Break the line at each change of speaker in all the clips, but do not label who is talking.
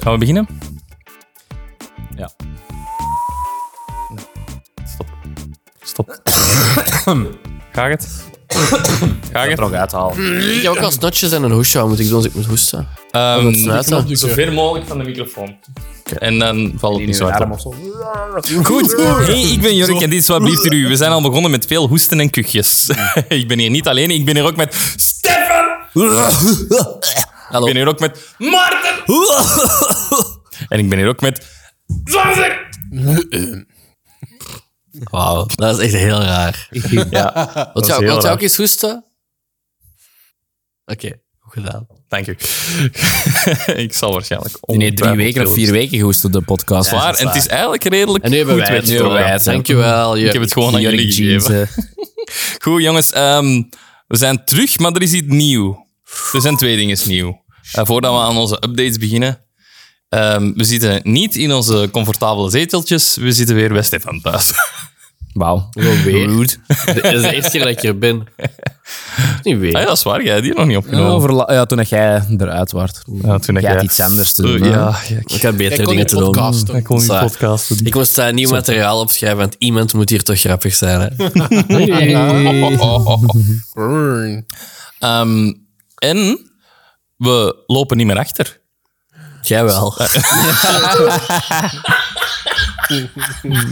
Gaan we beginnen?
Ja.
Stop. Stop. Gaat het? Gaat
Ik er
het?
nog uithalen.
Ik heb ook al snotjes en een hoesje aan moeten doen als ik moet hoesten.
Ehm,
Dat snuiten.
zo ver mogelijk van de microfoon. En dan valt het niet zo hard op.
of zo.
Goed, hey, ik ben Jorik en dit is Wat Blieft er U. We zijn al begonnen met veel hoesten en kuchjes. ik ben hier niet alleen, ik ben hier ook met Stefan!
Hallo.
Ik ben hier ook met Maarten! en ik ben hier ook met Zwanzer!
Wauw, dat is echt heel raar.
Ja.
Wilt
is heel
jou, wilt jou
raar.
ook eens hoesten? Oké, goed gedaan.
Dank u. ik zal waarschijnlijk
Die heeft drie weken of vier weken gehoest op de podcast.
Waar, en het is eigenlijk redelijk
En nu hebben
goed
wij het. Nu hebben wij het.
weggetrokken.
Dankjewel.
Ik heb het gewoon aan jullie gegeven.
eh.
Goed, jongens. ehm, we zijn terug, maar er is iets nieuw. Er zijn twee dingen nieuw. Eh, voordat we aan onze updates beginnen. ehm, we zitten niet in onze comfortabele zeteltjes. We zitten weer bij Stefan thuis.
Wauw.
Rude. Dit is de eerste keer eh, dat ik hier ben. Dat is niet
Ah, ja,
weer.
dat is waar. Jij hebt die nog niet
Ja,
opgenomen.
overla- ja, toen dat jij eruit was.
Ja, toen ik
jij had
jij-
iets anders te
Eh,
doen. hè?
ja, ja, ik-
Ik had beter
kon
dingen
niet
te doen.
podcasten.
ik kon niet
Zwaar.
podcasten.
Ik moest daar nieuw materiaal opschrijven, want iemand moet hier toch grappig zijn. Hè?
Oh, Ehm, en we lopen niet meer achter.
Jij wel.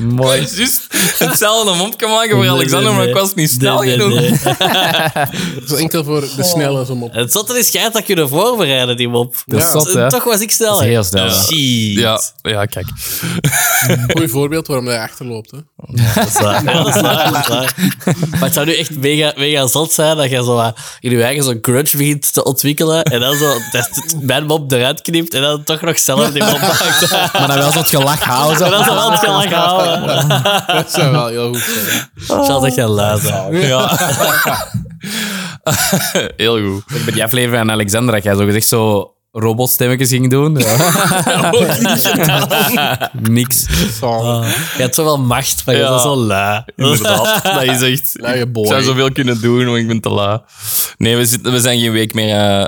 Mooi. Juist hetzelfde mopje maken voor Alexander, maar ik was niet snel
Nee, nee,
genoeg.
nee.
Dat is enkel voor de snelle zo op.
Het zotte is, jij had dat kunnen voorbereiden, die mop. Dus eh,
Dat is zot, hè?
Toch was ik snel.
Dat is heel snel. Ja.
Shit.
Ja, ja, kijk.
Goeie voorbeeld waarom hij achterloopt. Hè.
Dat is waar, ja, dat is waar, dat is waar. Maar het zou nu echt mega, mega zot zijn dat je zo wat in je eigen zo'n grudge begint te ontwikkelen en dan zo dat het- mijn mop eruit knipt en dan toch nog zelf die mop maakt.
Maar dan wel zo'n gelach houden.
En
zo.
dan zo wel het gelijk houden.
Dat zou wel heel goed zijn.
Charles, echt een luizen.
Ja. Heel goed.
Bij die aflevering aan Alexander, dat jij zo gezegd zo robotstemmetjes ging doen. Ja. Niks.
Je hebt zoveel macht, maar je
Ja.
bent zo lui.
Inderdaad, dat is echt...
Luie boy.
Ik zou zoveel kunnen doen, maar ik ben te laat. Nee, we, zitten, we zijn geen week meer... eh,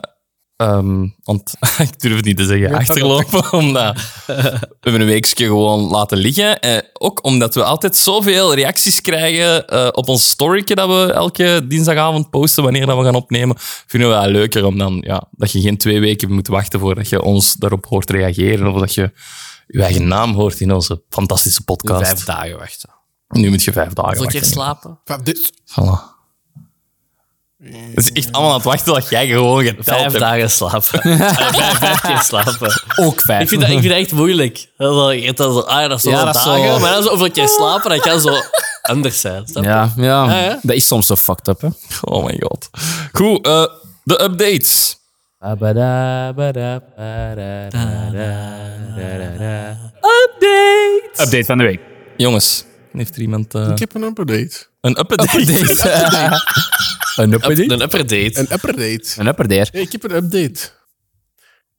ehm, ont- ik durf het niet te zeggen, achterlopen. Omdat we hebben een weekje gewoon laten liggen. Eh, ook omdat we altijd zoveel reacties krijgen eh, op ons storytje dat we elke dinsdagavond posten wanneer dat we gaan opnemen. Vinden we dat leuker om dan, ja, dat je geen twee weken moet wachten voordat je ons daarop hoort reageren. Of dat je je eigen naam hoort in onze fantastische podcast.
Vijf dagen wachten.
Nu moet je vijf dagen
Zo'n keer
wachten.
slapen.
Van dus, dit.
Voilà. Het is echt allemaal aan het wachten dat jij gewoon geteld
Vijf
hebt.
dagen slapen. Vijf, vijf, vijf keer slapen.
Ook vijf.
Ik vind, dat, ik vind dat echt moeilijk. Dat is, wel- je hebt dan zo, ah, dat is
Ja,
wel
dat is
dagen,
zo-
maar dan zo hoeveel keer slapen, dat kan zo anders zijn. snap je?
Ja, ja.
hè?
dat is soms zo fucked up, hè?
Oh my god. Goed, eh, de updates.
Update van de week.
Jongens, heeft er iemand eh,
Ik heb een update.
een update?
Een upperdate?
Een upperdate.
Een update.
Een upperdate.
Ja, ik heb een update.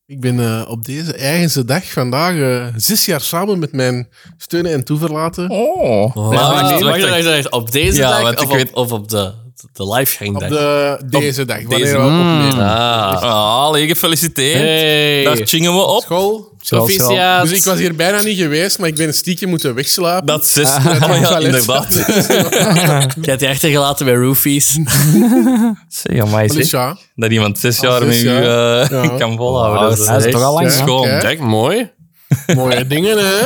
Ik ben eh, op deze eigense dag vandaag eh, zes jaar samen met mijn steunen en toeverlaten.
Oh.
Maar
wacht,
Ah, wacht,
wacht,
wacht,
wacht.
wacht, wacht. Op deze
Ja,
dag
want
of
ik
op,
weet-
of op de, de
Op
livegangdag?
de, deze dag. Wanneer
deze-
we opnemen.
Ah.
Ah, allee, gefeliciteerd.
Hey.
Daar chingen we op.
School.
Proficiat.
Dus ik was hier bijna niet geweest, maar ik ben stiekem moeten wegslapen.
Dat is zes. Oh
het
ja,
toilet
inderdaad.
Je hebt je achtergelaten bij roofies.
Zeg, amai,
Dus
zeg.
ja,
Dat iemand zes jaar
Ah, zes
met u
jaar.
eh,
Ja.
kan volhouden.
Oh,
dat is
dat is
echt
toch al lang,
hè?
schoon.
Ja.
Kijk, mooi.
mooie dingen, hè?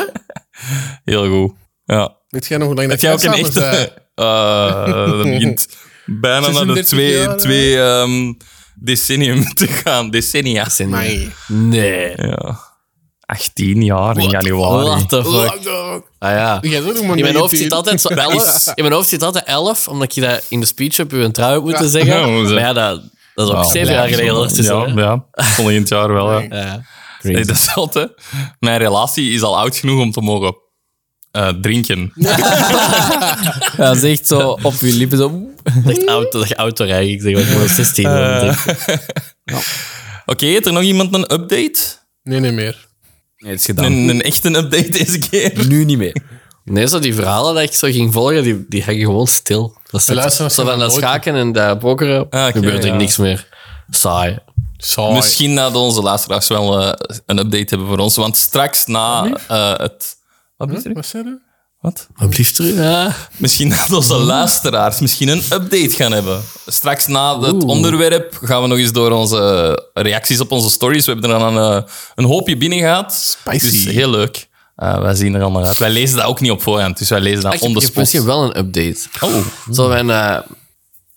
Heel goed. Ja.
Weet jij nog hoe lang
Heb
dat
jij ook een
samen
echte?
zijn?
Eh, dat begint bijna naar de
36
twee,
jaar, eh.
twee ehm, decennium te gaan. Decennia.
Nee.
Nee.
Ja. 18 jaar in januari.
What the fuck?
Lang ook.
Ah ja.
Jij bent ook maar
In mijn hoofd
19.
zit altijd zo elf. In mijn hoofd zit altijd elf, omdat je dat in de speech op je trouw hebt moeten zeggen.
Ja, hoe is dat?
maar ja, dat, dat is ook zeven jaar geleden. hoor. Dus,
Ja,
eh,
ja, volgend jaar wel. Ja.
ja.
Nee, dat is altijd. Mijn relatie is al oud genoeg om te mogen eh, drinken.
Dat is echt zo op je lippen. Zo.
Echt auto, dat je auto rijdt. Ik zeg, ik dus was 16. dan denk ik.
Oké, heeft er nog iemand een update?
Nee, nee meer.
Nee, het is gedaan.
Een, een echte update deze keer?
Nu niet meer.
Nee, zo die verhalen dat ik zo ging volgen, die, die hangen gewoon stil. Dat is
De
het.
luisteraars
zo van
gaan
dat
nooit-
schaken en dat pokeren
Ah, oké,
gebeurt er
ja.
niks meer. Saai.
Saai.
Misschien dat onze luisteraars wel eh, een update hebben voor ons. Want straks na eh, het. Wat is er?
Wat zei je?
Wat?
Wat liefst er? Ja.
Misschien dat onze luisteraars misschien een update gaan hebben. Straks na het onderwerp gaan we nog eens door onze eh, reacties op onze stories. We hebben er al een, eh, een hoopje binnen gehad.
Spicy.
Dus heel leuk. Eh, wij zien er allemaal uit. Wij lezen dat ook niet op voorhand, dus wij lezen dat
Echt,
on
ik
the
heb
spot.
misschien wel een update.
Oh,
Zal mijn, eh,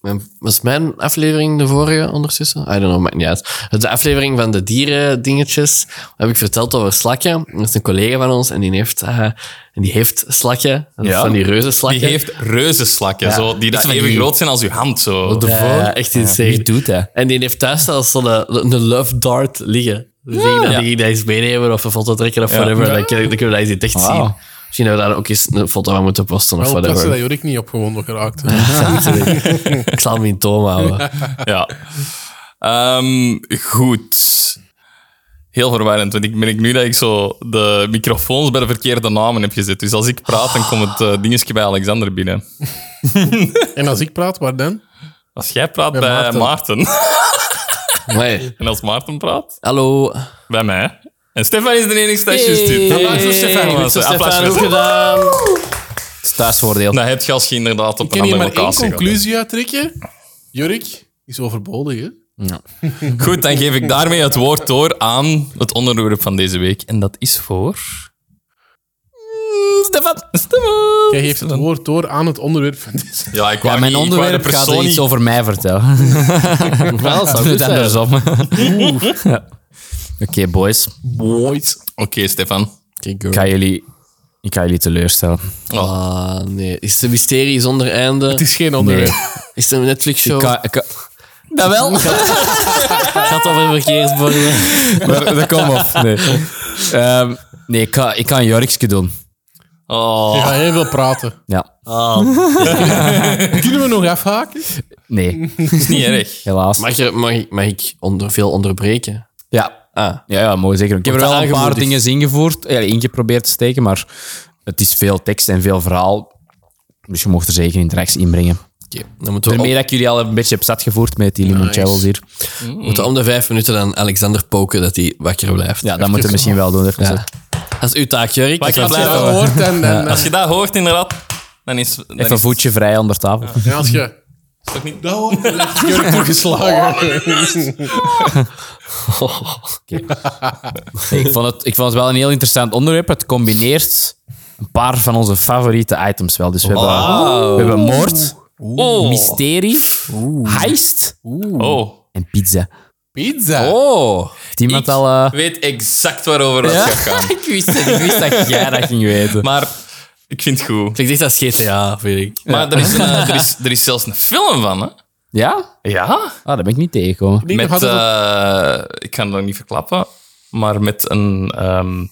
mijn- Was mijn aflevering de vorige ondertussen? I don't know, maakt niet uit. De aflevering van de dieren-dingetjes heb ik verteld over slakken. Dat is een collega van ons en die heeft, eh, en die heeft slakken. Dat is
Ja.
Van die reuze slakken.
die heeft reuzenslakken,
Ja.
zo, die dat
Iets van
even
die-
groot zijn als uw hand. Zo.
Ja, ja, echt insane.
Wie doet dat?
En die heeft thuis zelfs zo'n eh, een love dart liggen. Dus ik denk dat die dat eens meenemen of een foto trekken of whatever. Dan, kun- dan kunnen we dat eens in het echt
Wauw.
zien. Misschien dat we daar ook eens een foto van moeten posten of
Wel plassen Oh, dat
whatever.
Jorik niet opgewonden geraakt.
Ik zal hem in toom houden.
Ja. Ehm, goed. Heel verwarrend, want ik merk nu dat ik zo de microfoons bij de verkeerde namen heb gezet. Dus als ik praat, dan komt het eh, dingetje bij Alexander binnen.
en als ik praat, waar dan?
Als jij praat bij,
Bij
Maarten.
Maarten.
Nee.
en als Maarten praat,
Hallo.
bij mij. En Stefan is de enige dat juist doet. Applaus voor Stefan.
Goed
jongens.
zo, Stefan.
Applaus voor
Goed
Stefan.
gedaan.
Thuisvoordeel.
Dat heb je als je inderdaad op
Ik
een
kan hier
andere
maar één
locatie gaat.
conclusie uit trekken. Jorik is overbodig, hè?
Goed, dan geef ik daarmee het woord door aan het onderwerp van deze week. En dat is voor... Mm, Stefan! Stefan!
Jij geeft het woord door aan het onderwerp van deze...
Ja, ik
Ja,
wou
mijn
niet- ik wou de
onderwerp gaat er
persoon
iets
niet-
over mij vertellen.
Wel, zou
Doe
goed
het
zijn.
andersom. Ja. Oké, boys.
Oké, Stefan.
Kijk,
Ik
hoor.
ga jullie, ik ga jullie teleurstellen.
Ah, nee. Is de mysterie zonder einde?
Het is geen onderwerp.
Is het een Netflix-show?
Ik
Het
ga, ik ga- Dat wel?
gaat over verkeersborden.
dat, dat komt op. Nee, Ehm, nee ik, ga, ik ga een Jorkske doen.
Oh.
Je gaat heel veel praten.
Ja.
Kunnen we nog afhaken?
Nee,
is niet erg.
helaas.
Mag, je, mag, ik- mag ik onder, veel onderbreken?
Ja.
Ah.
Ja, ja, mooi zeker. Ik heb er
Wordt
wel een paar
aangemoedigd.
dingen ingevoerd, ja, ingeprobeerd te steken, maar het is veel tekst en veel verhaal. Dus je mocht er zeker interactie inbrengen.
Oké, dan moeten we,
Daarmee
om,
dat ik jullie al een beetje heb zat gevoerd met die limoncello's hier.
moeten we om de vijf minuten dan Alexander poken dat hij wakker blijft.
Ja, dat moeten we misschien wel doen. Even zo.
Dat is uw taak, Jurk.
Maar ik
Dat
ga
is-
Als je dat hoort en... en
Als je dat hoort, inderdaad, dan is, dan
Even
is
voetje vrij onder tafel.
en als je...
toch niet...
Dat hoort, dan heb je Jorik toegeslagen.
Oh, Ik, vond het, ik vond het wel een heel interessant onderwerp. Het combineert een paar van onze favoriete items wel. Dus we hebben, we hebben moord,
Oh.
mysterie, heist
Oh.
en pizza.
Pizza.
Oh. Heeft iemand
Ik
al... eh,
weet exact waarover dat gaat gaan.
ik, wist het, ik wist dat jij dat ging weten.
Maar ik vind het goed.
Ik dacht dat is GTA, vind ik.
Maar er is, een, eh, er, is, er is zelfs een film van, hè?
Ja?
Ja.
Ah, daar ben ik niet tegengekomen.
Ik denk nog
Met,
altijd dat-
eh, ik ga het nog niet verklappen, maar met een, ehm,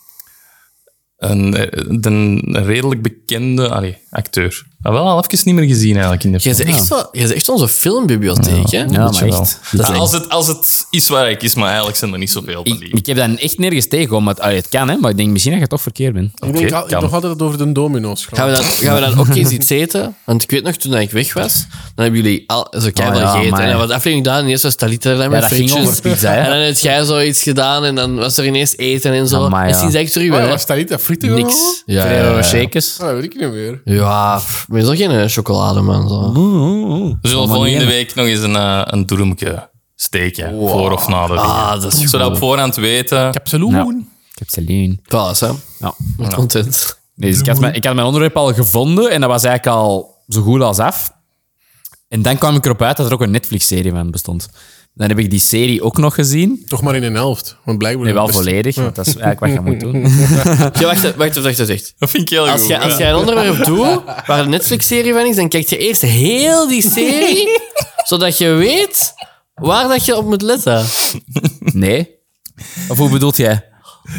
een, eh, een redelijk bekende allee, acteur. Maar wel al even niet meer gezien eigenlijk in de
Jij
film.
bent echt, zo- jij bent echt onze filmbibliotheek, hè?
Ja, maar
wel.
echt. Dat
Ja,
is echt-
Ah, als, het, als het is waar ik is, maar eigenlijk zijn er niet zoveel van
ik,
die.
ik heb dat echt nergens tegengekomen. Maar, het- allee, het kan, hè, maar ik denk misschien dat je toch verkeerd bent.
Ik denk
Oké,
al- ik
kan.
nog altijd dat het over de domino's gaat.
Gaan we, dan, gaan we dan ook eens iets eten? Want ik weet nog, toen ik weg was, dan hebben jullie al zo keihard
Oh ja,
gegeten.
amai.
En dan was de aflevering gedaan en eerst was Talita er dan met
dat ging
frietjes.
over pizza, hè?
En dan heb jij zoiets gedaan en dan was er ineens eten en zo.
Amai,
en
ja.
sinds echt terug
Oh,
ben,
ja,
hè?
was dat niet dat frieten gewoon?
niks. Ja, ja, ja.
shakers.
Ah, dat weet ik niet meer.
Ja, pff, ik ben zo geen eh, chocolademan.
Hm?
Zo.
We zullen volgende week nog eens een, eh, een doermke steken, voor of na de dingen.
Ah, dat is
Zodat we op voorhand weten...
Absoluut.
Ik heb saline.
Klaas, hè?
Ja.
Met content.
Nee, dus ik, had mijn, ik had mijn onderwerp al gevonden en dat was eigenlijk al zo goed als af. En dan kwam ik erop uit dat er ook een Netflix-serie van bestond. Dan heb ik die serie ook nog gezien.
Toch maar in een helft. Want blijkbaar...
Nee, wel
best-
volledig, want dat is eigenlijk wat je moet doen.
Ja, wacht, wacht, wacht, wacht, wacht.
Dat vind ik heel
Als
goed.
jij, als
ja.
jij een onderwerp doet waar een Netflix-serie van is, dan kijk je eerst heel die serie, zodat je weet waar dat je op moet letten.
Nee? Of hoe bedoelt jij?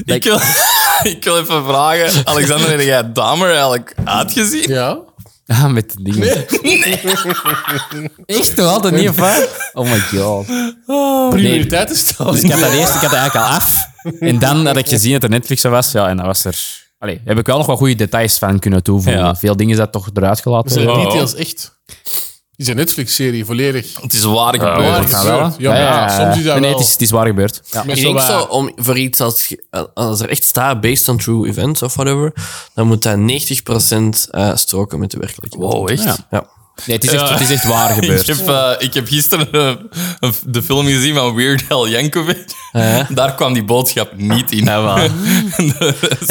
ik, wil, ik wil even vragen, Alexander, heb jij Dahmer eigenlijk uitgezien?
Ja.
Ah, met de dingen. Echt toch altijd niet van? Oh my god.
Prioriteiten stellen.
Dus ik had dat eerst, ik had dat eigenlijk al af. En dan had ik gezien dat er Netflix er was. Ja, en dat was er... Allee, daar heb ik wel nog wat goede details van kunnen toevoegen.
Ja.
Veel dingen zijn toch eruit gelaten.
Zijn
Oh.
details echt. is een Netflix-serie, volledig.
Het is waar
Ja,
gebeurd.
waar
het
gaan wel, hè?
Ja, maar ja, soms is dat
nee,
wel.
Het, is, het is waar gebeurd. Ja.
Ik
Met zo
denk
wat-
zo, om, voor iets als, je- als er echt staat based on true events of whatever, dan moet dat 90% eh, stroken met de werkelijkheid.
Wow, echt?
Ja.
Ja.
Nee, het is echt,
Ja.
het is echt waar
Ik
gebeurd.
heb, eh, ik heb gisteren eh, een f- de film gezien van Weird Al Yankovic.
Eh?
Daar kwam die boodschap niet in.
Ah,
Dus-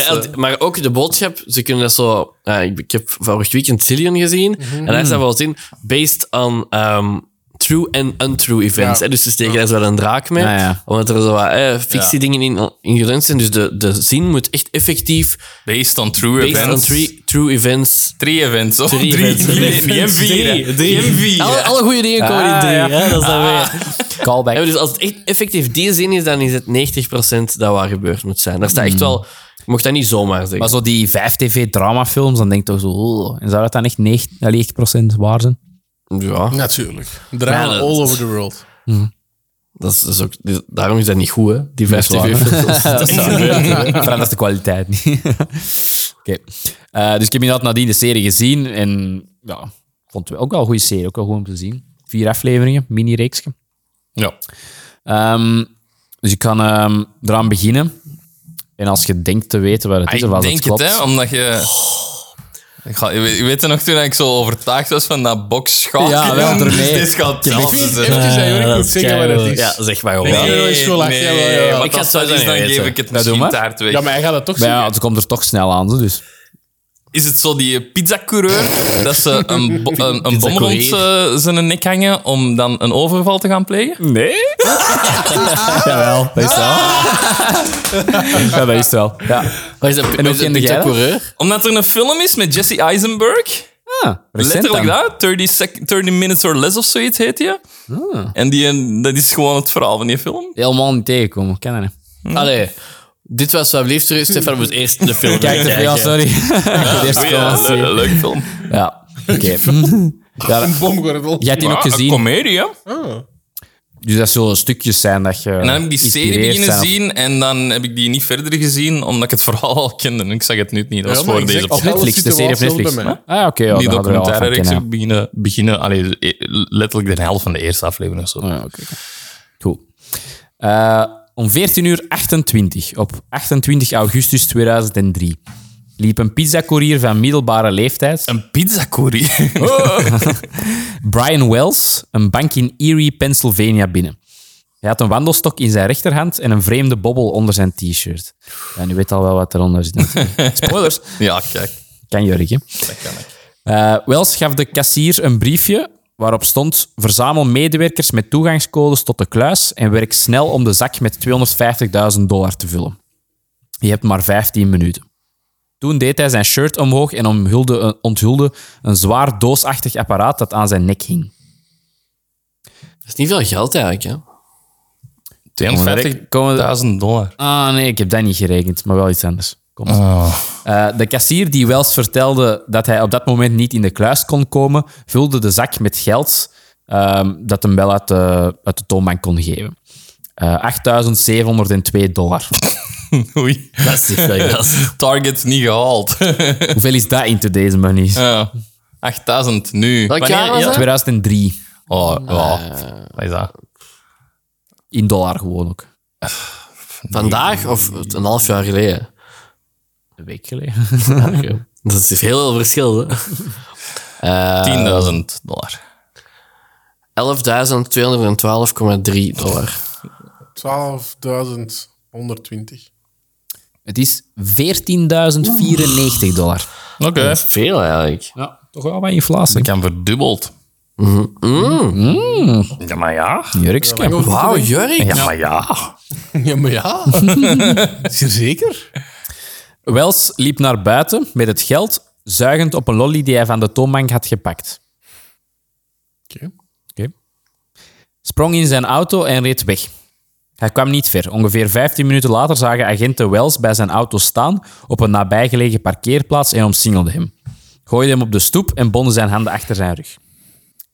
Ja, d- maar ook de boodschap, ze kunnen dat zo... eh, ik, ik heb vorig weekend Cillian gezien, en daar staat wel eens in, based on ehm, true and untrue events.
Ja.
hè. Dus ze steken daar zo wel een draak mee,
Ja, ja.
omdat er zo wat eh, fictie dingen in, in gedrukt zijn. Dus de, de zin moet echt effectief,
Based on true
based
events.
on true, true events...
Drie events, of
Drie events.
Drie, drie en vier. hè.
Drie,
Drie en vier.
Alle,
hè.
alle goede dingen komen in drie, hè? dat is dan weer...
Callback.
Ah, Ja, dus als het echt effectief die zin is, dan is het 90% dat waar gebeurd moet zijn. Daar staat echt wel... Je mocht dat niet zomaar zeggen.
Maar zo die vijf tv-dramafilms, dan denk je toch zo... oh, en zou dat dan echt, 9, allee, echt procent waar zijn?
Ja,
Natuurlijk. Drama
Ja, dat-
all over the world.
dat is, dat is ook, dus daarom is dat niet goed, hè? Die vijf
waar, hè?
tv-films. Dat is gebeurd.
Verandert de kwaliteit niet. Oké. Eh, dus ik heb inderdaad nadien de serie gezien. En ja, vond het ook wel een goede serie. Ook wel goed om te zien. Vier afleveringen, mini-reeksje.
Ja.
Ehm, dus ik kan ehm, eraan beginnen. En als je denkt te weten wat
Ah,
het is, of
ik
als
denk
het klopt...
het, hè, omdat je... Ik ga, je weet je nog toen ik zo overtuigd was van dat boxschaal?
Ja, wel, ermee.
Dit gaat hetzelfde
Even
zijn.
eventjes Ah, dat
Ah,
Jorik moet zeggen wat het is.
Ja, zeg maar gewoon.
Nee.
Ja.
dat is wel lachen, ja, wel, ja, wel.
want
Ik ga
als
het
dat
sowieso
is, dan
niet
geef
weten.
ik het
Ja, doe
misschien
maar.
taart weg.
Ja, maar hij gaat het toch
Maar ja,
zeggen.
het komt er toch snel aan, zo, dus...
Is het zo die pizzacoureur dat ze een, bo een, een bom rond eh, zijn nek hangen om dan een overval te gaan plegen?
Nee? Jawel, dat is het wel. ja, dat is het wel. Ja.
Wat is dat?
En ook in de
coureur?
Omdat er een film is met Jesse Eisenberg.
Ah, recent
Letterlijk
dan.
dat. 30, sec- 30 Minutes or Less of zoiets heet je. En die, eh, dat is gewoon het verhaal van die film.
Helemaal niet tegenkomen, ik ken dat niet.
Allee, dit was wat liefst. Stefan moet eerst de film
Kijk, de-
kijken.
ja, sorry. De eerste
Ja,
keer.
le- leuk film.
Ja, oké. Ja,
Een bomgordel.
jij hebt die
Ja,
ook
Een
gezien,
comedie, hè?
dus dat zullen stukjes zijn dat je
En dan heb ik die serie
geïnspireerd
beginnen
zijn
zien
of-
en dan heb ik die niet verder gezien omdat ik het verhaal al kende. Ik zag het nu niet. Dat was
Ja, maar
voor
ik
deze
zeg
podcast.
al- Alle
Netflix, de serie op
situatie
Netflix.
wel bij
Ah, ja, oké. ja,
die
dan hadden we wel van
documentaire reeks
kennen.
heb ik beginnen, beginnen allee, e- letterlijk de helft van de eerste aflevering of zo.
Ah, oké. Goed. Eh, om 14 uur 28, op 28 augustus 2003, liep een pizzacourier van middelbare leeftijd
Een Oh, pizzacourier.
Brian Wells een bank in Erie, Pennsylvania binnen. Hij had een wandelstok in zijn rechterhand en een vreemde bobbel onder zijn t-shirt. Ja, nu weet al wel wat eronder zit. natuurlijk. Spoilers.
ja, kijk.
Kan Jurk, hè? Eh, Wells gaf de kassier een briefje waarop stond verzamel medewerkers met toegangscodes tot de kluis en werk snel om de zak met 250.000 dollar te vullen. Je hebt maar 15 minuten. Toen deed hij zijn shirt omhoog en omhulde een- onthulde een zwaar doosachtig apparaat dat aan zijn nek hing.
Dat is niet veel geld eigenlijk, hè?
250.000 dollar.
Ah, nee, ik heb dat niet gerekend, maar wel iets anders. Kom.
Oh.
Eh, de kassier die Wells vertelde dat hij op dat moment niet in de kluis kon komen, vulde de zak met geld ehm, dat hem wel uit de, uit de toonbank kon geven. Eh, 8.702 dollar.
Oei.
Dat is niet veel geld.
Target niet gehaald.
Hoeveel is dat in today's money?
Ja. 8000 nu.
Welk
Wanneer-
jaar was
ja.
dat?
2003.
Oh, ja. Wat is dat?
In dollar gewoon ook.
Vandaag of een half jaar geleden?
Een week geleden.
Dat is heel veel verschil, hè?
10.000 dollar.
11.212,3 dollar.
12.120.
Het is 14.094 dollar.
Oké.
Veel eigenlijk.
Ja, toch wel wat inflatie.
Ik heb verdubbeld. Ja, maar ja.
Jurkske.
Wauw, Jurk.
Ja, maar ja.
Ja, maar ja. is je zeker?
Wells liep naar buiten met het geld, zuigend op een lolly die hij van de toonbank had gepakt.
Oké.
Sprong in zijn auto en reed weg. Hij kwam niet ver. Ongeveer 15 minuten later zagen agenten Wells bij zijn auto staan op een nabijgelegen parkeerplaats en omsingelden hem. Gooiden hem op de stoep en bonden zijn handen achter zijn rug.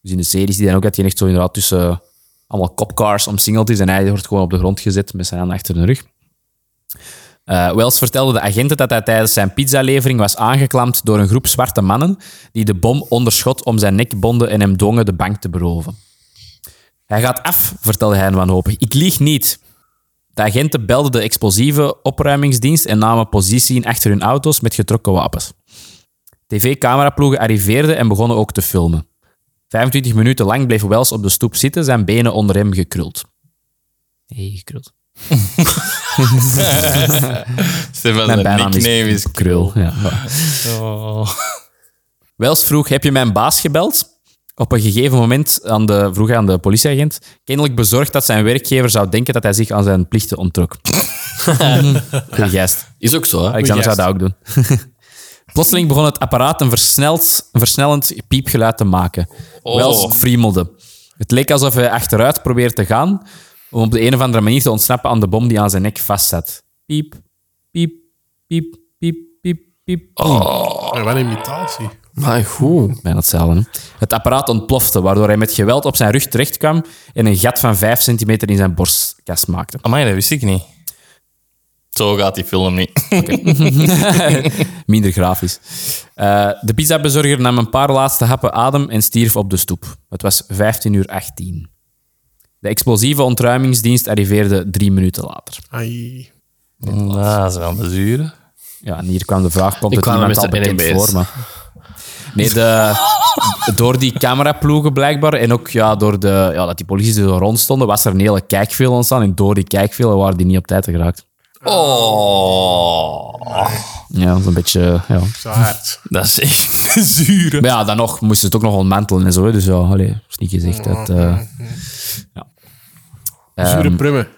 Dus in de serie zie je dan ook dat hij echt zo inderdaad tussen allemaal copcars omsingeld is en hij wordt gewoon op de grond gezet met zijn handen achter zijn rug. Eh, Wells vertelde de agenten dat hij tijdens zijn pizzalevering was aangeklampt door een groep zwarte mannen die de bom onderschot om zijn nek bonden en hem dwongen de bank te beroven. Hij gaat af, vertelde hij wanhopig. Ik lieg niet. De agenten belden de explosieve opruimingsdienst en namen positie in achter hun auto's met getrokken wapens. TV-cameraploegen arriveerden en begonnen ook te filmen. 25 minuten lang bleef Wells op de stoep zitten, zijn benen onder hem gekruld. Nee, gekruld.
Stefan,
Mijn
zijn
bijnaam
nickname is...
Krul. Ja.
Oh.
Wells vroeg, heb je mijn baas gebeld? Op een gegeven moment aan de, vroeg hij aan de politieagent, kennelijk bezorgd dat zijn werkgever zou denken dat hij zich aan zijn plichten onttrok. Goeie gast.
Is ook zo, hè?
Alexander Ah, zou dat
Goeie
ook doen. Plotseling begon het apparaat een, versneld, een versnellend piepgeluid te maken. Wells friemelde. Het leek alsof hij achteruit probeerde te gaan om op de een of andere manier te ontsnappen aan de bom die aan zijn nek vastzat. Piep, piep, piep, piep, piep, piep.
Maar wat een imitatie.
Maar goed.
Bijna hetzelfde. hè. Het apparaat ontplofte, waardoor hij met geweld op zijn rug terecht kwam en een gat van 5 centimeter in zijn borstkas maakte.
Amai, dat wist ik niet. Zo gaat die film niet.
Minder grafisch. Eh, de pizzabezorger nam een paar laatste happen adem en stierf op de stoep. Het was 15 uur 18. De explosieve ontruimingsdienst arriveerde drie minuten later.
Ai.
Ah, ze gaan bezuren.
Ja, en hier kwam de vraag, komt
Ik
het
kwam er
iemand al
met de
bekend
NMB's.
voor? Maar... Nee, de, door die cameraploegen blijkbaar en ook ja, door de, ja, dat die politie er zo rond stonden, was er een hele kijkveel ontstaan. En door die kijkvelen waren die niet op tijd geraakt. Oh. Ja, dat is een beetje... Ja.
Zo hard.
Dat is echt bezuren.
Maar ja, dan nog moesten ze het ook nog ontmantelen en zo. hè. Dus ja, allee, is niet gezegd. Dat, eh,
Zure prummen.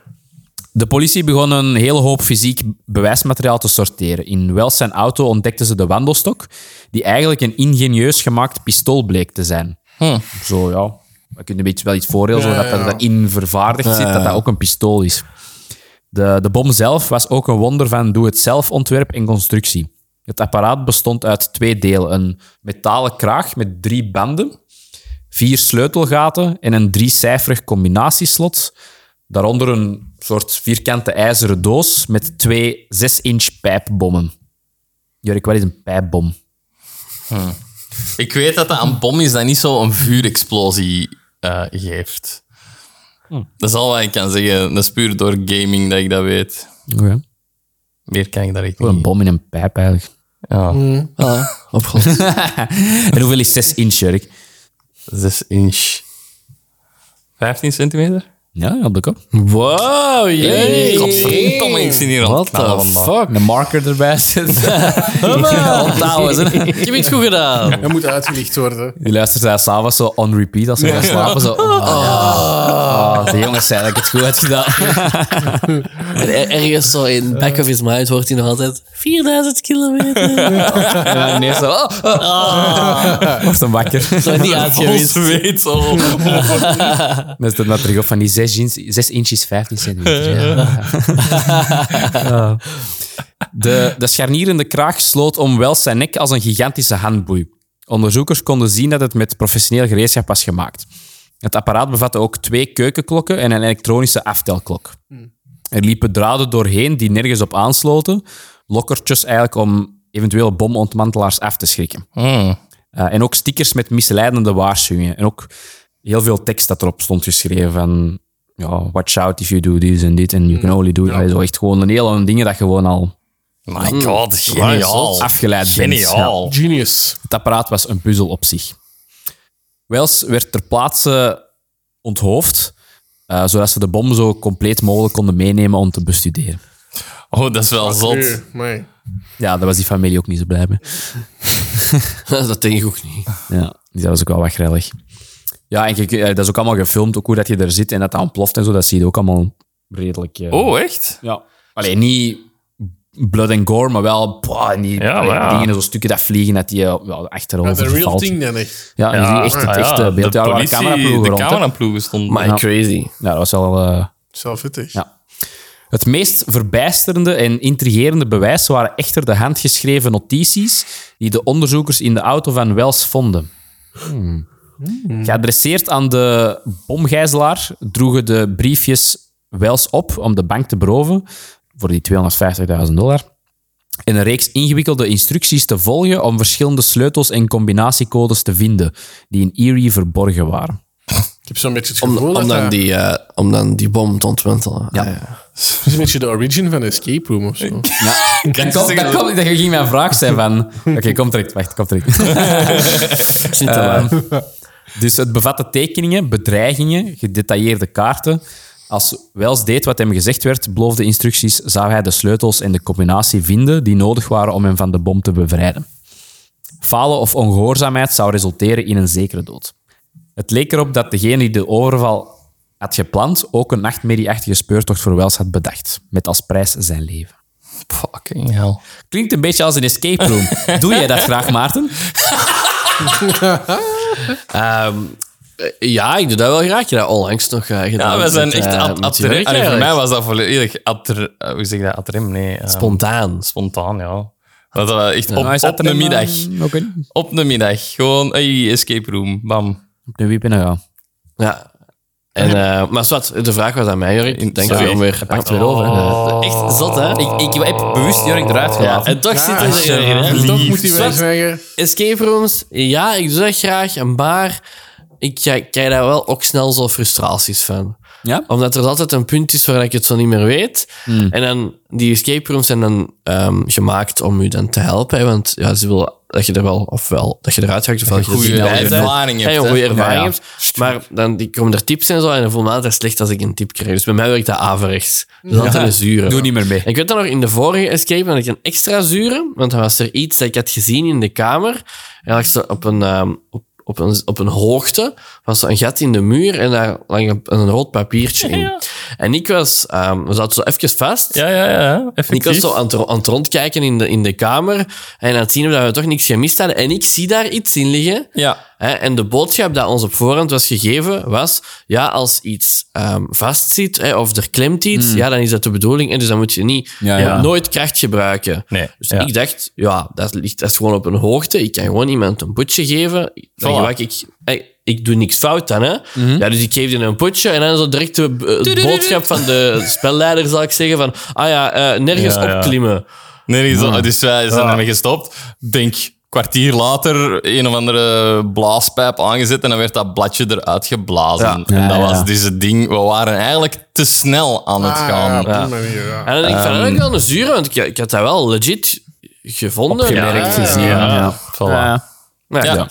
De politie begon een hele hoop fysiek bewijsmateriaal te sorteren. In Wells zijn auto ontdekten ze de wandelstok, die eigenlijk een ingenieus gemaakt pistool bleek te zijn. Zo, ja. We kunnen een beetje wel iets voorhelen,
Ja,
zodat
ja, ja.
dat erin vervaardigd zit, dat dat ook een pistool is. De, de bom zelf was ook een wonder van doe-het-zelf ontwerp en constructie. Het apparaat bestond uit twee delen. Een metalen kraag met drie banden, vier sleutelgaten en een driecijferig combinatieslot. Daaronder een soort vierkante ijzeren doos met twee 6-inch pijpbommen. Jurk, wat is een pijpbom?
Ik weet dat dat een bom is dat niet zo'n vuurexplosie eh, geeft.
Hm.
Dat is al wat ik kan zeggen. Dat is puur door gaming dat ik dat weet.
Oké.
Meer kan ik daar echt
Een
niet.
bom in een pijp eigenlijk.
Ja.
Op god.
En hoeveel is 6 inch, Jurk?
6 inch. 15 centimeter?
Ja, op de kop.
Wow, jee.
Godverdomme, ik zie hier al
What
knallen
the
vandaag.
fuck?
Een marker erbij zetten. Onthouden, hè.
Ik heb iets goed gedaan.
Dat moet uitgelicht worden.
Die luistert daar s'avonds zo on repeat als ze gaan slapen. Zo, oh,
Ah.
ja. Oh, de jongens zei dat ik het goed had gedaan.
En er- ergens zo in back of his mind hoort hij nog altijd 4000 kilometer.
En ineens zo, oh, oh.
Ah.
Wordt hem wakker.
Zo niet uitgewist.
weet al.
Dan is het maar terug op van die 6 inch, zes inch is 15 centimeter. Ja. Ja. De, de scharnierende kraag sloot om Wells zijn nek als een gigantische handboei. Onderzoekers konden zien dat het met professioneel gereedschap was gemaakt. Het apparaat bevatte ook twee keukenklokken en een elektronische aftelklok. Er liepen draden doorheen die nergens op aansloten. Lokkertjes eigenlijk om eventuele bomontmantelaars af te schrikken.
Hm.
Uh, en ook stickers met misleidende waarschuwingen. En ook heel veel tekst dat erop stond geschreven van... Ja, watch out if you do this and dit. And you can only do... Allee, zo echt gewoon een hele dingen dat je gewoon al Hm.
My god, geniaal.
afgeleid bent. Ja.
Geniaal.
Genius.
Het apparaat was een puzzel op zich. Wells werd ter plaatse onthoofd, eh, zodat ze de bom zo compleet mogelijk konden meenemen om te bestuderen.
Oh, dat is wel zot.
Nu, amai.
Ja, daar was die familie ook niet zo blij mee.
Dat denk ik ook niet.
Ja, dus dat was ook wel wat grillig. Ja, en je- eh, dat is ook allemaal gefilmd, ook hoe dat je er zit en dat dat ontploft en zo. Dat zie je ook allemaal redelijk... eh,
Oh, echt?
Ja. Allee, niet blood and gore, maar wel boah, en die
Ja,
allee,
maar ja.
dingen, zo stukken dat vliegen, dat die eh, ja,
Ja,
achterover
The real
valt.
thing dan echt.
Ja, en die echt, eh, het
ah ja,
echte beeld. Ja,
De
er waren
politie,
cameraploegen
de
rond, hè.
cameraploegen stonden.
My crazy.
Ja, dat was wel... eh,
Zelfwittig.
Ja. Het meest verbijsterende en intrigerende bewijs waren echter de handgeschreven notities die de onderzoekers in de auto van Wells vonden. Geadresseerd aan de bomgijzelaar droegen de briefjes Wells op om de bank te beroven. voor die 250.000 dollar. En een reeks ingewikkelde instructies te volgen om verschillende sleutels en combinatiecodes te vinden die in Erie verborgen waren.
Ik heb zo'n beetje het
Om,
gevoel
om,
dat
dan
dat-
die, eh, om dan die bom te ontwentelen. Ja.
dat is een beetje de origin van Escape Room of zo.
Dat, komt- dat, komt- dat ging mijn vraag zijn van... Oké, kom direct. Wacht, kom direct.
Eh,
Ehm, dus het bevatte tekeningen, bedreigingen, gedetailleerde kaarten. Als Wells deed wat hem gezegd werd, beloofde instructies, zou hij de sleutels en de combinatie vinden die nodig waren om hem van de bom te bevrijden. Falen of ongehoorzaamheid zou resulteren in een zekere dood. Het leek erop dat degene die de overval had gepland ook een nachtmerrieachtige speurtocht voor Wells had bedacht, met als prijs zijn leven.
Fucking hell.
Klinkt een beetje als een escape room. Doe jij dat graag, Maarten?
ja, ik doe dat wel graag. Ik heb dat onlangs nog eh, gedaan.
Ja, Ah, we zijn
Met,
echt
eh,
ad,
met
ad-
je werk
Allee, Voor
eigenlijk.
mij was dat volledig adre- eh, Hoe zeg je dat? Adrem? Nee. eh,
Spontaan.
spontaan, ja. Dat was echt op,
Nou, is dat
op
er
de
een,
middag.
eh, Oké.
Op de middag. Gewoon, hey, escape room. Bam.
Op de wiep en dan gaan.
Ja. En, eh, maar zwart, de vraag was aan mij, Jorik. Ik denk dat
sorry.
je hem weer Oh. pakt weer over.
Echt zot, hè?
Ik, ik heb bewust Jorik eruit
Ja, en toch zit er
Ah, Ja,
erin, hè?
en toch moet hij wel zeggen...
Escape rooms, ja, ik doe dat graag, maar ik krijg krijg daar wel ook snel zo frustraties van.
Ja?
Omdat er altijd een punt is waar ik het zo niet meer weet. En dan, die escape rooms zijn dan ehm, gemaakt om u dan te helpen. Hè, want ja, ze willen dat je er wel, ofwel dat je eruit raakt, ofwel dat je er
goede
niet bij bent.
ervaring
Ja,
hebt,
een goede
hè.
ervaring
Ja, ja.
hebt. Maar dan die komen er tips en zo, en dan voel ik me altijd slecht als ik een tip krijg. Dus bij mij werkt dat averechts. Dus altijd een zure.
Doe niet meer mee.
En ik weet dan nog, in de vorige Escape had ik een extra zure, want dan was er iets dat ik had gezien in de kamer. En lag ze op een, ehm, op, op een, op een hoogte, was er een gat in de muur en daar lag een, een rood papiertje in. En ik was, ehm, we zaten zo even vast.
Ja, ja, ja.
En ik was
Effectief.
zo aan het, ro- aan het rondkijken in de, in de kamer en aan het zien of dat we toch niks gemist hadden. En ik zie daar iets in liggen.
Ja.
Hè, en de boodschap dat ons op voorhand was gegeven was: ja, als iets ehm vastzit hè, of er klemt iets, ja, dan is dat de bedoeling. En dus dan moet je niet
Ja,
je
ja.
moet nooit kracht gebruiken.
Nee,
dus
ja.
ik dacht, ja, dat ligt dat is gewoon op een hoogte. Ik kan gewoon iemand een potje geven. Dan gebruik ik, hè, ik doe niks fout dan, hè? Ja, dus ik geef die een potje en dan zo direct de eh, de boodschap van de spelleider zal ik zeggen: van ah ja, eh, nergens
Ja, ja.
opklimmen.
Nee, nee, zo- dus wij zijn ermee gestopt. Denk kwartier later een of andere blaaspijp aangezet en dan werd dat bladje eruit geblazen.
Ja.
En dat
Ja, ja.
was dus het ding. We waren eigenlijk te snel aan het
Ah,
gaan.
ja, op die manier, ja.
En dan denk ik van, "Ah, dat is wel een zure, want ik, ik had dat wel legit gevonden.
Opgemerkt,
Ja.
gezien.
Ja,
Ja.
voilà.
Ja.
Ja.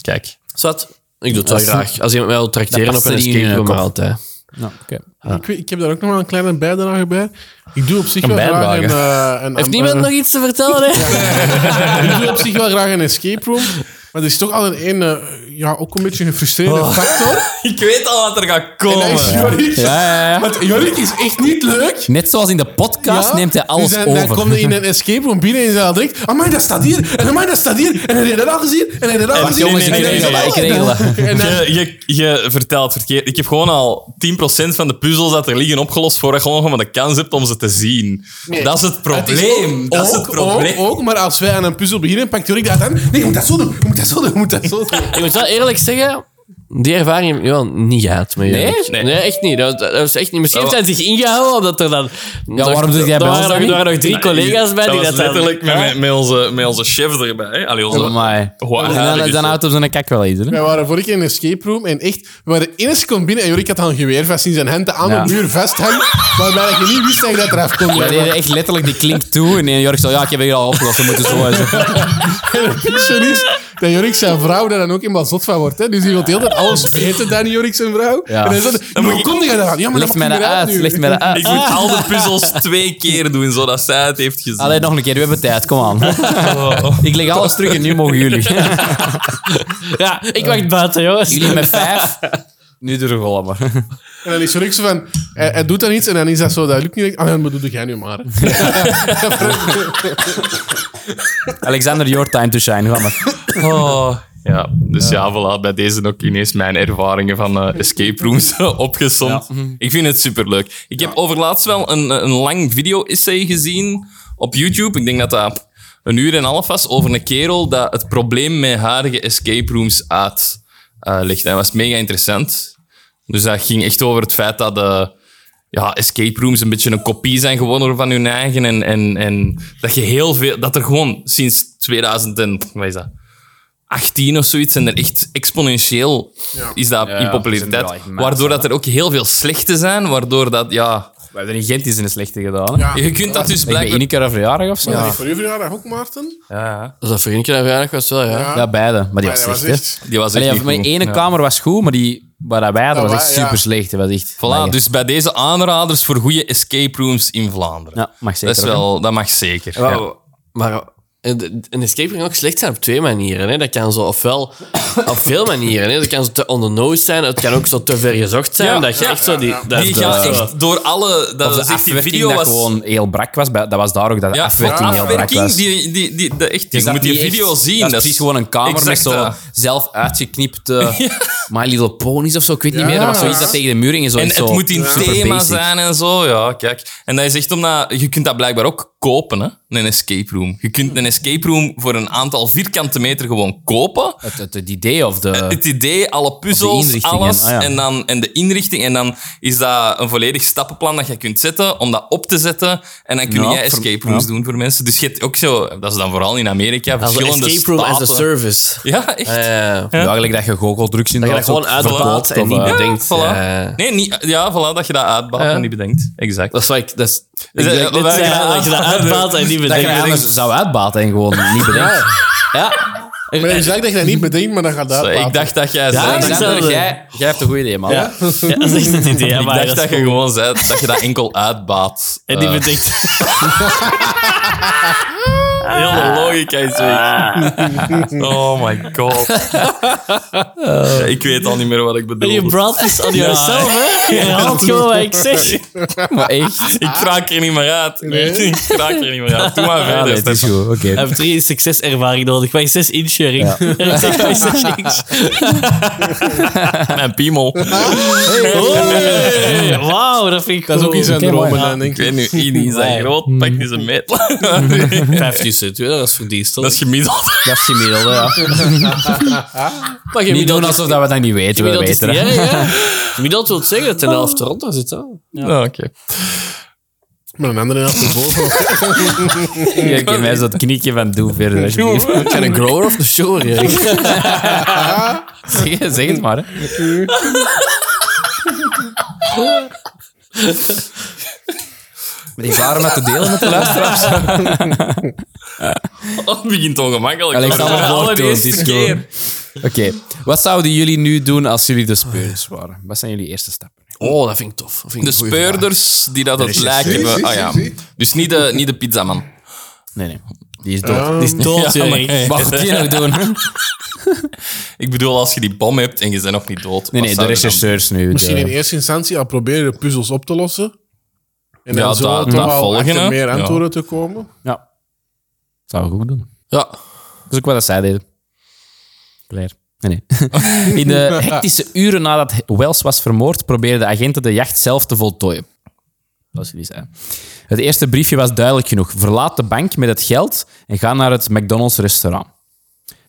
Kijk.
Zat, ik doe het wel graag. Als iemand mij wil trakteren
Dat
op
past
een
er niet in
escape
je
room, maar
kop.
altijd.
Ja, oké.
Ik, weet- ik heb daar ook nog wel een kleine bijdrage bij. Ik doe op zich wel graag een...
bijdrage.
eh,
Heeft
een
Ehm,
een-
niemand
een-
nog iets te vertellen? Hè?
Ik doe op zich wel graag een escape room. Maar er is toch altijd een, eh, ja, ook een beetje gefrustreerde factor.
Ik weet al wat er gaat
En dat
komen.
is Jorik.
Ja, ja, ja.
Want Jorik is echt niet leuk.
Net zoals in de podcast
Ja.
neemt hij alles
dus dan,
over.
Dan komt hij in een escape room binnen en hij zegt direct... Amai, dat staat hier. En amai, dat staat hier. En hij heeft dat al gezien. En hij heeft dat al gezien.
jongens,
en
ik
hij heeft
regel
dat al
dat,
ik regel dat.
gezien. En dan-
Je, je, je vertelt verkeerd. Ik heb gewoon al 10% van de puzzels dat er liggen opgelost voordat je gewoon gewoon de kans hebt om ze te zien. Dat is het probleem. dat is het
Ook, ook,
probleem.
ook, maar als wij aan een puzzel beginnen, pakt Jorik dat aan. Nee, je moet dat zo doen. Je moet dat zo doen. Je moet dat zo doen.
ik moet wel eerlijk zeggen, die ervaring heb ik wel niet gehad. Met
Nee?
Jorik.
Nee. Oh.
nee, echt niet. Dat, dat was echt niet. Misschien heeft hij zich ingehouden, omdat er dan... Ja,
waarom doe jij bij ons
Er
dat
waren
niet?
nog- er waren nog drie collega's bij die
was
dat dan-
letterlijk met, met, met onze, met onze chef erbij. Allee, onze...
Amai.
Hoe aardig
En Oh, dan,
is
dan
dat?
houdt hem zijn kak wel iets. Hè?
Wij waren vorige keer in een escape room en echt, we waren de eerste seconde binnen en Jorik had al een geweer vast in zijn hand, aan
Ja.
de muur vasthangen, waarbij ik niet wist dat ik dat eraf kon
Wij
brengen.
deden echt letterlijk die klink toe. En Jorg zei, ja, ik heb hier al opgelost. We moeten zo en zo.
En het picture is dat Jorik zijn vrouw daar dan ook helemaal zot van wordt. Hè? Dus die wil de hele tijd alles weten dan Jorik zijn vrouw.
Ja.
En hij zegt, hoe kom je daar aan? Ja, maar
Ligt mij
dat maakt
dat
niet meer
uit.
nu.
Ligt mij dat uit.
Ik moet al de puzzels twee keer doen, zodat zij het heeft gezien.
Allee, nog een keer. We hebben tijd. Kom aan.
Oh.
Ik leg alles terug en nu mogen jullie.
Ja, ik wacht buiten, jongens.
Jullie met vijf. Nu door de gollen maar.
En dan is Jorik zo van, hij, hij doet dan iets en dan is dat zo, dat lukt niet. Ah, dan bedoel jij nu maar.
Alexander, your time to shine. Ga maar.
Oh. Ja, dus ja, voilà, bij deze ook ineens mijn ervaringen van eh, escape rooms opgesomd. Ik vind het superleuk. Ik heb overlaatst wel een, een lang video-essay gezien op YouTube. Ik denk dat dat een uur en een half was over een kerel dat het probleem met huidige escape rooms uitlegt. En dat was mega interessant. Dus dat ging echt over het feit dat... eh, ja, escape rooms een beetje een kopie zijn geworden van hun eigen. En, en, en dat je heel veel, dat er gewoon sinds 2000 en, wat is dat? 18 of zoiets en er echt exponentieel is dat
Ja,
in
zijn er
populariteit.
wel echt massa,
waardoor dat er ook heel veel slechte zijn, waardoor dat, ja...
We hebben er in Gent eens een slechte gedaan. Ja.
Je kunt dat dus
Ik ben
blijkbaar...
één keer een verjaardag of zo.
Was dat
Ja.
niet voor uw verjaardag ook, Maarten?
Dus dat vriendje dat weinig was wel, ja.
Ja,
beide. Maar die
dat
was
was
slecht, hè.
echt...
Die was echt
Allee,
niet
mijn
goed.
ene
Ja.
kamer was goed, maar die waar wij hadden was
Ja,
echt
waar, ja.
super slecht. Dat was echt...
Voilà,
Amai.
dus bij deze aanraders voor goede escape rooms in Vlaanderen.
Ja, mag zeker.
dat, is wel, dat mag zeker. Ja.
Maar, maar eh, een een escape room kan ook slecht zijn op twee manieren. Hè. Dat kan zo, ofwel op veel manieren. Hè. Dat kan zo te on the nose zijn, het kan ook zo te ver gezocht zijn.
Ja.
dat je echt zo die... dat
Die
is
gaat
de-
echt door alle... Dat
Of
was
de
echt dus die
afwerking
video
dat
was...
gewoon heel brak was. bij- Dat was daar ook, dat de
ja,
afwerking heel brak
afwerking,
was.
die, die, die, de- echt, je
dat
moet die
niet
video
echt-
zien.
Dat is precies gewoon een kamer
exact,
met zo
ja.
zelf uitgeknipte My Little Ponies of zo. Ik weet niet meer. Dat was zoiets dat tegen de muur ging. Zo,
En
iets zo
het moet in
super
thema
basic.
zijn en zo, ja, kijk. En dat is echt omdat... Je kunt dat blijkbaar ook kopen, hè. Een escape room. Je kunt een escape room voor een aantal vierkante meter gewoon kopen.
Het, het, het idee of de...
het idee, alle puzzels,
inrichtingen,
alles.
ah ja.
en, dan, en de inrichting. En dan is dat een volledig stappenplan dat je kunt zetten om dat op te zetten. En dan kun
Ja,
jij
voor-
escape rooms
ja.
doen voor mensen. Dus je hebt ook zo... Dat is dan vooral in Amerika.
Als een
verschillende
escape room as a
staten.
service.
Ja, echt.
Eh,
Ja, eigenlijk dat je goocheldrugs in
dat je dat gewoon uitbaat en niet
Ja,
bedenkt.
voilà.
eh,
Nee, niet, ja, voilà, dat je dat uitbaat en niet bedenkt. Exact.
dat is wat ik... Dat is,
Is dat-
Net
wij-
zeggen dat je dat uitbaat en niet
Dat je
bedenkt.
anders zou uitbaten en gewoon niet bedenkt. Ja,
Maar je zegt dat je dat niet bedenkt, maar dan gaat dat...
ik dacht dat jij
Ja,
zei...
dat is
ik
hetzelfde.
jij, jij hebt een goed idee, man.
Ja. Ja, dat is echt het idee. maar
dacht dat je gewoon zei dat je dat enkel uitbaat. Eh.
En die bedenkt...
Heel de logica is weg. Oh my god. Eh, ik weet al niet meer wat ik
En je
bedoel.
brought this on yourself, hè? Je haalt gewoon wat ik zeg.
Maar echt.
Ik raak er niet meer uit. Nee,
Nee?
ik raak er niet meer uit. Doe maar
Ja,
verder.
nee, het is
Stefan.
goed. Oké.
Ik heb drie succeservaring nodig. Wij zes insuring. Ik zeg, wij zes niks.
Mijn piemel.
Hey, Wauw, dat vind ik
Oh. Dat is ook iets aan
Oké,
de
mooi.
Rome,
Ja.
dan
Ik
denk ik.
weet nu, Ini is dat groot, pak die zijn meet.
50 cent, ja, dat is verdienst.
Dat is gemiddeld.
Dat is gemiddelde, ja.
maar
Niet doen alsof dat we dat niet weten. We
gemiddeld is
weten
niet,
het.
hè, ja. Gemiddeld wil zeggen dat de helft eronder zit. Hè?
Ja, Oké.
Maar een andere helft ervoor.
Ik ken mij zo het kniekje van doe verder. alsjeblieft.
Kan een grower of een shower? ja.
Zeg, zeg het maar. Hè. Met die varen met te delen met de luisteraars.
Oh, het begint ongemakkelijk.
Alexander Borto, het is
Allereerste keer.
gewoon- Oké, wat zouden jullie nu doen als jullie de speurders waren? Wat zijn jullie eerste stappen?
Oh, dat vind ik tof. Dat vind ik
De
een goeie vraag.
speurders die dat het lijken
Zie,
hebben.
zie,
Ah ja.
zie, zie.
Dus niet de, niet de pizzaman.
Nee, nee. Die is dood.
Oh.
Die is dood,
Ja, maar-
Jurk.
Wat gaat die nog doen? Nee,
Ik bedoel, als je die bom hebt en je bent nog niet dood. wat
nee, dus de
zou je dan
rechercheurs nu.
Misschien in
De,
eerste instantie al proberen de puzzels op te lossen. En dan
Ja,
zo
dat-
toch
dat
wel
volgen,
achter
hè?
meer
Ja.
antwoorden te komen.
ja. Zou ik ook doen.
Ja.
Dat is ook wat dat zij deden. Claire. Nee, nee. In de hectische uren nadat Wells was vermoord, probeerden de agenten de jacht zelf te voltooien. Zoals jullie zeiden. Het eerste briefje was duidelijk genoeg. Verlaat de bank met het geld en ga naar het McDonald's restaurant.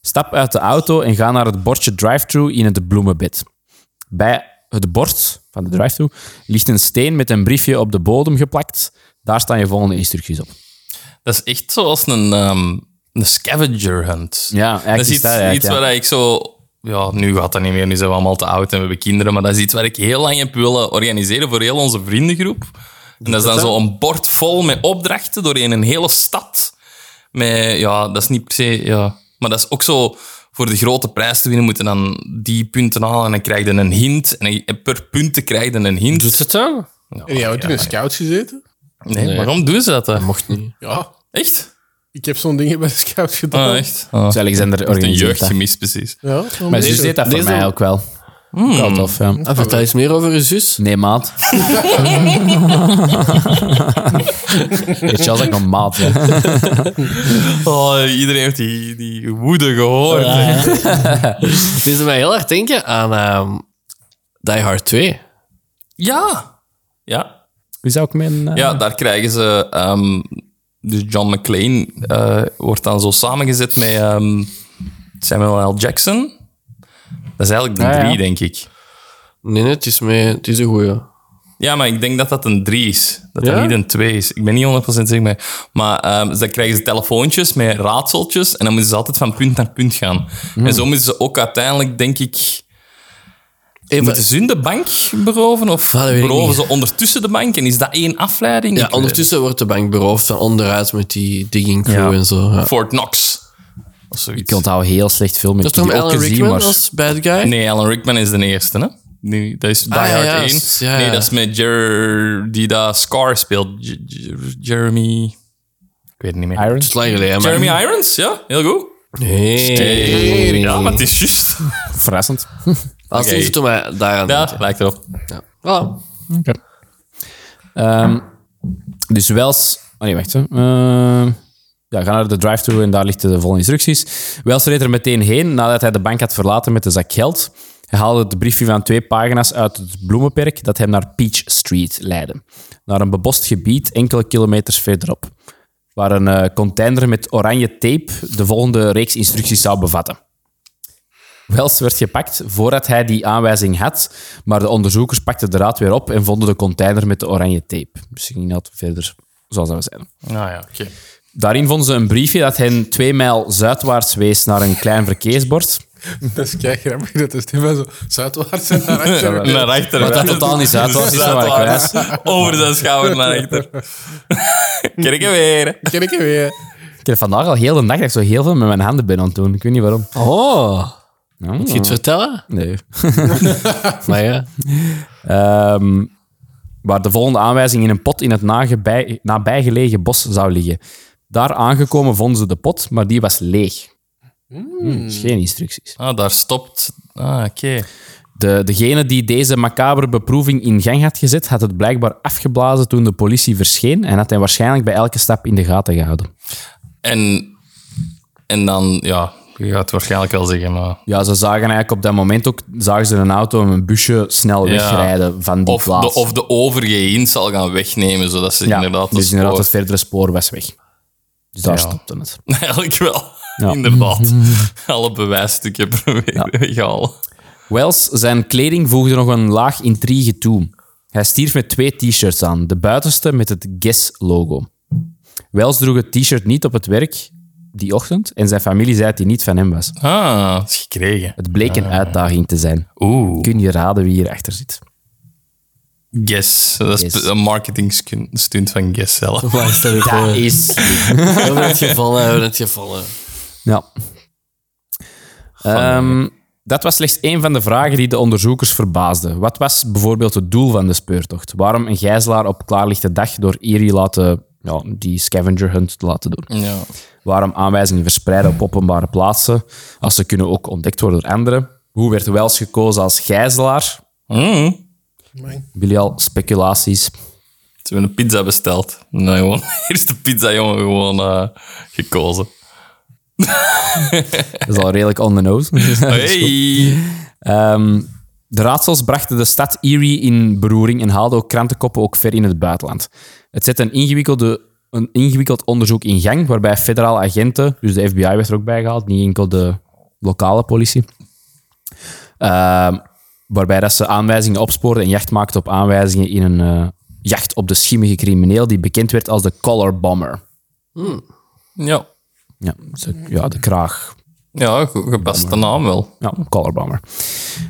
Stap uit de auto en ga naar het bordje drive-thru in het bloemenbed. Bij het bord van de drive-thru ligt een steen met een briefje op de bodem geplakt. Daar staan je volgende instructies op.
Dat is echt zoals een, ehm, een scavenger hunt.
Ja, eigenlijk
dat is
is
iets,
dat eigenlijk,
iets
ja.
waar ik zo... Ja, nu gaat dat niet meer. Nu zijn we allemaal te oud en we hebben kinderen. Maar dat is iets waar ik heel lang heb willen organiseren voor heel onze vriendengroep. En dat is dan zo'n bord vol met opdrachten doorheen een hele stad. Met, ja, dat is niet per se... Ja. Maar dat is ook zo... Voor de grote prijs te winnen moeten dan die punten halen en dan krijg je een hint. En dan- per punten krijg je een hint.
Doet het dan?
En jij hebt in een scout gezeten?
nee, waarom doen ze dat dan?
Mocht niet.
Ja,
Echt?
ik heb zo'n dingen bij de scout gedaan.
Ah, echt? Ah.
Dus Alexander
Een
organiseert
jeugd
dat.
gemist, precies.
Ja, zo'n
Mijn zus
beetje.
deed dat voor
deze-
mij ook wel. Wel tof, ja.
Ah, vertel eens meer over je zus.
Nee, maat. Weet je, als ik nog maat ben.
Oh, iedereen heeft die, die woede gehoord.
Het deed mij heel erg denken aan ehm, Die Hard 2.
Ja. Ja.
Wie zou ik mijn... eh,
ja, daar krijgen ze... ehm, dus John McClane eh, wordt dan zo samengezet met ehm, Samuel L. Jackson. Dat is eigenlijk de
Ah, ja.
drie, denk ik.
Nee, nee, het is, mee, het is een goeie.
Ja, maar ik denk dat dat een 3 is. Dat
Ja?
dat niet een 2 is. Ik ben niet 100% zeker. Maar, maar ehm, dus dan krijgen ze telefoontjes met raadseltjes. En dan moeten ze altijd van punt naar punt gaan.
Hmm.
En zo moeten ze ook uiteindelijk, denk ik. moeten ze hun de bank beroven? Of
dat weet ik
beroven
niet.
ze ondertussen de bank? En is dat één afleiding?
Ja,
Ik weet
ondertussen wordt de bank beroofd van onderuit met die digging crew en zo. Ja.
het. Fort Knox. Of
Ik
zoiets.
onthoud heel slecht film.
Dat is toch met Alan Rickman als bad guy?
Nee, Alan Rickman is de eerste, hè? Ah, Nee, dat is Die
ja,
Hard
ja,
1.
s- ja.
Nee, dat is met Jer... die daar Scar speelt. J- J- Jeremy... Ik weet het niet meer.
Iron?
Dat is lang geleden, maar...
Jeremy Irons, ja, heel goed.
Nee.
Hey. Ja, maar het is juist.
Verrassend.
Als
Oké.
niet toen wij daar aan
Ja, lijkt erop.
Voilà.
Ehm, dus Wells... Oh nee, wacht. hè. Ehm, ja, ga naar de drive-thru en daar lichten de volle instructies. Wells reed er meteen heen nadat hij de bank had verlaten met de zak geld. Hij haalde het briefje van twee pagina's uit het bloemenperk dat hem naar Peach Street leidde. Naar een bebost gebied enkele kilometers verderop. Waar een eh, container met oranje tape de volgende reeks instructies zou bevatten. Wells werd gepakt voordat hij die aanwijzing had, maar de onderzoekers pakten de raad weer op en vonden de container met de oranje tape. Dus ging dat verder zoals dat we zeiden.
Nou ja, oké.
Daarin vonden ze een briefje dat hen twee mijl zuidwaarts wees naar een klein verkeersbord.
Dat is kijk grappig. Dat is helemaal zo zuidwaarts en naar achteren.
Naar achter.
Wat dat totaal niet zuidwaarts is, maar waar ik
Zuidwaarts. Over zijn schouder naar achter. Kijk hem weer.
Ken ik hem weer.
Ik heb vandaag al heel de nacht echt zo heel veel met mijn handen ben aan het doen. Ik weet niet waarom.
Oh. Moet je iets vertellen?
Nee.
Maar ja.
Ehm, waar de volgende aanwijzing in een pot in het nagebij- nabijgelegen bos zou liggen. Daar aangekomen vonden ze de pot, maar die was leeg. Hmm, dus geen instructies.
Ah, daar stopt. Ah, oké.
De, degene die deze macabere beproeving in gang had gezet, had het blijkbaar afgeblazen toen de politie verscheen en had hij waarschijnlijk bij elke stap in de gaten gehouden.
En, en dan, ja, je gaat het waarschijnlijk wel zeggen, maar...
Ja, ze zagen eigenlijk op dat moment ook zagen ze een auto en een busje snel
Ja.
wegrijden van die
Of
plaats.
de, of de overige hints zal gaan wegnemen, zodat ze
ja,
inderdaad...
dus
het
inderdaad het
spoor-
verdere spoor was weg. Dus daar stopte het.
Eigenlijk wel.
Ja.
Inderdaad. Alle bewijsstukken proberen weghalen.
Wells, zijn kleding voegde nog een laag intrigue toe. Hij stierf met twee t-shirts aan, de buitenste met het Guess-logo. Wells droeg het t-shirt niet op het werk die ochtend en zijn familie zei dat hij niet van hem was.
Ah, dat is gekregen.
Het bleek een uitdaging te zijn.
Oeh.
Kun je raden wie hierachter zit?
Guess. Dat is
Guess.
een marketing stunt van Guess zelf.
Waar is dat weer voor?
Dat is...
We hebben het gevallen, we hebben het gevallen.
Ja. Ehm, dat was slechts één van de vragen die de onderzoekers verbaasden. Wat was bijvoorbeeld het doel van de speurtocht? Waarom een gijzelaar op klaarlichte dag door Erie laten, ja, die scavenger hunt te laten doen?
Ja.
Waarom aanwijzingen verspreiden op openbare plaatsen, als ze kunnen ook ontdekt worden door anderen? Hoe werd Wells gekozen als gijzelaar? Hmm.
Mm.
Jullie al speculaties?
Ze hebben een pizza besteld. Nou, gewoon, eerst de pizza, jongen, gewoon eh, gekozen.
Dat is al redelijk on the nose.
Hey!
Ehm, de raadsels brachten de stad Erie in beroering en haalden ook krantenkoppen ook ver in het buitenland. Het zette een, ingewikkelde, een ingewikkeld onderzoek in gang, waarbij federale agenten, dus de FBI werd er ook bij gehaald, niet enkel de lokale politie, Ehm, waarbij dat ze aanwijzingen opsporen en jacht maakten op aanwijzingen in een eh, jacht op de schimmige crimineel die bekend werd als de collar bomber.
Ja.
Ja, ze- ja de kraag
Ja, goed gepaste naam wel.
Ja, Color Bomber.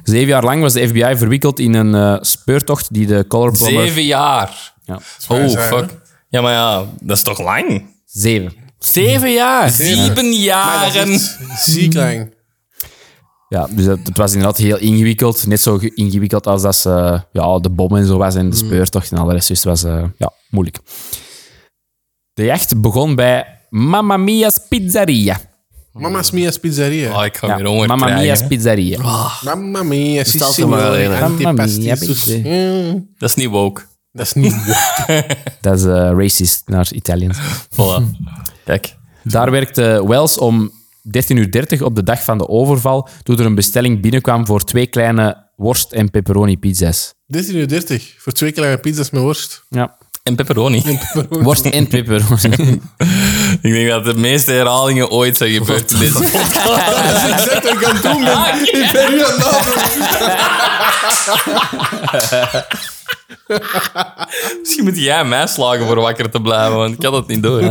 Zeven jaar lang was de FBI verwikkeld in een eh, speurtocht die de Color Bomber...
Zeven jaar.
Ja.
Oh,
zijn, hè?
fuck. Ja, maar ja, dat is toch lang?
Zeven.
Zeven jaar.
Zeven jaren.
Ziek lang.
Ja, dus dat, het was inderdaad heel ingewikkeld. Net zo ge- ingewikkeld als dat ze, eh, ja, de bom en zo was en de
Mm.
speurtocht en al de rest. Dus het was eh, ja, moeilijk. De jacht begon bij Mamma Mia's Pizzeria.
Mama's Mia's Pizzeria.
Ah, ik ga
Ja,
weer honger
Mamma
krijgen.
Mia's Pizzeria.
Ah.
Mamma mia,
Bestaat er
Sissimo,
maar alleen, hè?
Mamma mia,
antipastis.
pizza.
Mm,
Dat is niet woke.
Dat is niet waar.
Dat is eh, racist naar Italiaans.
Voilà. Hm. Kijk.
Daar werkte Wells om 13.30 uur op de dag van de overval toen er een bestelling binnenkwam voor twee kleine worst- en pepperoni pizza's.
13.30 voor twee kleine pizza's met worst.
Ja.
En pepperoni.
Worst en pepperoni.
Ik denk dat de meeste herhalingen ooit zijn gebeurd in deze
Ik zeg dat ik aan het doen ben. Ik ben nu aan het nadenken.
Misschien moet jij mij slagen voor wakker te blijven, want ik had het niet door.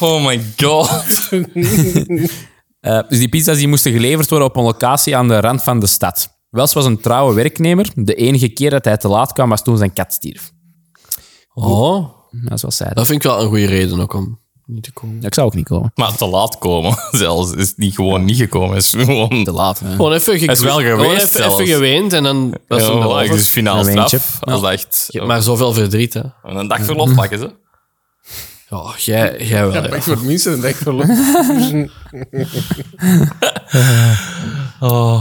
oh my god.
Eh, dus die pizza's die moesten geleverd worden op een locatie aan de rand van de stad. Wels was een trouwe werknemer. De enige keer dat hij te laat kwam was toen zijn kat stierf.
Oh,
Ja, zoals zij dat.
dat vind ik wel een goede reden ook om niet te komen.
Ik zou ook niet komen.
Maar te laat komen, zelfs. Is niet gewoon niet gekomen. Is gewoon
Te laat. hè.
Gewoon even geweend.
is wel geweest
even,
zelfs.
even geweend en dan was
Ja,
het
voilà,
een
dus
dus
finaal
Een
straf.
wijntje.
Als dat echt
Je hebt maar zoveel verdriet, hè.
een dag verlof pakken ze.
Ja, jij, jij wel. hè.
Ik voor het minste een dekverlof.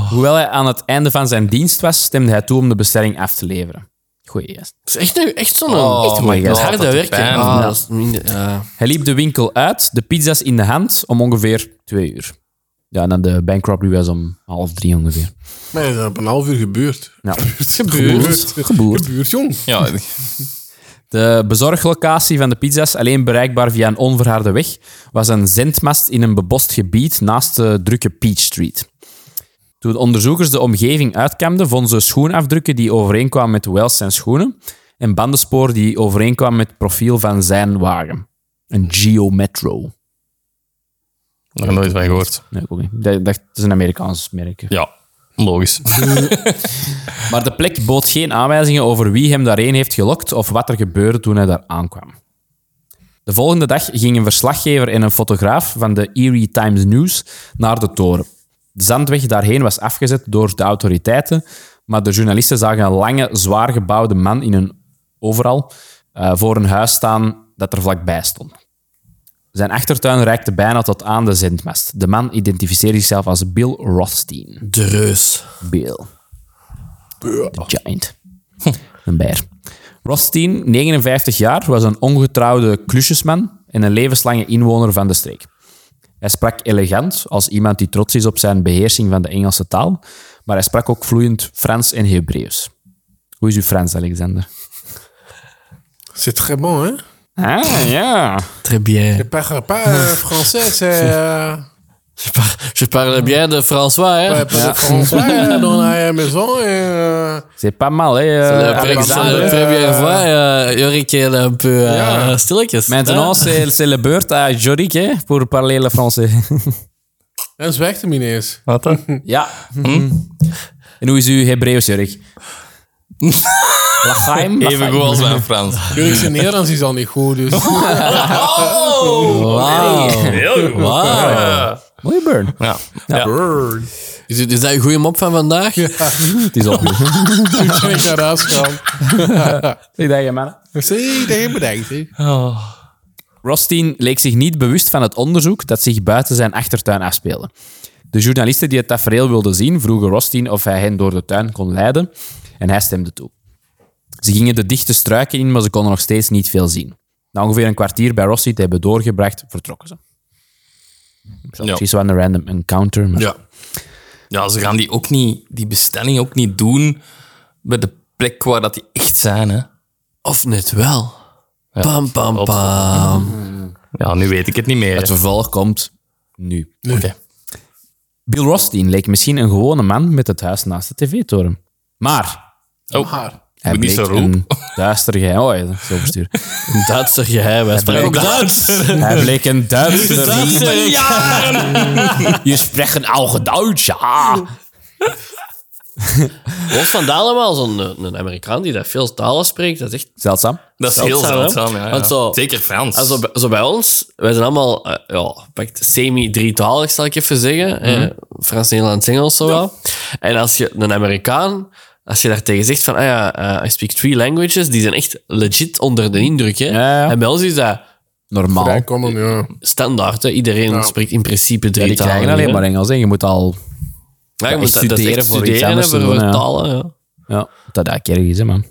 Hoewel hij aan het einde van zijn dienst was, stemde hij toe om de bestelling af te leveren. Goeie gast.
Het is echt, nou- echt zo'n
Echt mooi,
dat
ja.
harde
Dat doet
werken.
pijn.
Ah,
Ja.
dat is minder, ah, ja.
Hij liep de winkel uit, de pizza's in de hand, om ongeveer twee uur. Ja, en dan de bank robbery was om half drie ongeveer.
Maar dat is op een half uur gebeurd.
Ja.
Gebeurd.
Gebeurd.
Gebeurd, jong.
Ja,
De bezorglocatie van de pizza's, alleen bereikbaar via een onverharde weg, was een zendmast in een bebost gebied naast de drukke Peach Street. Toen de onderzoekers de omgeving uitkamden, vonden ze schoenafdrukken die overeenkwamen met Wells zijn schoenen en bandensporen die overeenkwamen met het profiel van zijn wagen. Een Geo Metro.
nog nooit van gehoord.
Nee, ik ook niet. Dat, dat is een Amerikaans merk. hè.
Ja, logisch.
Maar de plek bood geen aanwijzingen over wie hem daarheen heeft gelokt of wat er gebeurde toen hij daar aankwam. De volgende dag gingen een verslaggever en een fotograaf van de Erie Times News naar de toren. De zandweg daarheen was afgezet door de autoriteiten, maar de journalisten zagen een lange, zwaar gebouwde man in een overal eh, voor een huis staan dat er vlakbij stond. Zijn achtertuin reikte bijna tot aan de zendmast. De man identificeerde zichzelf als Bill Rothstein.
De reus.
Bill. The Giant. Een beer. Rothstein, 59 jaar, was een ongetrouwde klusjesman en een levenslange inwoner van de streek. Hij sprak elegant, als iemand die trots is op zijn beheersing van de Engelse taal, maar hij sprak ook vloeiend Frans en Hebreeuws. Hoe is uw Frans, Alexander?
C'est très bon, hè?
Ah, ja.
Très bien.
Je parle pas euh, français, c'est... euh,
Je, par- je parle bien de François, hè?
pas de français euh, dans la maison. Et, euh,
C'est pas mal, hè,
Ah,
De
eh,
pre-
Alexander?
de première fois, eh, Jorik, heel een peu eh,
Ja.
stilletjes.
Maintenant, c'est c'est le beurt à Jorik, hè, pour parler le français.
en zwijgt hem ineens.
Wat dan?
Ja. Mhm. En hoe is uw Hebreeuws, Jurk? Lachaim?
Even goed als mijn Frans. Oh.
Jullie zijn Nederlands is al niet goed, dus...
Wauw.
Heel goed.
Wauw.
Mooie burn.
Ja.
Is, dit- is dat een goede mop van vandaag?
Het is op.
Toen ben ik naar huis gegaan.
Ik denk, man.
Zie, dat heb je bedenkt, hè?
Rothstein leek zich niet bewust van het onderzoek dat zich buiten zijn achtertuin afspeelde. De journalisten die het tafereel wilden zien vroegen Rothstein of hij hen door de tuin kon leiden en hij stemde toe. Ze gingen de dichte struiken in, maar ze konden nog steeds niet veel zien. Na ongeveer een kwartier bij Rothstein te hebben doorgebracht, vertrokken ze.
Ja.
Precies wel een random encounter, maar
Ja. ja, ze gaan die, ook niet, die bestelling ook niet doen bij de plek waar dat die echt zijn. Hè.
Of net wel? Pam, pam, pam.
Ja, nu weet ik het niet meer.
het
hè.
vervolg komt nu.
Oké.
Bill Rothstein leek misschien een gewone man met het huis naast de tv-toren. Maar
Oh,
hij
Moet niet
bleek
zo roepen.
een duister geheim... Oh, ja, dat is overstuur.
Een Duitser geheim. Hij sprak ook Duits.
hij bleek een duister. Je spreekt een oude Duits, ja.
Los van dat allemaal, zo'n eh, een Amerikaan die dat veel talen spreekt, dat is echt...
Zeldzaam.
dat is heel
Zeldzaam, hè?
zeldzaam. Ja, ja.
Want zo-
Zeker Frans.
Ah, Zo, bij- zo bij ons, wij zijn allemaal eh, ja, pak het semi-drietalig, zal ik even zeggen.
Mhm.
Eh, Frans, Nederlands, Engels, zo wel. En als je een Amerikaan, als je daar tegen zegt van, ah ja, eh, I speak three languages, die zijn echt legit onder de indruk. Hè?
Ja, ja.
En bij ons is dat
Normaal.
Ja, kom dan, ja.
standaard. Hè? Iedereen spreekt in principe
Ja,
drie
die
talen.
krijgen alleen
hè.
maar Engels. Hè. Je moet al...
Ja, je
Ja,
moet
echt
dat- dat is
studeren
echt
voor iets
studeren
anders te
voor
doen, ja.
talen, ja.
Ja, dat dat erg is, hè, man.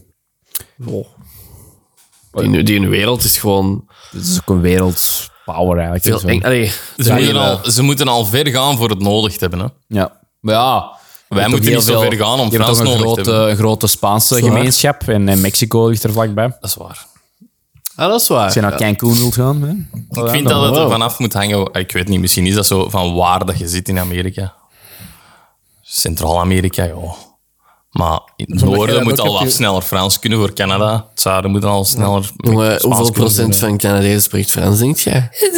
Die, die in de wereld is gewoon
Het is ook een wereldpower, eigenlijk.
veel
Zo.
eng. Allee,
ze,
ja,
moeten
ja.
al, ze moeten al ver gaan voor het nodig te hebben. Hè.
Ja. Maar ja... je
moeten
hebt toch heel
niet zo ver gaan om
je hebt
Frans
toch een
nodig te
grote,
hebben.
een grote Spaanse gemeenschap en, en Mexico ligt er vlakbij.
Dat is waar.
Ah, dat is waar.
Als je naar Cancun wilt gaan... Hè.
Ik vind dat het er vanaf moet hangen. Ik weet niet, misschien is dat zo van waar dat je zit in Amerika. Centraal-Amerika, joh. Maar in het
Zo mag je
noorden
dat
moet
ook
al
op
wat
je-
sneller Frans kunnen voor Canada. Het zuiden moet al sneller.
Jongen,
Spaans
hoeveel
kunnen.
procent van Canadezen spreekt Frans, denk jij?
weet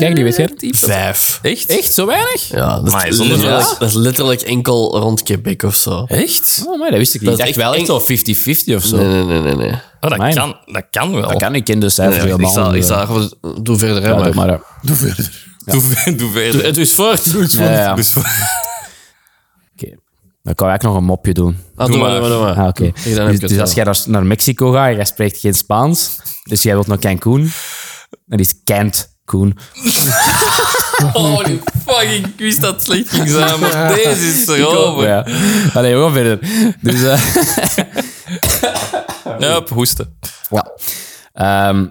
ik niet, weet jij
Vijf.
Echt?
Echt, zo weinig?
Ja, dat is,
Maar is dat
letterlijk,
zo?
dat is letterlijk enkel rond Quebec of zo.
Echt?
Oh, maar dat wist ik niet.
Dat
Ik
is
dacht
echt
wel echt
eng.
zo 50-50 of zo.
Nee, nee, nee, nee. nee.
Oh, dat,
Amai.
kan, dat kan wel.
Dat kan, ik ken de cijfers
Nee, ik
helemaal
zal, ik
niet.
zal even- doe verder, hè,
Ja,
maar.
doe maar, hè.
Doe verder.
Doe, ver- doe verder.
Het is voort. Doe
Ja, ja.
Dus
Oké. Dan kan ik nog een mopje doen.
Ah, doe maar, doe maar, doe maar.
Ah, oké.
heb ik
Dus,
het
dus
wel.
als jij naar, naar Mexico gaat en jij spreekt geen Spaans, dus jij wilt naar Cancun, dan is Cancun.
Oh,
Holy fucking, ik wist dat het slecht ging zijn, maar deze is
Oh,
erover.
Ja. Allee, we gaan verder. Dus, eh,
Hup, hoesten.
ja. Ehm,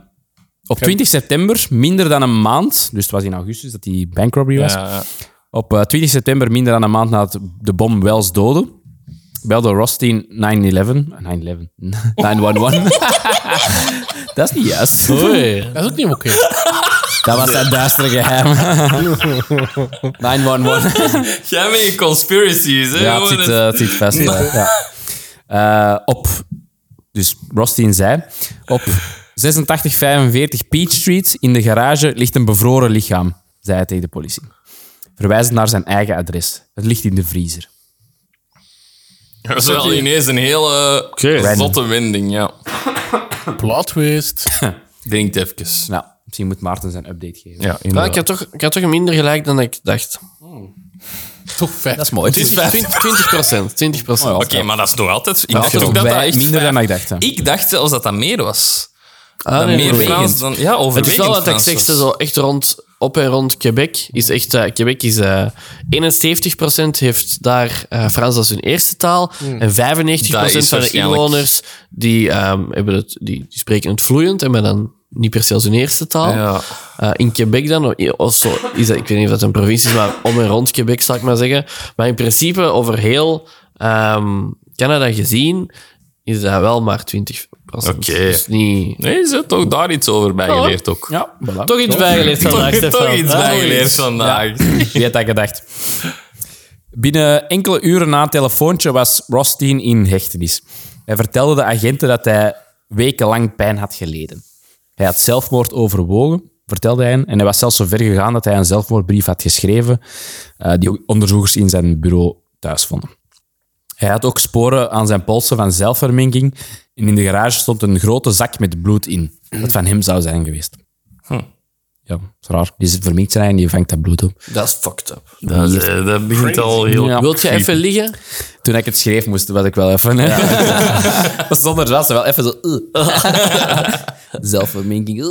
op 20 september, minder dan een maand, dus het was in augustus dat die bank robbery was,
Ja,
Op eh, 20 september, minder dan een maand na het, de bom Wells doden, belde Rothstein eh, 911. 911. 911. dat is niet juist.
Oei.
Dat is ook niet oké.
Dat was dat duistere geheim. 911.
Jij met je conspiracies, hè?
Ja,
jongen.
het zit, eh, het zit vast. Ja. Ja. Eh, op, dus Rothstein zei, op 8645 Peach Street in de garage ligt een bevroren lichaam, zei hij tegen de politie. Verwijzend naar zijn eigen adres. Het ligt in de vriezer.
Dat is wel ineens een hele
Random.
zotte wending, ja.
Plot twist.
Denkt even.
Nou, misschien moet Maarten zijn update geven.
Ja,
Ja, ik, had toch, ik had toch minder gelijk dan ik dacht.
Toch vijf.
Dat is mooi.
20 20 procent. 20 procent.
Oh Oké, maar dat is nog altijd... Ik dacht
is
ook dat dat echt...
minder dan ik dacht. hè.
Ik dacht zelfs dat dat meer was.
Ah,
dat
nee,
meer
overwegend.
Frans dan... Ja,
Het
overwegend
is wel wat ik
Frans
zeg,
was.
zo echt rond, op en rond Quebec. Is echt, eh, Quebec is eh 71% heeft daar eh, Frans als hun eerste taal. En 95%
Hmm. Dat is
van de
waarschijnlijk-
inwoners die, ehm, hebben het, die, die spreken het vloeiend, en maar dan niet per se als hun eerste taal.
Ja.
Eh, in Quebec dan, of zo, is dat, ik weet niet of dat een provincie is, maar om en rond Quebec zal ik maar zeggen. Maar in principe over heel ehm, Canada gezien is dat wel maar 20%.
Oké.
Dus niet...
Nee, ze heeft toch daar iets over bijgeleerd ook.
Ja, voilà.
Toch iets bijgeleerd vandaag,
Toch, toch
Stefan.
iets
Ah,
bijgeleerd vandaag.
Wie had dat gedacht? Binnen enkele uren na het telefoontje was Rothstein in hechtenis. Hij vertelde de agenten dat hij wekenlang pijn had geleden. Hij had zelfmoord overwogen, vertelde hij. hen, En hij was zelfs zo ver gegaan dat hij een zelfmoordbrief had geschreven, eh, die onderzoekers in zijn bureau thuis vonden. Hij had ook sporen aan zijn polsen van zelfverminking. En in de garage stond een grote zak met bloed in, dat van hem zou zijn geweest. Ja, dat is raar. Die verminkt zijn en die vangt dat bloed op.
Dat is fucked up.
Dat, is, eh, dat begint al heel...
Ja.
Wilt je even liggen?
Toen ik het schreef, moest, was ik wel even... hè. Zonder dat ze wel even zo... Zelfverminking. uh.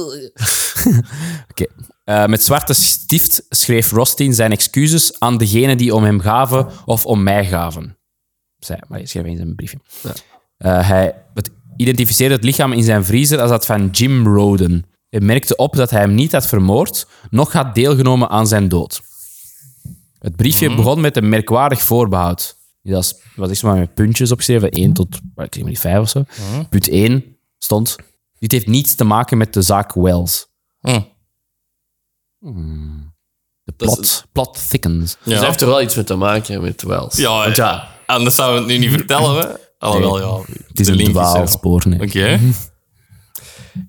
Oké. Eh, met zwarte stift schreef Rostin zijn excuses aan degene die om hem gaven of om mij gaven. Zij, maar hij schreef in zijn briefje. Eh, hij het- identificeerde het lichaam in zijn vriezer als dat van Jim Roden. Hij merkte op dat hij hem niet had vermoord, noch had deelgenomen aan zijn dood. Het briefje
Mhm.
begon met een merkwaardig voorbehoud. Dat was- was echt maar met puntjes opgeschreven, 1 tot maar ik weet niet, 5 of zo.
Mhm.
Punt 1 stond: Dit heeft niets te maken met de zaak Wells.
Hm.
Hmm. De plot, plot thickens.
Dus hij heeft er wel iets mee te maken met Wells.
Ja,
Want ja,
Anders zouden we het nu niet vertellen, hè? Alhoewel, ja.
Het is
de
een
link er.
dwaalspoor. nee.
Oké.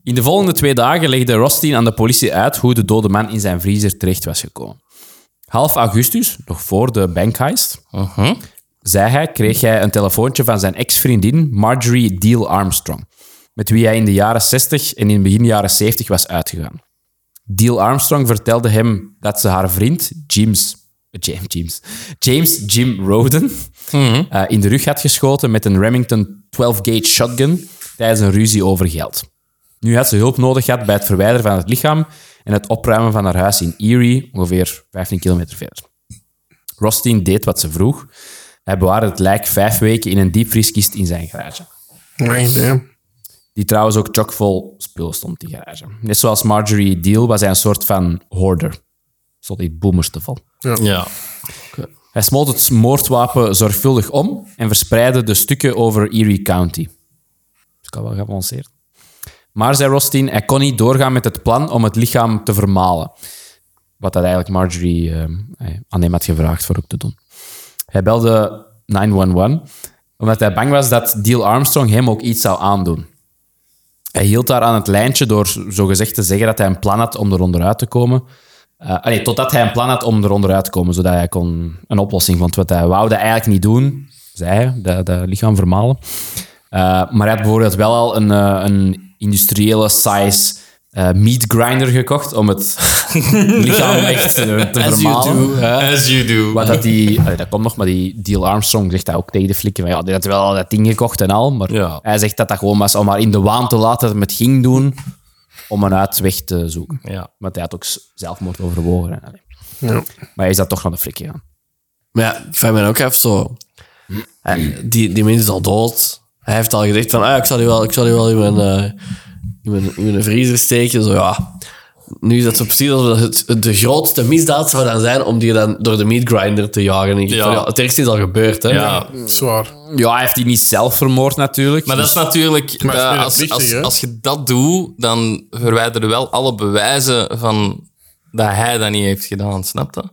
In de volgende twee dagen legde Rothstein aan de politie uit hoe de dode man in zijn vriezer terecht was gekomen. Half augustus, nog voor de bankheist, zei hij, kreeg hij een telefoontje van zijn ex-vriendin Marjorie Deal Armstrong, met wie hij in de jaren 60 en in begin jaren 70 was uitgegaan. Deal Armstrong vertelde hem dat ze haar vriend James, James, James, James Jim Roden eh, in de rug had geschoten met een Remington 12-gauge shotgun tijdens een ruzie over geld. Nu had ze hulp nodig gehad bij het verwijderen van het lichaam en het opruimen van haar huis in Erie, ongeveer 15 kilometer verder. Rostin deed wat ze vroeg. Hij bewaarde het lijk vijf weken in een diepvrieskist in zijn garage.
Nee, damn.
Die trouwens ook chockvol spul stond, die garage. Net zoals Marjorie Deal was hij een soort van hoarder. Stond in boomers te vol.
Ja.
Hij smolt het moordwapen zorgvuldig om en verspreidde de stukken over Erie County. Dat kan wel geavanceerd. Maar, zei Rostin, hij kon niet doorgaan met het plan om het lichaam te vermalen. Wat dat eigenlijk eh, Marjorie eh, aan hem had gevraagd voor ook te doen. Hij belde 911 Omdat hij bang was dat Deal Armstrong hem ook iets zou aandoen. Hij hield daar aan het lijntje door zogezegd te zeggen dat hij een plan had om eronder uit te komen. Eh, ah nee, totdat hij een plan had om eronder uit te komen, zodat hij kon een oplossing vond. Wat hij wou dat eigenlijk niet doen, zei hij, dat, dat lichaam vermalen. Eh, maar hij had bijvoorbeeld wel al een, eh, een industriële size eh, meat grinder gekocht om het lichaam echt eh, te
As you
vermalen.
do. hè.
As you do.
Wat dat die, allee, dat komt nog, maar die Deal Armstrong zegt dat ook tegen de flikken. Van, ja, die had wel al dat ding gekocht en al, maar
Ja.
hij zegt dat dat gewoon was om maar in de waan te laten dat het ging doen om een uitweg te zoeken.
Ja.
Want hij had ook s- zelfmoord overwogen. en allee. Maar hij is dat toch naar de flik gegaan.
Maar ja, ik vraag me dan ook af zo. En die, die mens is al dood. Hij heeft al gezegd van, ah, ik zal die wel, ik zal die wel in, mijn, eh, in, mijn, in mijn vriezer steken. Zo, ja. Nu is dat zo precies alsof dat het de grootste misdaad zou dan zijn om die dan door de meat grinder te jagen. Ik denk van,
Ja.
ja, het ergste is al gebeurd, hè?
Ja.
Zwaar.
Ja, hij heeft die niet zelf vermoord natuurlijk.
Maar dat is natuurlijk...
Maar het is
eh,
meer
als,
verplichting,
als,
hè?
als je dat doet, dan verwijder je wel alle bewijzen van dat hij dat niet heeft gedaan. Snap je?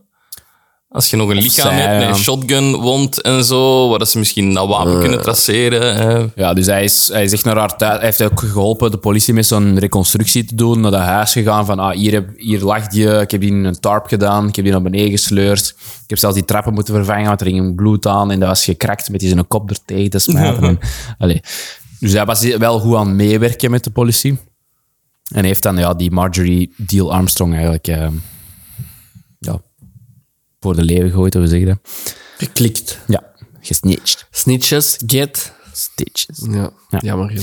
Als je nog een lichaam
zij,
hebt met
ja.
een shotgun, wond en zo, waar dat ze misschien dat wapen kunnen traceren. eh.
Ja, dus hij is, hij is echt naar haar thuis. Hij heeft ook geholpen de politie met zo'n reconstructie te doen. Naar dat huis gegaan van, ah, hier, heb, hier lag je. Ik heb die in een tarp gedaan. Ik heb die naar beneden gesleurd. Ik heb zelfs die trappen moeten vervangen, want er ging hem bloed aan. En dat was gekrakt met die zijn kop er tegen te smijten. En, allee. Dus hij was wel goed aan het meewerken met de politie. En heeft dan ja, die Marjorie Deal Armstrong eigenlijk eh, ja, voor de leeuw gegooid, hoe zeg je dat?
Geklikt.
Ja, gesnitcht.
Snitches, get.
Stitches.
Ja,
Ja.
jammer. ja.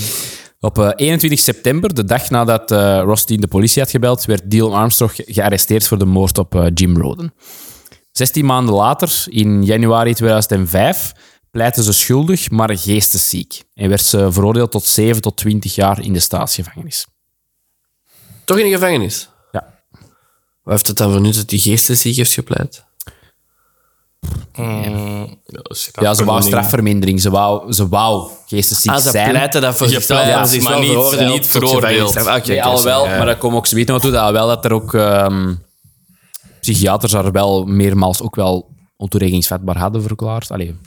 Op eh, 21 september, de dag nadat eh Ross Dean de politie had gebeld, werd Deal Armstrong ge- gearresteerd voor de moord op eh, Jim Roden. 16 maanden later, in januari 2005, pleitte ze schuldig, maar geestesziek. En werd ze veroordeeld tot 7 tot 20 jaar in de staatsgevangenis.
Toch in de gevangenis?
Ja.
Wat heeft het dan voor nut dat die geestesziek heeft gepleit?
Ja, ze wou strafvermindering. Ze wou, ze wou geestesziek
Ah, ze
zijn.
pleiten dat voor
Je
zichzelf.
pleit,
maar ze is
maar
wel
niet-
veroordeeld
niet
tot
veroordeeld.
gevangenisstraf. Ah, oké,
Nee,
oké,
alwel,
ja.
maar daar komen we ook zometeen nog toe. Dat wel dat er ook ehm, psychiaters daar wel meermaals ook wel ontoerekeningsvatbaar hadden verklaard. Allee,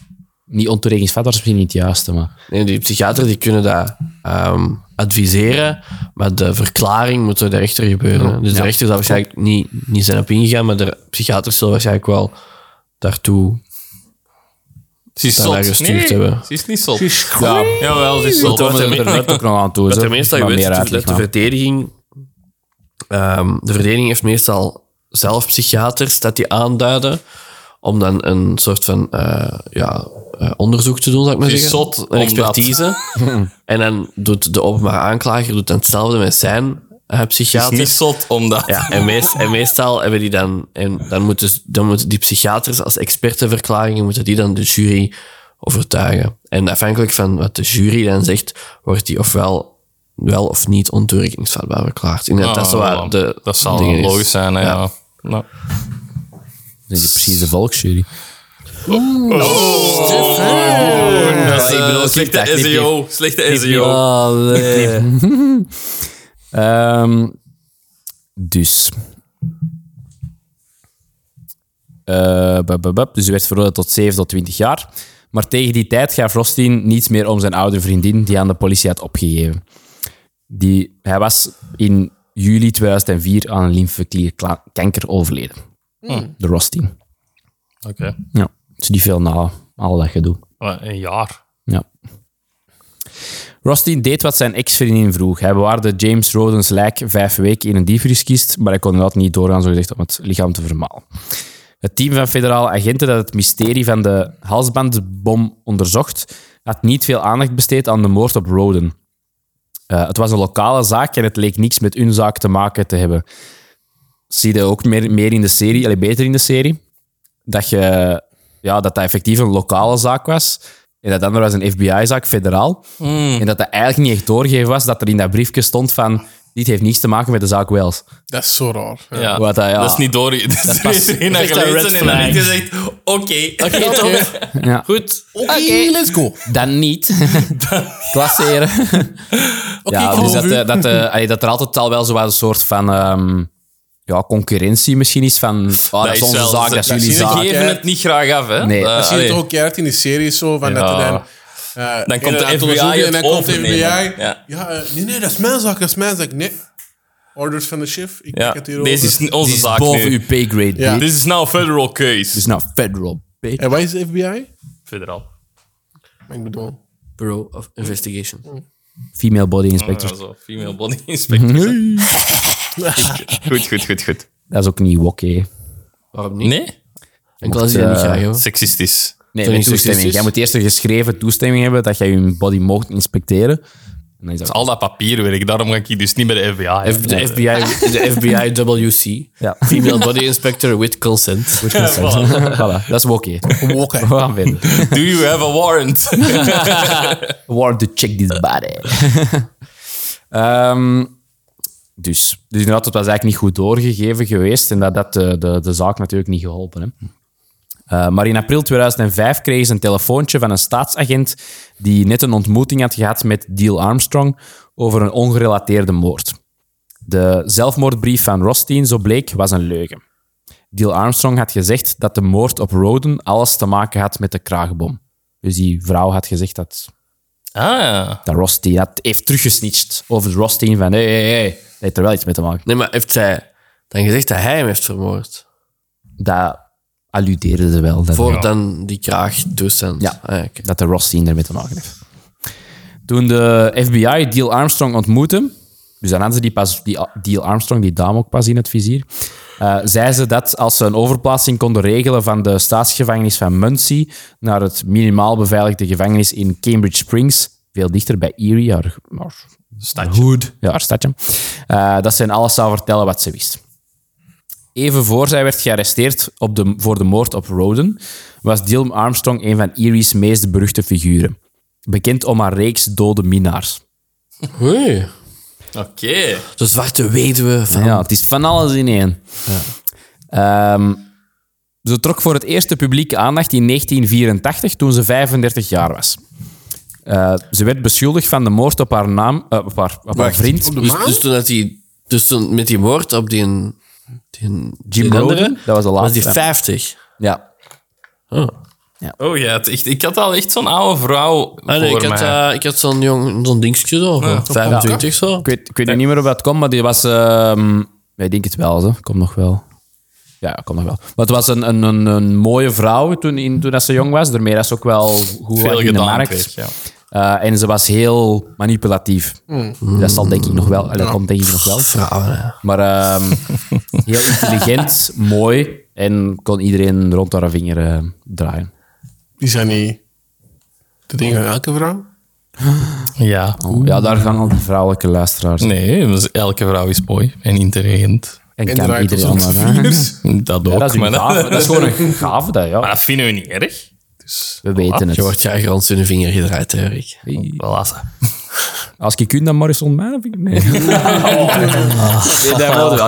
niet ontoerekeningsvatbaar is misschien niet het juiste, maar...
Nee, die psychiaters die kunnen dat ehm, adviseren, maar de verklaring moet door de rechter gebeuren. hè. Dus de rechter zal waarschijnlijk niet, niet zijn op ingegaan, maar de psychiaters zullen waarschijnlijk wel daartoe
Ze is
Dat wij
zot.
gestuurd
Nee,
hebben.
ze is niet zot.
Ja,
Jawel, ze is zot.
daar komen we er net ook nog aan toe.
Wat
zo.
er meestal
Maar
gebeurt,
meer
is dat
uitleg,
de
maar.
verdediging... ehm, de verdediging heeft meestal zelf psychiaters dat die aanduiden om dan een soort van eh, ja, eh, onderzoek te doen, zou ik maar
Het is
zeggen.
zot
een
omdat-
expertise. en dan doet de openbare aanklager doet dan hetzelfde met zijn eh,
Ze is
psychiater.
niet zot omdat...
Ja, en, meest, en meestal hebben die dan... En dan, moeten, ze- dan moeten die psychiaters als expertenverklaringen... moeten die dan de jury overtuigen. En afhankelijk van wat de jury dan zegt... wordt die ofwel wel of niet ontoerekeningsvatbaar verklaard. Ik denk dat dat zo wat de
Ah, Oh, dat zal
dingen is.
logisch zijn, hè, ja. Nou.
Dat is precies de volksjury.
dat is,
ik
eh,
bedoel,
slechte
kijk, dat knip je.
SEO. Slechte E SEO.
Oh, Ehm, dus. Eh, bup, bup, bup. Dus hij werd veroordeeld tot 7 tot 20 jaar. Maar tegen die tijd gaf Rostin niets meer om zijn oude vriendin, die aan de politie had opgegeven. Die, hij was in juli 2004 aan een lymfeklierkanker overleden. De Rostin.
Oké.
Ja, dus niet veel na al dat gedoe.
Maar Een jaar.
Ja. Rostin deed wat zijn ex-vriendin vroeg. Hij bewaarde James Rodens lijk vijf weken in een diepvrieskist, maar hij kon inderdaad niet doorgaan zogezegd, om het lichaam te vermalen. Het team van federale agenten dat het mysterie van de halsbandbom onderzocht, had niet veel aandacht besteed aan de moord op Roden. Eh, het was een lokale zaak en het leek niks met hun zaak te maken te hebben. Zie je ook meer, meer in de serie, allee, beter in de serie, dat, je, ja, dat dat effectief een lokale zaak was. En dat andere was een FBI-zaak, federaal. En dat dat eigenlijk niet echt doorgegeven was dat er in dat briefje stond van dit heeft niks te maken met de zaak Wells.
Dat is zo raar. Ja.
Ja.
Wat dat, ja.
Dat is niet door. Dat is
pas-
iedereen naar
echt een
gelezen
red
en dan
flag.
heeft gezegd, oké.
Ja.
Goed.
Oké, let's go.
Dan niet. Klasseren. ja, dus
geloof
dat,
u.
eh, dat, eh, allee, dat er altijd al wel zo wel een soort van ehm, ja, concurrentie misschien is. Van, ah, dat, is
is
onze
wel-
zaak, dat is
dat
jullie
is wel-
zaak.
Geven het niet graag af, hè.
Nee.
Eh,
Dat
Zie je
allee.
het er ook keihard in die series zo, van dat
Ja.
hij dan Eh,
Dan komt
en
de
dan
FBI
onderzoek je en dan
het
komt de FBI.
overnemen. Ja.
Ja, eh, nee, nee, dat is mijn zaak, dat is mijn zaak. Nee. Orders van de chef, ik
Ja,
pak het hierover.
deze is onze
Die is
zaak
boven
nu.
uw pay grade. Ja.
Ja.
Dit
This is now a federal case.
is nou federal. pay.
En wat is de FBI?
federal.
Ik bedoel...
Bureau of Investigation.
Female body
Ah,
inspector.
zo, female body inspector. goed, goed, goed, goed.
Dat is ook niet wok, hè.
Waarom niet?
Nee?
En ik zie dat niet graag, hoor.
Sexistisch.
Nee,
Sorry,
met toestemming.
toestemming.
Jij moet eerst een geschreven toestemming hebben dat jij je body mocht inspecteren. En dan is dat
Al dat papierwerk, daarom ga ik hier dus niet bij de FBI.
F- de, FBI, de FBI WC.
Ja.
Female Body Inspector with Consent.
voilà, dat is wok, hè.
Wokken.
We gaan verder.
Do you have a warrant?
War to check this body. Ehm, dus, dus inderdaad, dat was eigenlijk niet goed doorgegeven geweest en dat dat de, de, de zaak natuurlijk niet geholpen. Hè. Eh, maar in april 2005 kregen ze een telefoontje van een staatsagent die net een ontmoeting had gehad met Deal Armstrong over een ongerelateerde moord. De zelfmoordbrief van Rothstein, zo bleek, was een leugen. Deal Armstrong had gezegd dat de moord op Roden alles te maken had met de kraagbom. Dus die vrouw had gezegd dat
ah,
dat Rothstein had, heeft teruggesnitcht over Rothstein van hé, hé, hé, dat heeft er wel iets mee te maken.
Nee, maar heeft zij dan gezegd dat hij hem heeft vermoord?
Dat alludeerde ze wel. Dat,
Voor dan die kraagtoestand.
Ja.
Ah, oké.
dat de Rothstein ermee te maken heeft. Toen de FBI Deal Armstrong ontmoette, dus dan hadden ze die, pas, die Deal Armstrong, die dame ook pas in het vizier, eh zei ze dat als ze een overplaatsing konden regelen van de staatsgevangenis van Muncie naar het minimaal beveiligde gevangenis in Cambridge Springs, veel dichter bij Erie, haar, haar hood, ja, haar stadje, eh, dat ze hen alles zou vertellen wat ze wist. Even voor zij werd gearresteerd op de, voor de moord op Roden, was Dil Armstrong een van Erie's meest beruchte figuren. Bekend om haar reeks dode minnaars.
Oei.
oké.
De zwarte weduwe van...
Ja, het is van alles in één. Ehm, ze trok voor het eerst de publieke aandacht in 1984, toen ze 35 jaar was. Eh, ze werd beschuldigd van de moord op haar, naam, eh, op haar, op haar vriend,
Op de
Dus,
maan?
dus toen dat die... Dus toen met die moord op die... die
Jim
die andere,
Roden. Dat was de
Was
laatste.
die 50.
ja.
Oh ja, het echt, ik had al echt zo'n oude vrouw
Ah, nee,
voor
ik, had,
mij.
eh, ik had zo'n jong... Zo'n dingetje zo. 25 zo.
Ik weet, ik weet nu niet meer hoe dat komt, maar die was... ehm, ja, ik denk het wel, ze. Komt nog wel. Ja, komt nog wel. Maar het was een, een, een, een mooie vrouw toen, in, toen dat ze jong was. Daarmee dat ze ook wel goed was
Veel
in de
gedaan
markt.
kreeg, ja.
Eh, en ze was heel manipulatief.
Mm.
Dat zal denk ik nog wel. Dat komt denk ik nog wel.
Vrouwen, hè.
Maar ehm, heel intelligent, mooi. En kon iedereen rond haar vinger eh, draaien.
Die zijn niet... De dingen van elke vrouw?
Ja.
Ja, daar gaan al die vrouwelijke luisteraars.
Nee, dus elke vrouw is mooi en intelligent.
En,
En
kan
draait
iedereen
ons
allemaal. hè.
Dat ook,
Dat is,
maar,
een gave. dat is gewoon een gave, dat,
maar
ja.
dat vinden we niet erg. Dus,
We weten
Je
het.
wordt jij grond in de vinger gedraaid, Erik.
voilà. ze.
Als ik kun, dan maar eens ontmijnen. vind ik- Nee. dat wilde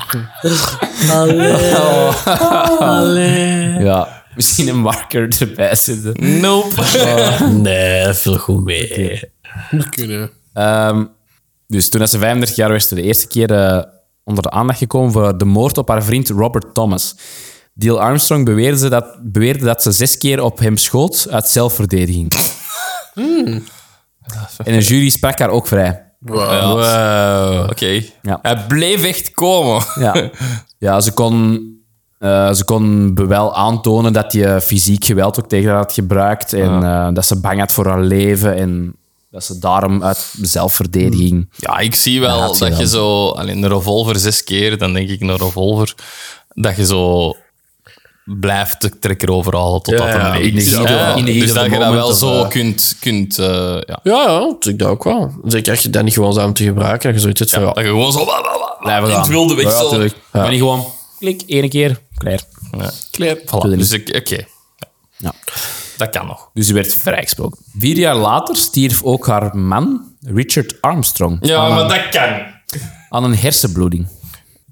Ja, misschien een marker erbij zetten.
Nope.
Nee, dat viel goed mee.
Moet kunnen.
Ehm, dus toen ze 35 jaar was, ze de eerste keer eh, onder de aandacht gekomen voor de moord op haar vriend Robert Thomas. Deal Armstrong beweerde, ze dat, beweerde dat ze zes keer op hem schoot uit zelfverdediging. En een jury sprak haar ook vrij.
Wow.
Wow. Oké.
Ja.
Hij bleef echt komen.
Ja, ja ze, kon, eh, ze kon be- wel aantonen dat je fysiek geweld ook tegen haar had gebruikt. En eh, dat ze bang had voor haar leven. En dat ze daarom uit zelfverdediging.
Ja, ik zie wel
had
dat
ze wel.
je zo... Alleen een revolver zes keer, dan denk ik een revolver. Dat je zo blijft de trekker overal totdat
Ja, ja,
hem
in de
leeg
heat of- in de heat
Dus
of
dat
the
je dat
moment
wel
of,
zo
eh,
kunt... kunt eh, ja.
Ja, ja, dat ik dat ook wel. Zeker als je dat niet gewoon zou om te gebruiken, dat je zoiets hebt van...
Dat
Ja,
je gewoon zo... wa, wa, wa, in het wilde weg zo.
Maar niet gewoon klik, ene keer, klaar.
Claire.
Doe dat
Dus ik- oké.
Ja.
Dat kan nog.
Dus ze werd vrijgesproken. Vier jaar later stierf ook haar man, Richard Armstrong,
Ja, maar dat kan.
aan een hersenbloeding.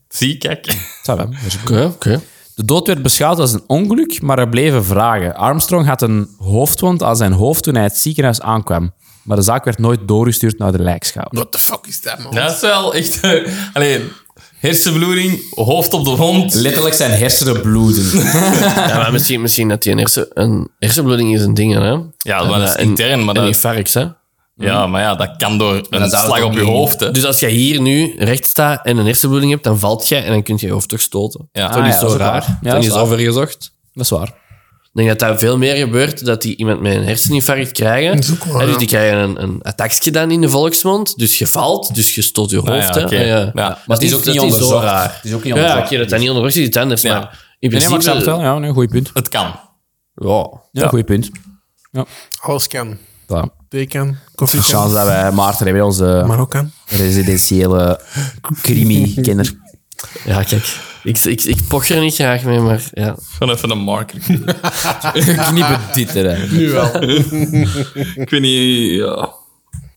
Zie, kijk.
Ça va, dat is
Oké, oké.
De dood werd beschouwd als een ongeluk, maar er bleven vragen. Armstrong had een hoofdwond aan zijn hoofd toen hij het ziekenhuis aankwam. Maar de zaak werd nooit doorgestuurd naar de lijkschouw.
What the fuck is dat, man?
Dat is wel echt... eh, alleen, Hersenbloeding, hoofd op de wond.
Letterlijk zijn hersenen bloeden.
Ja, maar misschien, misschien dat die een, hersen, een hersenbloeding is een ding, hè?
Ja, maar dat is
En, eh,
intern. Maar
Een
dat,
infarct, hè?
ja, maar ja, dat kan door een
dat zou
slag
toch
op je
niet-
hoofd. Hè.
Dus als jij hier nu recht staat en een hersenbloeding hebt, dan valt jij en dan kun je je hoofd toch stoten.
Ja.
Dat
Ah,
is
ja,
zo
dat is ook waar.
raar.
Ja,
dat
dat
is
is waar.
overgezocht.
Dat is waar.
Ik denk dat dat veel meer gebeurt, dat die iemand met een herseninfarct krijgen.
Dat is ook waar,
Hè, dus
ja.
die krijgen een, een attackje dan in de volksmond. Dus je valt, dus je stoot je
Ah, ja,
hoofd. hè.
oké.
Ah, ja.
Ja.
Maar het is
Dat
ook niet
dat is zo
onderzocht.
raar.
Het is ook niet
Ja, oké,
onderzocht.
dat dat niet onderzocht is, iets anders.
Ja.
Maar in
Nee, maar ik
principe...
snap het wel. Ja, nee, goed punt.
Het kan.
Ja.
Ja, goed punt.
Alles kan.
Ja.
Thee kan, koffie
De
kan,
chance dat wij Maarten hebben, onze
maar ook kan.
residentiële crimi-kenner.
Ja, kijk. Ik, ik, ik poch er niet graag mee, maar ja.
Gewoon even een marker.
Knippen dit eruit.
Nu wel.
Ik weet niet... Ja.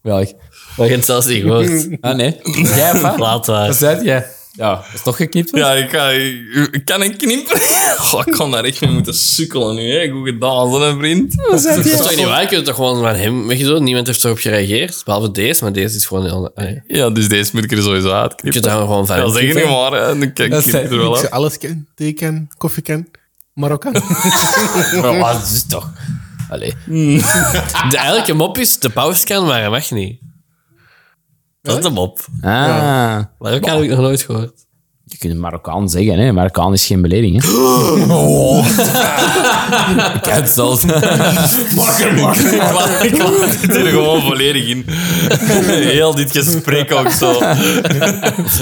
Welk?
Maar je hebt zelfs niet gehoord.
Ah, nee. Jij, of wat?
Laat daar.
Wat zei jij? Ja, dat is toch geknipt?
Ja, ik, ga- ik- ik kan een knipper. Goh, ik kan daar echt mee moeten sukkelen nu. Hè. Goed gedaan, zo'n vriend.
Dat is toch niet waar? Je kunt toch gewoon van hem wegdoen? Niemand heeft erop gereageerd. Behalve deze, maar deze is gewoon... heel- allee.
Ja, dus deze moet ik er sowieso
Je kunt
uitknippen.
daar gewoon van
Ja,
hem
zeg niet
knippen.
maar. Hè. Dan kijk
Dat
ik
zei-
er wel
Ik
af.
zei alles kan, thee kan, koffie kan, maar ook kan.
Ja, dat is Ah, toch. Allee.
De eigenlijke mop is, de pauze kan, maar hij mag niet. Dat is de mop.
Ah.
Maar ook heb ik nog nooit gehoord.
Je kunt Marokkaan zeggen, hè. Marokkaan is geen belediging, hè. Ik heb het zelfs.
Ik laat, ik laat dit er gewoon volledig in. Heel dit gesprek ook zo.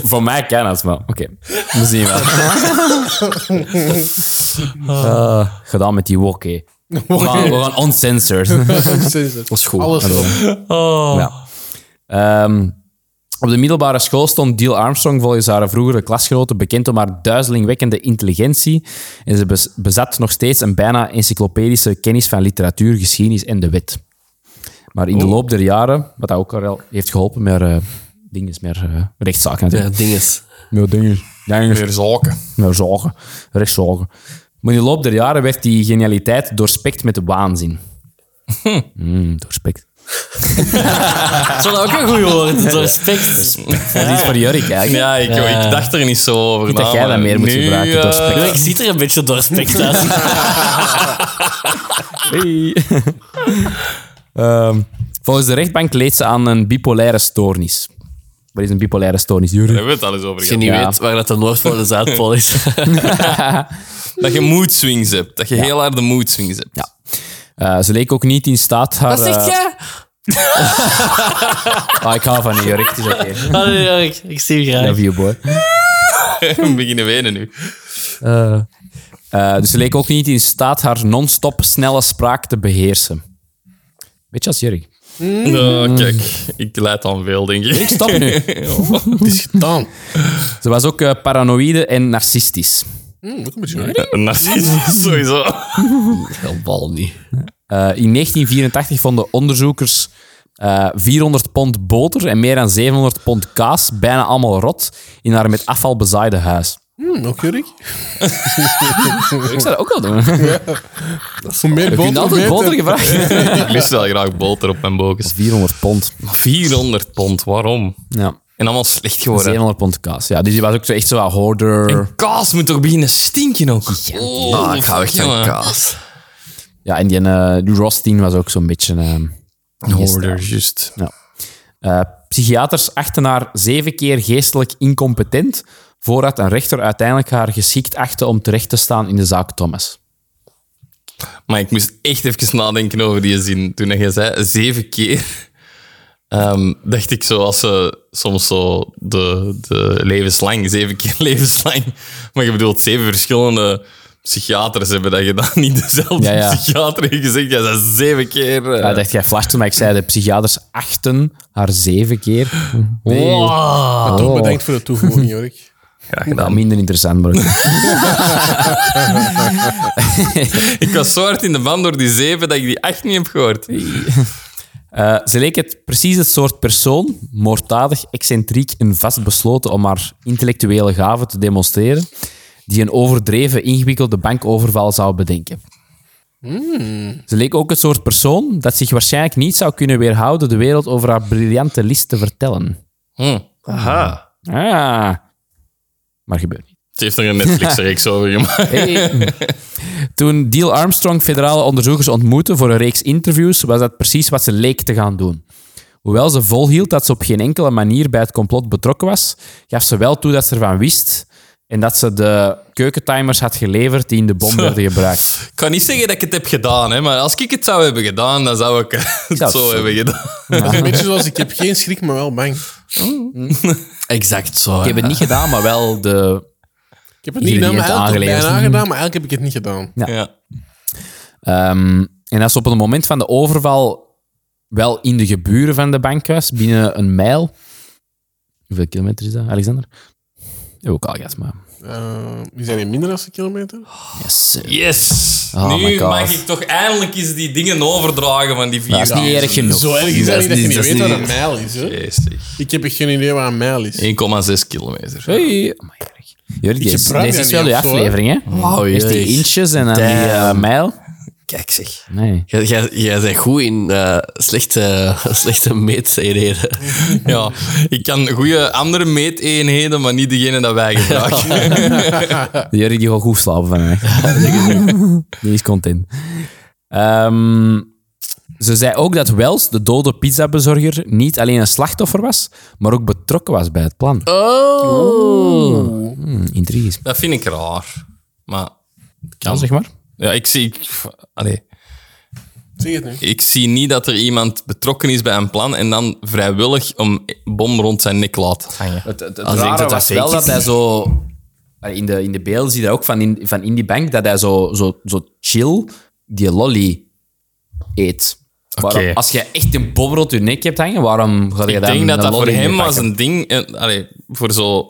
Voor mij kan dat, maar oké. We zien wel. Eh, gedaan met die wok, hè. We gaan, we gaan uncensored.
Dat
is goed.
Alles erop.
Ja. Ehm, op de middelbare school stond Deal Armstrong volgens haar vroegere klasgenoten bekend om haar duizelingwekkende intelligentie. En ze bez- bezat nog steeds een bijna encyclopedische kennis van literatuur, geschiedenis en de wet. Maar in de loop der jaren, wat dat ook al wel heeft geholpen met haar, eh, dingen, met haar, eh, rechtszaken
Ja,
natuurlijk.
dinges.
Met dingen. dingen.
Weer zaken.
Nou, zagen. Rechtszagen. Maar in de loop der jaren werd die genialiteit doorspekt met waanzin. Hmm, doorspekt.
Dat is wel ook een goed woord. Respect.
Dat is voor Jurk eigenlijk.
Ja, ik, ik dacht er niet zo over
dat
na,
jij dat
maar
meer moet
nu,
gebruiken,
eh,
doorspekt.
Ik zie er een beetje doorspekt uit.
Ehm, volgens de rechtbank leed ze aan een bipolaire stoornis. Wat is een bipolaire stoornis,
Daar
Jurk?
hebben we het al eens over
Als je
gehad.
niet
Ja.
weet waar dat de Noordpool en de Zuidpool is.
Dat je mood swings hebt. Dat je heel harde mood swings hebt.
Ja. Eh, ze leek ook niet in staat haar...
Wat zegt
eh,
jij?
ah, ik hou van je, Jurk. Het is oké.
Allee, Jurk, ik zie je graag.
Love you, boy.
We beginnen wenen nu.
Eh, dus ze leek ook niet in staat haar non-stop snelle spraak te beheersen. Beetje als Jurk.
Nou, kijk, ik leid aan veel, denk ik.
Ik stop nu.
Het is gedaan.
Ze was ook eh, paranoïde en narcistisch.
Hm, ook een beetje leuk.
Een narcist, sowieso.
Heel bal niet.
Eh, in 1984 vonden onderzoekers eh, 400 pond boter en meer dan 700 pond kaas, bijna allemaal rot, in haar met afval bezaaide huis.
Hm, ook Jurk.
Ik zou dat ook wel doen.
Hoe meer
Je kunt
boter, hoe
altijd boter
beter.
gevraagd.
Ik lust wel graag boter op mijn bokens.
400 pond.
400 pond, waarom?
Ja.
En allemaal slecht geworden.
700 pond kaas. Ja, dus die was ook zo echt zo wat hoarder.
Kaas moet toch beginnen stinken ook? Oh,
Ah, ik hou echt
jongen.
van kaas.
Ja, en die, eh, die Rostin was ook zo'n beetje... ehm,
Hoorder, juist.
Eh, psychiaters achten haar zeven keer geestelijk incompetent, voordat een rechter uiteindelijk haar geschikt achtte om terecht te staan in de zaak Thomas.
Maar ik moest echt even nadenken over die zin. Toen je zei zeven keer, ehm, dacht ik zo als ze soms zo de, de levenslang, zeven keer levenslang. Maar je bedoelt zeven verschillende psychiaters hebben dat je dan niet dezelfde
Ja, ja.
psychiater hebt gezegd. Ja, dat is zeven keer. eh.
Ja, dacht jij flash toen, maar ik zei de psychiaters achten haar zeven keer.
Oh. Wow.
Toch bedankt voor de toevoeging, Jurk.
Graag
Dat
gedaan.
minder interessant, maar oké.
Ik was zo hard in de band door die zeven dat ik die acht niet heb gehoord.
Eh, ze leek het precies het soort persoon, moorddadig, excentriek en vastbesloten om haar intellectuele gaven te demonstreren, die een overdreven, ingewikkelde bankoverval zou bedenken. Ze leek ook het soort persoon dat zich waarschijnlijk niet zou kunnen weerhouden de wereld over haar briljante list te vertellen.
Hm.
Aha.
Ah, maar gebeurt niet.
Ze heeft er een Netflix-reeks over gemaakt.
Hey. Toen Deal Armstrong federale onderzoekers ontmoette voor een reeks interviews, was dat precies wat ze leek te gaan doen. Hoewel ze volhield dat ze op geen enkele manier bij het complot betrokken was, gaf ze wel toe dat ze ervan wist en dat ze de keukentimers had geleverd die in de bom werden gebruikt.
Ik kan niet zeggen dat ik het heb gedaan, hè, maar als ik het zou hebben gedaan, dan zou ik het
zou
zo
het zo-
hebben gedaan.
Het is een beetje zoals ik heb geen schrik, maar wel bang.
Exact zo.
Ik heb het niet gedaan, maar wel de...
Ik heb het niet gedaan, maar eigenlijk heb ik het bijna gedaan, maar eigenlijk heb ik het niet gedaan.
Ja.
Ehm, en als ze op het moment van de overval wel in de geburen van de bank was, binnen een mijl... Hoeveel kilometer is dat, Alexander? Ook al, yes, maar...
Eh, die zijn in minder dan een kilometer.
Oh,
Yes, sir.
Yes!
Oh my
nu
God.
mag ik toch eindelijk eens die dingen overdragen van die vier.
Dat is niet erg genoeg.
Zo erg is dat, niet dat je
niet-
niet
dat
weet
is
wat
niet-
een mijl is. Hè? Ik heb echt geen idee waar een mijl is.
1,6 kilometer.
Hey. Oh my erg. Jordi,
Ik
deze,
gebruik
deze
dat
is
niet
wel je
of zo,
aflevering, hè?
Wauw,
Eerst die
jezus.
inches en dan die eh,
Damn.
mijl.
Kijk zeg.
Nee.
Jij, jij, jij bent goed in eh, slechte, slechte meeteenheden.
Ja, ik kan goede andere meeteenheden, maar niet degene dat wij gebruiken.
Jordi die gaat goed slapen vandaag. die is content. Ehm, ze zei ook dat Wells, de dode pizzabezorger, niet alleen een slachtoffer was, maar ook betrokken was bij het plan. Oh!
Oh.
Hmm, intrigisch.
dat vind ik raar. Maar het
Ja,
kan.
zeg maar.
Ja, ik zie... Ik, allee,
Zeg het nu.
ik zie niet dat er iemand betrokken is bij een plan en dan vrijwillig een bom rond zijn nek laat hangen.
Het, het, het
ik
rare
dat dat
was
fake
wel
is.
dat hij zo... In de, in de beelden zie je dat ook van in, van in die bank, dat hij zo, zo, zo chill die lolly eet. Waarom- als je echt een bom rond je nek hebt hangen, waarom ga je
Ik
dan
denk dat
een
dat voor
lolly
hem
mee
was
pakken?
een ding... eh, allee, voor zo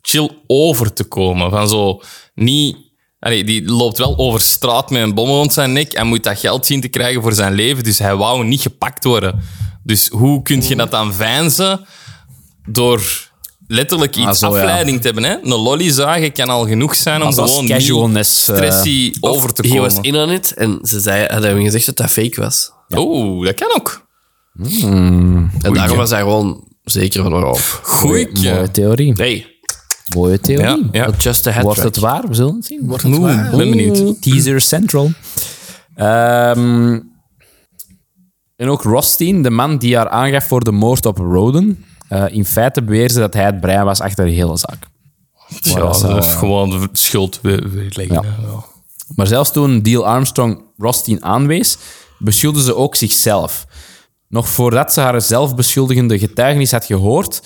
chill over te komen. Van zo niet... allee, die loopt wel over straat met een bom rond zijn nek en moet dat geld zien te krijgen voor zijn leven. Dus hij wou niet gepakt worden. Dus hoe kun je dat dan veinzen door letterlijk iets
Ah, zo, ja.
afleiding te hebben? Hè? Een lolly zagen kan al genoeg zijn om
Als- als
gewoon niet
casualness... eh,
stressy over te
Hij was
komen.
in aan het en ze zei, hadden hem gezegd dat dat fake was.
Oeh, dat kan ook.
En daarom was hij gewoon zeker van waarop.
Goeie.
mooie theorie.
Hey,
Mooie
Ja,
theorie.
ja.
just a head
Wordt
track.
het waar? We zullen het zien. Wordt het
waar? ben benieuwd.
Teaser Central. Ehm, en ook Rothstein, de man die haar aangaf voor de moord op Roden. eh, in feite beweert ze dat hij het brein was achter de hele zaak.
Ja,
dat eh, zou,
dat is gewoon de schuld we- we leggen, hè. Ja.
Maar zelfs toen Deal Armstrong Rothstein aanwees, beschuldigde ze ook zichzelf. Nog voordat ze haar zelfbeschuldigende getuigenis had gehoord,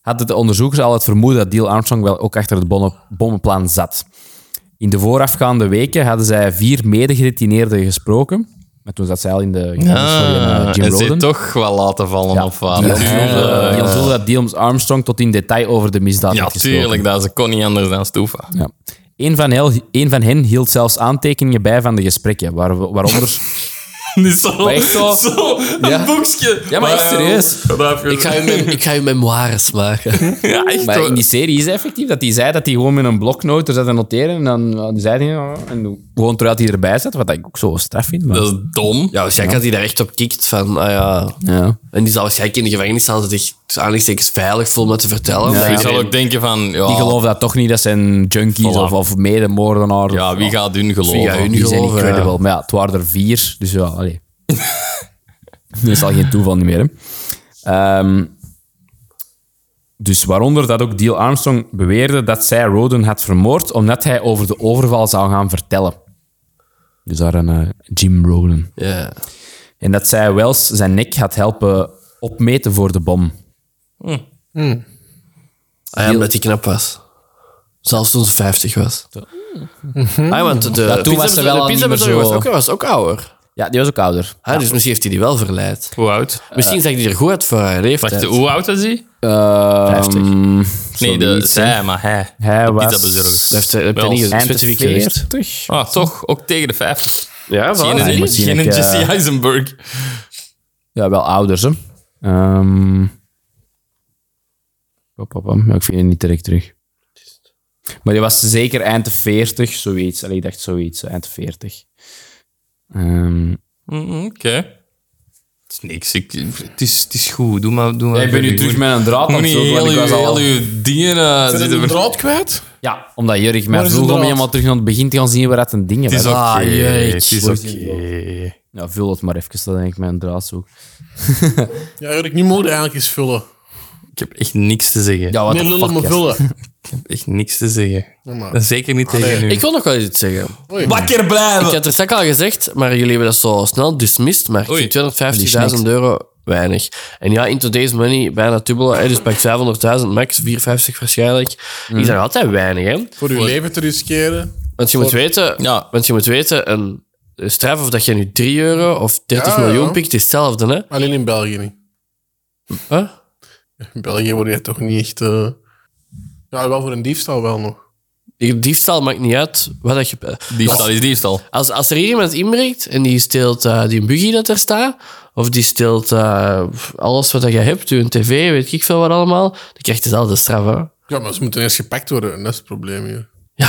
hadden de onderzoekers al het vermoeden dat Deal Armstrong wel ook achter het bonne- bommenplan zat. In de voorafgaande weken hadden zij vier medegedetineerden gesproken. Maar toen zat zij al in de gevangenis voor eh,
Ah,
Jim
en ze
Roden.
toch wel laten vallen of wat?
Die
Tuurlijk.
ontvoerde- die ontvoerde dat Deal Armstrong tot in detail over de misdaad
Ja,
had gesproken.
tuurlijk. Dat, ze kon niet anders dan stoeven.
Ja. Een van, heel, een van hen hield zelfs aantekeningen bij van de gesprekken, waar, waaronder...
Niet zo,
Maar echt zo.
zo een boekje.
Ja, maar eh, echt serieus.
Ja, dat heb je-
Ik ga, je mem- ik ga je memoires maken.
Ja, echt
Maar
hoor.
in die serie is het effectief dat hij zei dat hij gewoon met een bloknoot er zat te noteren. En dan ja, die zei hij, ja, en gewoon terwijl hij erbij zat, wat ik ook zo straf vind. Maar,
Dat is dom.
Ja, waarschijnlijk had hij daar echt op kikt van, ah ja.
ja.
En die zal waarschijnlijk in de gevangenis staan dat hij zich tussen aanhalingstekens veilig voelt om dat te vertellen.
Je
Omdat
zal
iedereen-
ook denken van... Ja,
Die geloven dat toch niet, dat zijn junkies
Voilà.
of, of medemoordenaar.
ja wie gaat hun geloven?
Wie gaat hun-
die zijn
geloven,
incredible. Maar ja, het waren er vier, dus ja, allee. dat is al geen toeval niet meer, hè. Ehm, dus waaronder dat ook Deal Armstrong beweerde dat zij Roden had vermoord omdat hij over de overval zou gaan vertellen. Dus daar een eh, Jim Roden.
Ja. Ah
En dat zij Wells zijn nek had helpen opmeten voor de bom.
Ah ja, omdat hij knap was. Zelfs toen ze 50 was. Ah, want de
toen was ze wel
de
al niet meer
pizzabezorger
zo-
was ook, was ook ouder.
Ja, die was ook ouder.
Ah, Dus misschien heeft hij die wel verleid.
Hoe oud?
Misschien zag hij er goed uit voor haar
Wacht,
leeftijd.
hoe oud is hij?
Vijftig.
Nee, de, zij, maar hij.
Ehm, Hij
De
was-
pizzabezorger.
Dat heeft hij- dat heeft hij
Wel,
niet
eind
specifiek gezegd.
40.
Ah, toch? Ook tegen de 50.
Ja, voilà.
Geen
ik
en
Hm. moet zien,
geen
ik,
en
eh,
Jesse Eisenberg.
Ja, wel ouders, hè. Ehm. Pop, pop, pop. Ja, ik vind het niet direct terug. Maar die was zeker eind de 40, zoiets. Allee, ik dacht zoiets, eind de 40. Ehm,
Mm, Oké. Het is niks. Ik, het, is, het is goed. Doe maar, doe maar.
Oh, ik ben nu terug met een draad aan
Moet
het
niet
zoeken, want
heel
ik was
uw-
al-
heel uw dingen... eh,
Zijn
zitten
we de
ver-
draad kwijt?
Ja, omdat Jurk mij
Waar is
vroeg
de
om
draad?
helemaal terug naar het begin te gaan zien waar dat een ding
Het is
was.
oké.
Ah, Jurk.
het is oké.
Ja, vul het maar even, dat denk ik mijn draad zo.
Ja, Erik, nu moet je eigenlijk eens vullen.
Ik heb echt niks te zeggen.
Ja, wat
Meer lullen, maar vullen.
Ik heb echt niks te zeggen.
Ja, maar-
Dat is Zeker niet tegen u.
Ik wil nog wel iets zeggen.
Oei.
wakker blijven!
Ik had het straks al gezegd, maar jullie hebben dat zo snel dismissed. Maar ik
Oei.
vind 250.000 euro weinig. En ja, in today's money bijna dubbele. hè, Dus pak 500.000 max, 450 waarschijnlijk. Die zijn altijd weinig, hè?
Voor uw leven te riskeren.
Want je moet weten,
Ja.
want je moet weten een straf of dat je nu 3 euro of 30
Ja, ja.
miljoen pikt, is hetzelfde, hè?
Alleen in België niet.
Huh?
In België word je toch niet echt... eh, Ja, wel voor een diefstal wel nog.
Die Diefstal maakt niet uit wat dat je...
Diefstal is diefstal.
Als, als er hier iemand inbreekt en die steelt eh, die buggy dat er staat, of die steelt eh, alles wat dat je hebt, je tv, weet ik veel wat allemaal, dan krijg je dezelfde straf. Hè? Ja,
Ja, maar ze moeten eerst gepakt worden. Dat is het probleem hier.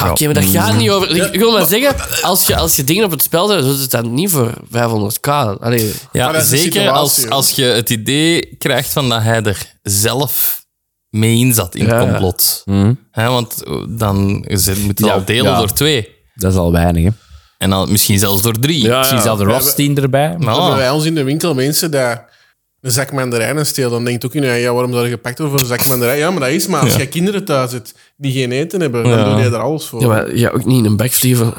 oké, maar dat gaat niet over. Ik wil maar zeggen, als je, als je dingen op het spel zet, doet het dan niet voor 500k. Allee,
Ja,
Maar dat is de
zeker
situatie,
als,
hoor.
als je het idee krijgt van dat hij er zelf mee in zat in
Ja.
het complot. Hè, want oh, dan ze- moet je al delen
ja.
door twee.
Dat is al weinig, hè.
En dan misschien zelfs door drie.
Misschien zelfs de Rothstein erbij.
Maar
Hebben
ah,
wij ons in de winkel mensen dat een zak mandarijnen steelt, dan denkt ook in, ja, waarom zou je gepakt worden voor een zak mandarijn? Ja, maar dat is maar als jij kinderen thuis hebt die geen eten hebben, dan doe je daar alles voor.
ja, maar ja, ook niet in een backvlieven.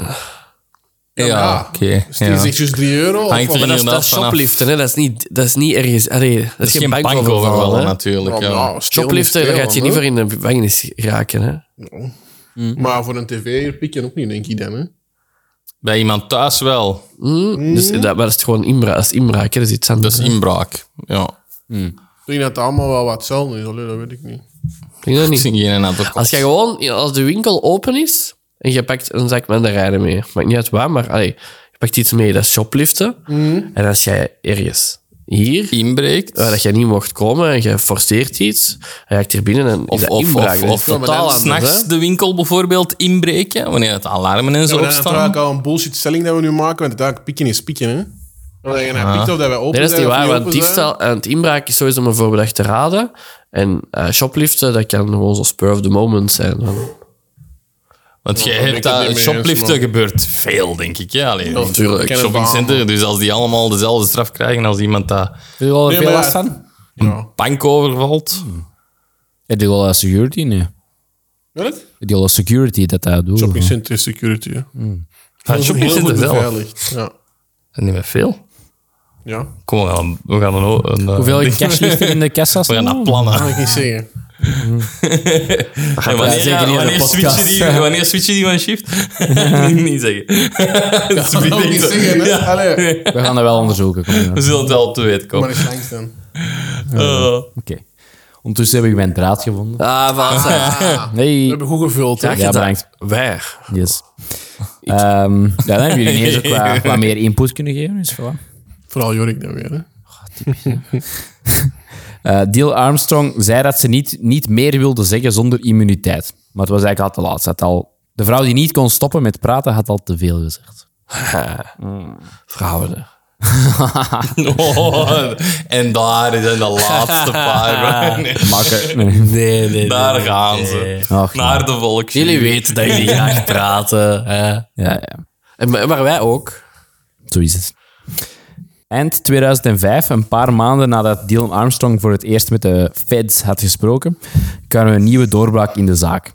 Nou, ja,
ja.
oké.
Dus die
ja.
zegt dus 3 euro. Of,
Hangt er
of-
niet
Dat is, dat
Inderdaad,
is
vanaf-
shopliften, hè? Dat, is niet, dat is niet ergens. Allee, dat,
Dat
is geen bankoverval.
bankoverval,
hè.
natuurlijk.
of-
Ja.
nou, stelen
Shopliften,
is
daar
stelen,
gaat je niet
hè.
voor in de gevangenis raken. Hè?
Maar voor een tv pik je ook niet, denk ik dan. Hè?
Bij iemand thuis wel.
Dus dat, maar dat is gewoon inbraak. Dat is inbraak, hè. dat is iets anders.
Hmm. Dat is inbraak. Ja.
Ik denk dat het allemaal wel wat hetzelfde is, allee, dat weet ik niet.
Ik denk dat
Ik
niet.
zie geen aantal
Als je gewoon, als de winkel open is en je pakt een zak mandarijnen mee, maakt niet uit waar, maar allee, je pakt iets mee, dat is shopliften.
Mm.
En als jij ergens hier,
inbreekt.
waar dat jij niet mocht komen en je forceert iets, en je raakt hier binnen en
Of,
dat
of,
inbraak.
of,
dat is
of
maar
totaal
dan
anders,
s'nachts
hè.
de winkel bijvoorbeeld inbreken, wanneer het alarmen en
Ja,
zo
maar dat is
opstaan.
natuurlijk al een bullshit stelling dat we nu maken, want uiteindelijk pikken is pikken. Hè? Omdat je nou
Ah.
pikt of dat wij open
Nee, dat is
zijn
niet
of
waar, want
open zijn.
diefstal en het inbraak is sowieso maar voorbedacht te raden. En eh, shopliften, dat kan gewoon zo spur of the moment zijn.
Ah,
Want jij
daar ben
hebt
ik het
dat,
niet mee eens,
shopliften
man.
gebeurt veel, denk ik. Ja, alleen
natuurlijk. Ik ken het
shoppingcenter.
wel.
Dus als die allemaal dezelfde straf krijgen als iemand dat
Heb je al
Nee,
veel
maar ja,
last van?
Ja.
bank overvalt.
Heb je al eh, security nu?
Mhm.
Wat?
Heb je al security dat dat doet?
Shoppingcenter security. hè.
Van
Heel
shoppingcenter
goed
zelf. Dat
beveiligd. Ja.
is niet meer veel.
ja.
Kom, we gaan, we gaan een, een, eh,
Hoeveel
ding-
cash ligt er in de kassa?
We gaan dat plannen.
Kan ik niet zeggen.
En wanneer,
zeker niet in de
wanneer,
podcast.
switchen die, wanneer switchen die van shift? Dat moet ik niet zeggen. Dat is
Kan ik niet
binnen-
zeggen, hè? Allee.
We gaan dat wel onderzoeken. kom hier.
We zullen het wel te weten
Maar
komen.
eens langs dan.
Eh,
Oké. Ondertussen heb ik mijn draad gevonden.
Ah, wat?
We
Nee.
hebben goed gevuld. hè.
Ja, bedankt.
Waar?
Yes. Ehm, ja, dan hebben jullie ineens ook wat, wat meer input kunnen geven. Dus voilà.
Vooral Jorik dan weer. Hè?
Eh, Deal Armstrong zei dat ze niet, niet meer wilde zeggen zonder immuniteit. Maar het was eigenlijk al te laat. Ze had al, de vrouw die niet kon stoppen met praten had al te veel gezegd. Hmm.
Vrouwen. hè.
oh, en daar zijn de laatste paar. Nee,
Makker. Nee.
Nee, nee.
daar gaan ze.
Ach,
Naar de volks.
Jullie weten dat jullie graag praten. Hè?
Ja, ja.
En, maar maar wij ook.
Zo is het. Eind 2005, een paar maanden nadat Dylan Armstrong voor het eerst met de feds had gesproken, kwamen we een nieuwe doorbraak in de zaak.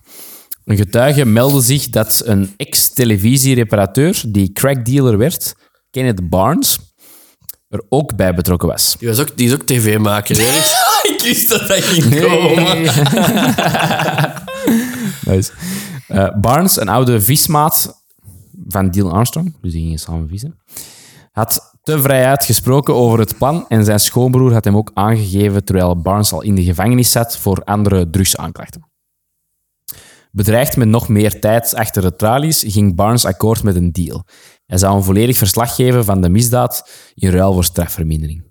Een getuige meldde zich dat een ex-televisiereparateur, die crackdealer werd, Kenneth Barnes, er ook bij betrokken was.
Die, was ook, die is ook tv-maker. hè.
Ik wist dat dat ging komen. Oh
Nice. Eh, Barnes, een oude vismaat van Dylan Armstrong, dus die gingen samen vissen, had te vrijuit gesproken over het plan en zijn schoonbroer had hem ook aangegeven terwijl Barnes al in de gevangenis zat voor andere drugsaanklachten. Bedreigd met nog meer tijd achter de tralies, ging Barnes akkoord met een deal. Hij zou een volledig verslag geven van de misdaad in ruil voor strafvermindering.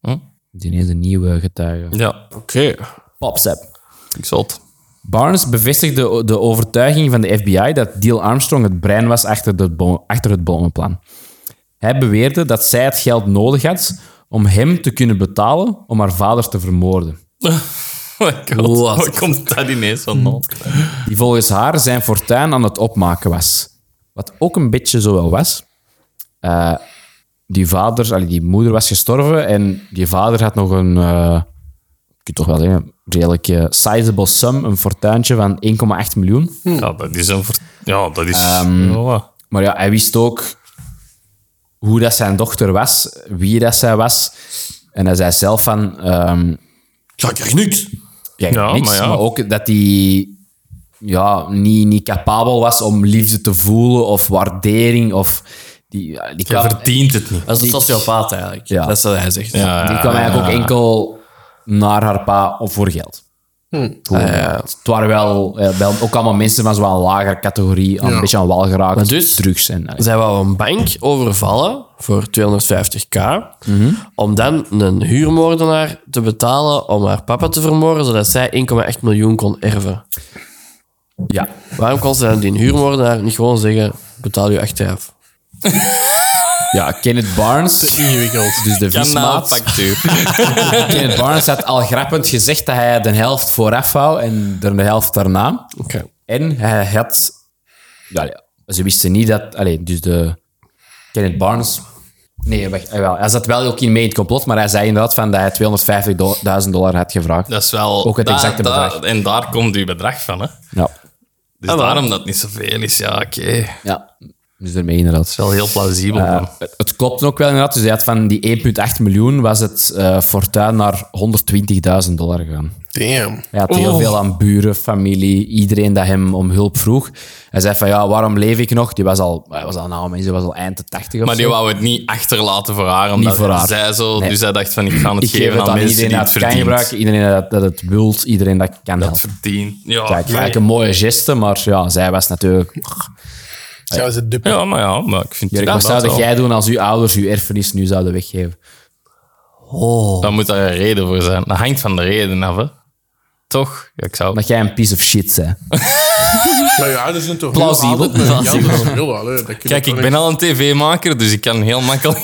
Hm?
Dus ineens een nieuwe getuige.
Ja,
Oké.
Popsap.
ik zat.
Barnes bevestigde de overtuiging van de FBI dat Deal Armstrong het brein was achter, de bom- achter het bommenplan. Hij beweerde dat zij het geld nodig had om hem te kunnen betalen om haar vader te vermoorden.
my god,
Wat?
waar komt dat ineens vandaan?
die volgens haar zijn fortuin aan het opmaken was. Wat ook een beetje zo wel was. Eh, die vader, allee, die moeder was gestorven en die vader had nog een, eh ik kan toch wel zeggen, redelijk eh, sizable sum, een fortuintje van 1,8 miljoen.
Ja, dat is een... ver- Ja, dat is... Voilà.
Maar ja, hij wist ook hoe dat zijn dochter was, wie dat zij was. En hij zei zelf van, ehm,
Ik krijg niks.
ja,
Ja,
niks,
maar
maar,
ja.
ook dat hij ja, niet, niet capabel was om liefde te voelen of waardering. Of die, ja, die
Je
kwam,
verdient het niet.
Dat is een sociopaat eigenlijk.
Ja.
Dat is wat hij zegt.
die kwam eigenlijk
Ah.
ook enkel naar haar pa of voor geld. Gewoon,
Ah,
Het waren wel, eh, wel ook allemaal mensen van zo'n lagere categorie, aan een beetje aan wal geraakt,
dus-
drugs en... eh, allee.
Zij wou een bank overvallen voor 250k. Om dan een huurmoordenaar te betalen om haar papa te vermoorden, zodat zij 1,8 miljoen kon erven.
Ja.
Waarom kon ze dan die huurmoordenaar niet gewoon zeggen: betaal je achteraf?
ja, Kenneth Barnes,
Ingewikkeld.
dus de vismaat.
Kanaalfactuur.
Kenneth Barnes had al grappend gezegd dat hij de helft vooraf wou en de helft daarna.
Oké.
En hij had... Ja, ja, ze wisten niet dat... Allee, dus de... Kenneth Barnes... Nee, wacht, eh, wel, hij zat wel ook in mee in het complot, maar hij zei inderdaad van dat hij 250.000 dollar had gevraagd.
Dat is wel...
Ook het
daar-
exacte
daar-
bedrag.
En daar komt uw bedrag van, hè.
Ja.
Dus daarom dat het niet zoveel is. Ja, oké. Het
ja. Dus daarmee inderdaad.
is wel heel plausibel.
Eh,
man.
het, het klopt ook wel inderdaad. Dus hij had van die 1,8 miljoen was het eh, fortuin naar 120.000 dollar gegaan.
Damn.
Hij had
Oh.
heel veel aan buren, familie, iedereen dat hem om hulp vroeg. Hij zei van, ja, waarom leef ik nog? Die was al, hij was al een oude mens, hij was al eind de tachtig of
maar die
zo.
wou het niet achterlaten voor haar, omdat
voor haar.
zij zo...
Nee.
Dus hij dacht van, ik ga het
Ik geef
geven
het
aan
aan
mensen die
iedereen dat
het
het kan
verdient.
gebruiken, iedereen dat, dat het wilt, iedereen dat kan helpen.
Dat verdient. Ja,
Kijk, eigenlijk een mooie geste, maar ja, zij was natuurlijk...
Zouden ze duppen?
ja, maar ja, maar ik vind
Jurk, wat
dat
zou
wel.
jij doen als uw ouders uw erfenis nu zouden weggeven?
Daar moet daar een reden voor zijn. Dat hangt van de reden af, hè. Toch? Ja, ik zou...
Omdat jij een piece of shit bent.
Maar ja, dat is een toch
Plausibel.
heel altijd met- Ja,
Plausibel.
dat is heel wel, hè. Dat kun je
Kijk,
toch
ik
niet-
ben al een tv-maker, dus ik kan heel makkelijk...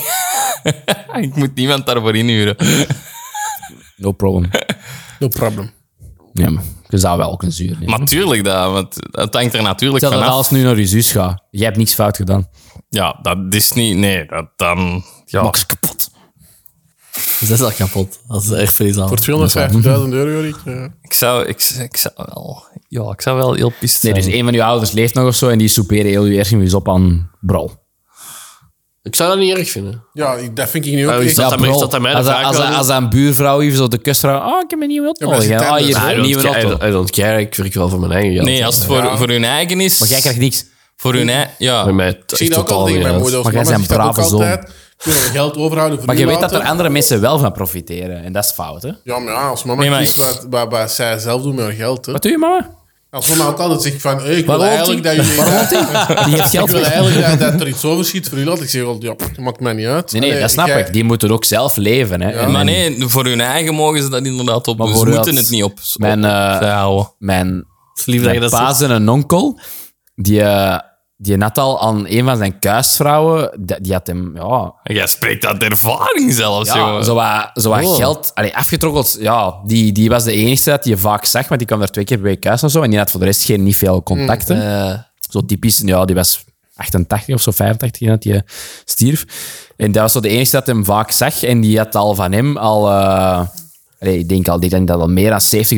ik moet niemand daarvoor inhuren.
No problem.
No problem.
Ja, maar je zou wel kunnen zuren. Ja.
Maar tuurlijk, dat, want het hangt er natuurlijk
Stel dat
vanaf.
alles nu naar je zus gaat. Jij hebt niks fout gedaan.
Ja, dat is niet... Nee, dat dan... Ja.
Max kapot.
Dus dat is al kapot. Dat is echt verlies aan.
Voor 250.000 euro, Rick. ja.
Ik zou, ik, ik zou wel... Ja, ik zou wel heel pist
Nee,
zijn.
dus een van uw ouders leeft nog of zo en die soeperen heel uw erfenis op aan brol.
Ik zou dat niet erg vinden.
Ja, ik- dat vind ik nu ook
Oh, is
echt-
dat- dan-
brol.
is dat dan mij de
als,
vraag
als,
wel
als,
doen?
als een buurvrouw even zo de kust raakt, oh, ik heb een nieuwe auto.
Ja, maar ze
nodig, hè.
tanden.
oh, hier
I
is een nieuwe
I
auto.
don't- I don't care, ik werk wel voor mijn eigen geld.
Nee, als het voor, voor hun eigen is...
Maar jij krijgt niks.
Voor hun eigen...
Bij
Ja.
mij het
Ik zie
echt
dat ook al
totaal
tegen
niet
mijn
uit.
moeder.
Maar jij bent een brave zoon.
Kunnen we geld overhouden voor
Maar
u
je weet dat er
later?
andere mensen wel van profiteren. En dat is fout, hè?
Ja, maar ja, als mama
Nee, maar-
kiest wat, wat, wat zij zelf doet met haar geld. Hè.
Wat doe je, mama?
Als mama ook altijd zegt van, hey, ik wil
Waarom
eigenlijk dat jullie...
Die heeft
Ik
geld
wil
weg.
eigenlijk dat, dat er iets over schiet voor jullie. later. Ik zeg wel, ja, pff, dat maakt mij niet uit.
Nee, nee,
Allee,
dat snap
jij-
ik. Die moeten ook zelf leven, hè? En
Maar
mijn-
nee, voor hun eigen mogen ze dat inderdaad op.
Maar
doen. Ze
voor
moeten
dat-
het niet op.
Mijn, eh,
opzij houden.
mijn
Het is lief dat je
Mijn
dat
pa
zegt.
zijn een onkel, die, eh, die net al aan een van zijn kuisvrouwen, die, die had hem, ja,
Jij spreekt uit ervaring zelfs,
ja
jongen.
zo wat, zo wat
Oh.
geld allee, afgetrokkeld. Ja, die, die was de enige dat je vaak zag, maar die kwam daar twee keer bij je kuis en zo. En die had voor de rest geen, niet veel contacten. Zo typisch, ja, die was 88 of zo, 85 jaar dat hij stierf. En dat was zo de enige dat hem vaak zag. En die had al van hem al... eh, allee, ik denk al, die had al meer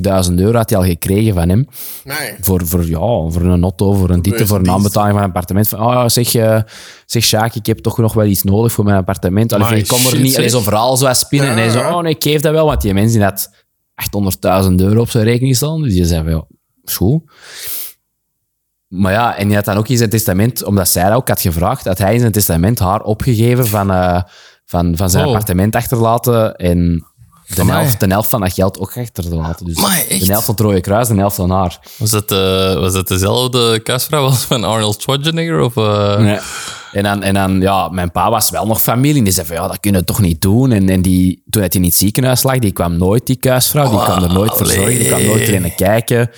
dan 70.000 euro had hij al gekregen van hem
Nee.
voor, voor, ja, voor een auto, voor een titel, voor een aanbetaling van een appartement. Van, oh, zeg, eh zeg Sjaak, ik heb toch nog wel iets nodig voor mijn appartement. Allee,
Amai,
ik kom er
shit,
niet. Allee,
zeg.
zo verhaal zo spinnen. En hij zo, oh nee, ik geef dat wel. Want die mensen die had 800.000 euro op zijn rekening staan. Dus die zei van, ja, is goed. Maar ja, en die had dan ook in zijn testament, omdat zij dat ook had gevraagd, had hij in zijn testament haar opgegeven van, eh, van, van zijn
Oh.
appartement achterlaten en de helft, de helft van dat geld ook achterlaten. Dus
Amai, echt?
de helft van het Rode Kruis, de helft van haar.
Was dat, eh, was dat dezelfde kuisvrouw als van Arnold Schwarzenegger? Of, eh,
Ja. En dan, en dan, ja, mijn pa was wel nog familie. En die zei van, ja, dat kunnen we toch niet doen. En, en die, toen hij in het ziekenhuis lag, die kwam nooit, die kuisvrouw. Die kwam er nooit verzorgen. Die kwam nooit erin kijken.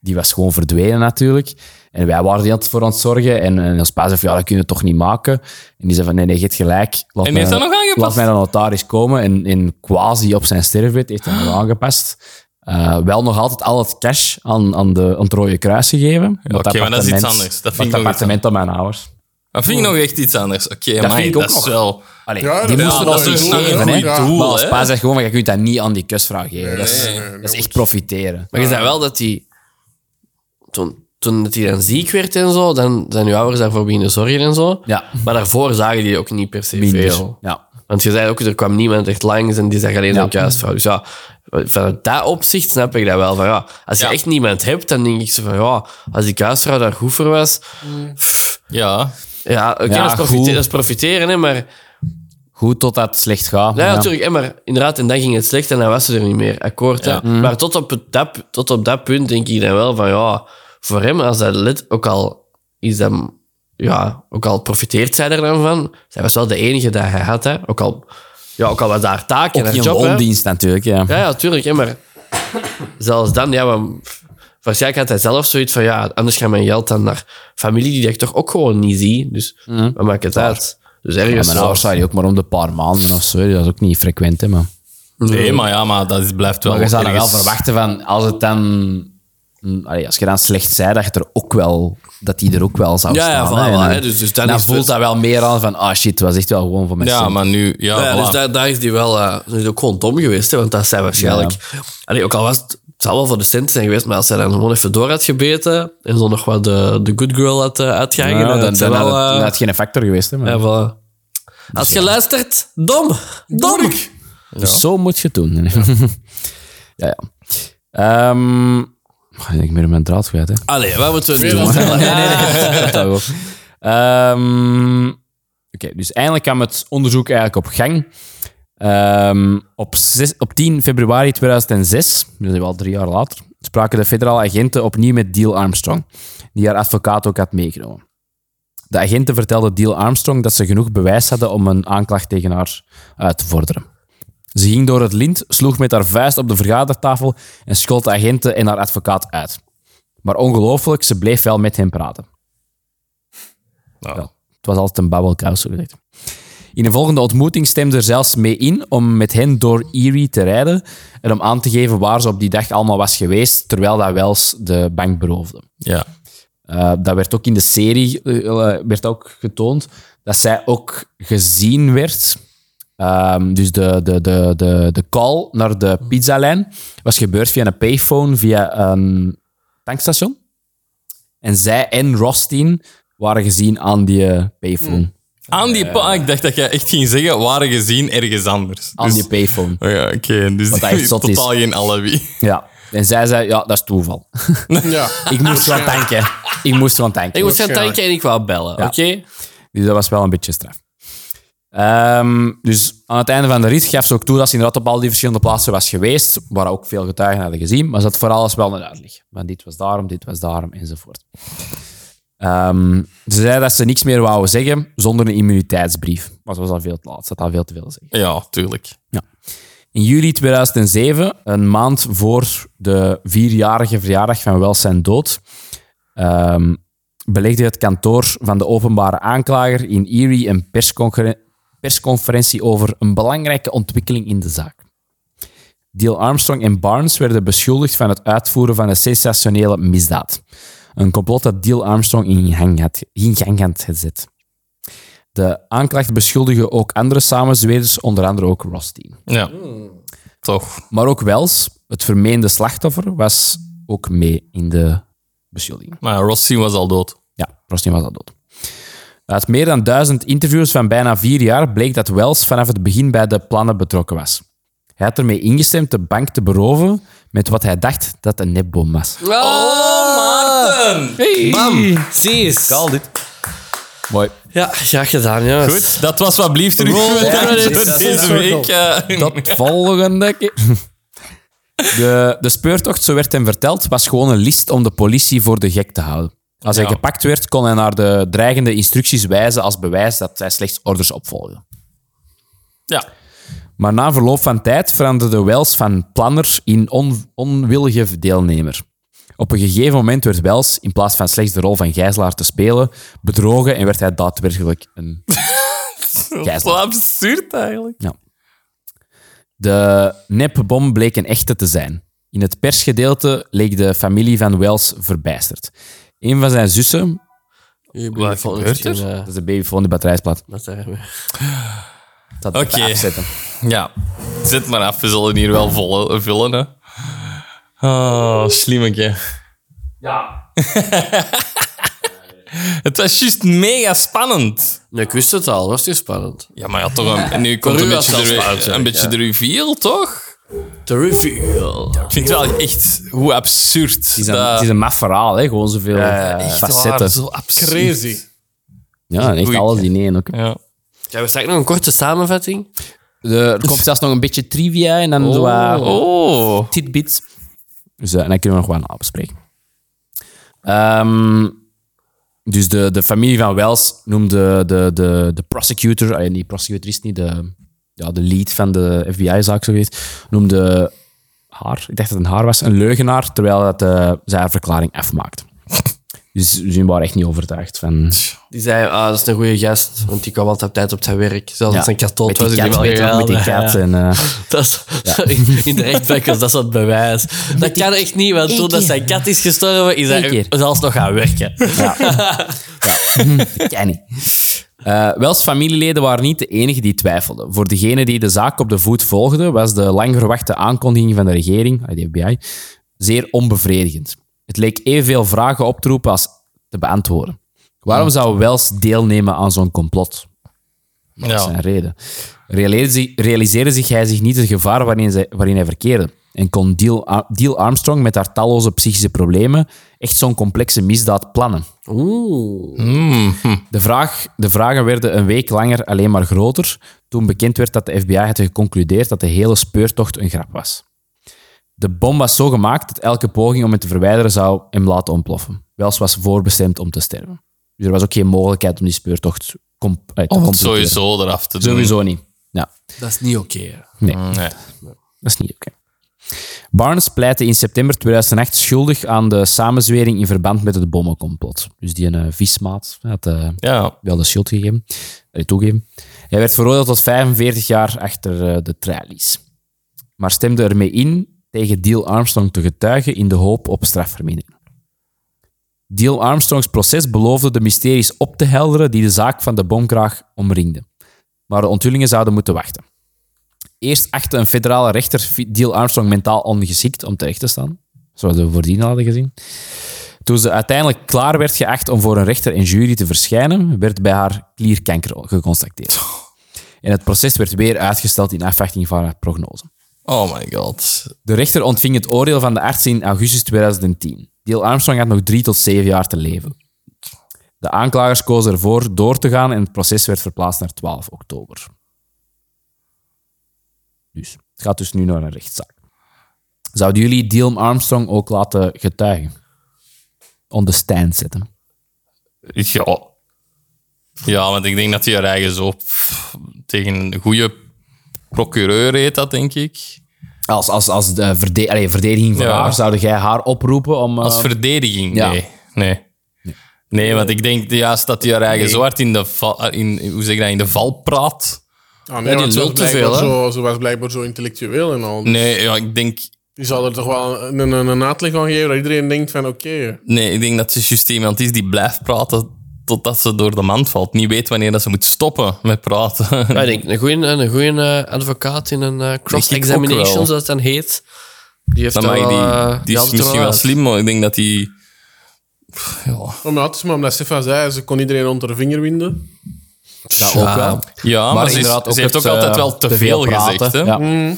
Die was gewoon verdwenen natuurlijk. En wij waren die altijd voor ons zorgen. En, en ons pa zei van, ja, dat kunnen we toch niet maken. En die zei van, nee, nee, je hebt gelijk. Laat
En die heeft
mij-
dat nog aangepast? Ah.
Laat mij de notaris komen. En, en quasi op zijn sterfbed heeft hij dat aangepast. eh, wel nog altijd al het cash aan, aan, de, aan het Rode Kruis gegeven.
oké, maar dat is iets
appartement-
anders. Dat vind ik
het
nog iets
appartement van mijn ouders.
Dat vind ik nog echt iets anders. Oké,
Dat
amai,
vind ik ook
dat is
nog.
wel...
Allee,
Ja,
die
dat-
moesten
ja,
dat
dat
dus
is een
geven,
goed
hè.
doel,
maar als
hè.
pa zegt gewoon, maar je kunt dat niet aan die kusvrouw geven. dat is,
Nee, nee, nee,
dat is
nee,
echt profiteren.
Maar je zei wel dat hij... Toen, toen dat hij dan ziek werd en zo, dan zijn uw ouders daarvoor beginnen zorgen en zo.
Ja,
Maar daarvoor zagen die ook niet per se
minder.
veel.
Ja.
Want je zei ook, er kwam niemand echt langs en die zag alleen
Ja.
een kuisvrouw. Dus ja, vanuit dat opzicht snap ik dat wel. Van, ja, als je
Ja.
echt niemand hebt, dan denk ik zo van, ja, als die kuisvrouw daar goed voor was...
Ja,
Ja, oké,
Ja,
dat, is profite-
goed.
dat is profiteren, hè, maar...
Goed totdat het slecht gaat.
Ja,
Ja.
natuurlijk. hè, Maar inderdaad, en dan ging het slecht en dan was ze er niet meer. Akkoord. hè.
Mhm.
Maar tot op, het, dat, tot op dat punt denk ik dan wel van ja, voor hem als dat lid ook al is dat, ja, ook al profiteert zij er dan van. Zij was wel de enige dat hij had, hè. Ook al, ja, ook al was daar taak en
Ook
haar
geen
job, hè.
loondienst natuurlijk, ja.
Ja, ja, tuurlijk, hè, maar zelfs dan, ja, maar pff, waarschijnlijk had hij zelf zoiets van ja, anders gaat mijn geld dan naar familie die ik toch ook gewoon niet zie. Dus wat maakt het uit? Dus
Ja,
ergens
mijn
zo.
ouders waren die ook maar om de paar maanden of zo. Dat is ook niet frequent, hè, man.
nee, maar ja, maar dat is, blijft wel...
Maar je zou dan wel
ergens-
verwachten van, als het dan... mm, allee, als je dan slecht zei, dat, je er ook wel, dat die er ook wel zou
Ja,
staan.
ja,
hè.
voilà,
En dan,
hè, dus- dus dan
dan
is-
voelt dat wel meer aan van, ah shit, het was echt wel gewoon voor mijn
Ja,
zin.
maar nu... Ja,
Ja,
voilà.
dus daar, daar is die wel eh, ze is ook gewoon dom geweest, hè, want dat zij waarschijnlijk. Allee, ook al was het, het zou wel voor de centen zijn geweest, maar als zij dan gewoon even door had gebeten en zo nog wat de, de good girl had eh, uitgehangen,
Ja,
dan,
dan,
had zij
dan had
wel. Dus
het, dan
eh,
had het geen factor geweest. Hè, maar.
ja, voilà. Als je luistert, dom, dom.
Dus zo moet je het doen. Ja, ja. Ehm, ik denk meer op mijn draad kwijt, hè.
Allee, waar moeten we nu
Veel
doen?
aan-
Dat hou ik op. Ehm, Oké, dus eindelijk kwam het onderzoek eigenlijk op gang. Ehm, op, zes- op 10 februari 2006, dus wel drie jaar later, spraken de federale agenten opnieuw met Deal Armstrong, die haar advocaat ook had meegenomen. De agenten vertelden Deal Armstrong dat ze genoeg bewijs hadden om een aanklacht tegen haar uit te vorderen. Ze ging door het lint, sloeg met haar vuist op de vergadertafel en schold de agenten en haar advocaat uit. Maar ongelooflijk, ze bleef wel met hem praten. Ja, het was altijd een babbelkous, zo gezegd. In een volgende ontmoeting stemde ze er zelfs mee in om met hen door Erie te rijden en om aan te geven waar ze op die dag allemaal was geweest, terwijl dat Wells de bank beroofde.
Ja.
Eh, dat werd ook in de serie eh, eh, werd ook getoond dat zij ook gezien werd. Ehm, dus de, de, de, de, de call naar de pizzalijn was gebeurd via een payphone, via een tankstation. En zij en Rostin waren gezien aan die eh, payphone.
Aan die... pa- ik dacht dat jij echt ging zeggen, waren gezien ergens anders.
Aan
Dus-
die payphone.
Oh ja, oké. Dus
Wat
die
echt
heeft
zot is.
totaal geen alibi.
Ja. En zij zei, ja, dat is toeval.
Ja.
Ik moest wel tanken. Ik moest wel tanken.
Ik moet gaan tanken en ik wou bellen, oké?
Dus dat was wel een beetje straf. Ehm, dus aan het einde van de rit gaf ze ook toe dat ze inderdaad op al die verschillende plaatsen was geweest, waar ook veel getuigen hadden gezien, maar ze had voor alles wel een uitleg. Want dit was daarom, dit was daarom, enzovoort. Ehm, ze zei dat ze niks meer wou zeggen zonder een immuniteitsbrief. Maar ze was al veel te laat, ze had al veel te veel te zeggen.
Ja, tuurlijk.
In juli 2007, een maand voor de vierjarige verjaardag van Wells zijn dood, ehm, belegde het kantoor van de openbare aanklager in Erie een persconfer- persconferentie over een belangrijke ontwikkeling in de zaak. Deal Armstrong en Barnes werden beschuldigd van het uitvoeren van een sensationele misdaad. Een complot dat Deal Armstrong in gang had, in gang had gezet. De aanklacht beschuldigde ook andere samenzweerders, onder andere ook Rothstein.
Ja. Toch.
Maar ook Wells, het vermeende slachtoffer, was ook mee in de beschuldiging.
Maar Rossi was al dood.
Ja, Rostin was al dood. Uit meer dan duizend interviews van bijna vier jaar bleek dat Wells vanaf het begin bij de plannen betrokken was. Hij had ermee ingestemd de bank te beroven met wat hij dacht dat een nepboom was.
Bam, precies.
Mooi.
Ja, graag gedaan, jongens.
Goed, dat was wat blieft er
credits.
deze week. eh,
Tot volgende keer. De, de speurtocht, zo werd hem verteld, was gewoon een list om de politie voor de gek te houden. Als hij
Ja.
gepakt werd, kon hij naar de dreigende instructies wijzen als bewijs dat zij slechts orders opvolgde.
ja.
Maar na verloop van tijd veranderde Wells van planner in on- onwillige deelnemer. Op een gegeven moment werd Wells, in plaats van slechts de rol van gijzelaar te spelen, bedrogen en werd hij daadwerkelijk een
Dat is wel absurd eigenlijk.
De nepbom bleek een echte te zijn. In het persgedeelte leek de familie van Wells verbijsterd. Een van zijn zussen,
Je bent
Wat
volgens
gebeurt
die, eh,
dat is de babyfoon die batterij is plat,
dat daar weer.
dat even
Oké.
afzetten.
Ja, zet maar af. We zullen hier wel vol- vullen, hè. Oh, slimmetje. Ja. het was juist mega spannend.
Nee, ik wist het al. Was die spannend?
Ja, maar ja, toch een, nu komt
u
een
was
beetje,
het
de,
wel spannend,
een
zeg ik,
beetje de reveal, toch?
The reveal.
Ik vind het wel echt hoe absurd.
Het is, een,
dat-
het is een maf verhaal, hè? gewoon zoveel
echt waar,
facetten.
zo absurd.
Crazy.
Ja, en echt
Oei.
alles in één ook.
Ja.
Ja, we straks nog een korte samenvatting.
Er komt zelfs nog een beetje trivia en dan zo wat
Oh.
tidbits. Dus eh, en dan kunnen we nog wel na bespreken. Ehm, dus de, de familie van Wells noemde de, de, de prosecutor, allee, niet prosecutor is het niet, de, ja, de lead van de FBI-zaak, zo geweest, noemde haar, ik dacht dat het een haar was, een leugenaar, terwijl dat, eh, zij haar verklaring afmaakt. Dus ze waren echt niet overtuigd van...
Die zei, ah, dat is een goede gast, want die kwam altijd op tijd op zijn werk. Zelfs als een
met
katot
die
was, ik
kat,
die
met,
wel gedaan.
met die
ja.
kat en... eh,
Dat is, in, in de rechtbank was dat zo'n bewijs. Dat kan echt niet, want toen dat zijn kat is gestorven, is
Eén
hij
keer.
zelfs nog gaan werken.
Dat kan niet. Eh, Wels familieleden waren niet de enigen die twijfelden. Voor degenen die de zaak op de voet volgden, was de lang verwachte aankondiging van de regering, eh, de FBI, zeer onbevredigend. Het leek evenveel vragen op te roepen als te beantwoorden. Waarom
Hmm.
zou Wels deelnemen aan zo'n complot? Dat is zijn reden. Realise- Realiseerde zich hij zich niet het gevaar waarin, zij- waarin hij verkeerde en kon Deal, Ar- Deal Armstrong met haar talloze psychische problemen echt zo'n complexe misdaad plannen.
Hmm,
De, vraag, de vragen werden een week langer alleen maar groter toen bekend werd dat de FBI had geconcludeerd dat de hele speurtocht een grap was. De bom was zo gemaakt dat elke poging om het te verwijderen zou hem laten ontploffen. Wels was voorbestemd om te sterven. Dus er was ook geen mogelijkheid om die speurtocht com- eh, te
Om het
completeren.
sowieso eraf te doen.
Sowieso niet. Ja,
Dat is niet oké. hè.
nee.
Nee.
Dat is niet oké. Barnes pleitte in september 2008 schuldig aan de samenzwering in verband met het bommencomplot. Dus die een eh, vismaat had eh,
Ja.
wel de schuld gegeven, eh, toegegeven. Hij werd veroordeeld tot 45 jaar achter eh, de tralies. Maar stemde ermee in tegen Deal Armstrong te getuigen in de hoop op strafvermindering. Deal Armstrongs proces beloofde de mysteries op te helderen die de zaak van de bomkraag omringden. Maar de onthullingen zouden moeten wachten. Eerst achtte een federale rechter Deal Armstrong mentaal ongeschikt om terecht te staan. Zoals we voordien hadden gezien. Toen ze uiteindelijk klaar werd geacht om voor een rechter en jury te verschijnen, werd bij haar klierkanker geconstateerd. En het proces werd weer uitgesteld in afwachting van haar prognose.
Oh my god.
De rechter ontving het oordeel van de arts in augustus 2010. Deel Armstrong had nog drie tot zeven jaar te leven. De aanklagers kozen ervoor door te gaan en het proces werd verplaatst naar 12 oktober. Dus het gaat dus nu naar een rechtszaak. Zouden jullie Deal Armstrong ook laten getuigen? On the stand zetten.
Ja. Ja, want ik denk dat hij haar eigen zo pff, tegen een goede procureur heet dat, denk ik.
Als, als, als de verde allee, verdediging van
Ja.
haar, zouden jij haar oproepen om... eh,
Als verdediging,
ja.
nee. nee. Nee, want ik denk juist dat hij haar eigen zo hard in de val, in, hoe zeg je dat, in de val praat.
Ah, nee, want
die
ze was
lult te veel,
blijkbaar
hè?
zo- Ze was blijkbaar zo intellectueel en al.
Nee, ja, ik denk,
Die zal er toch wel een, een, een uitleg aan geven dat iedereen denkt van oké.
nee, ik denk dat ze juist iemand is die blijft praten totdat ze door de mand valt. Niet weet wanneer dat ze moet stoppen met praten.
Maar ik denk, een goede, een goede eh, advocaat in een eh,
Denk ik
cross-examination,
ook wel.
zoals dat dan heet. Die heeft
Dan
daar
mag
wel,
die,
eh,
die, is
had het er
misschien wel
uit.
slim, maar ik denk dat die... Pff, Ja,
Oh, Maar het is maar omdat Stefan zei, ze kon iedereen onder de vinger winden.
dat ook wel.
ja Ah, maar, ze, is-
inderdaad
ze
ook
heeft ook
het,
altijd
eh,
wel te
te
veel
veel praten,
gezegd. Hè?
ja.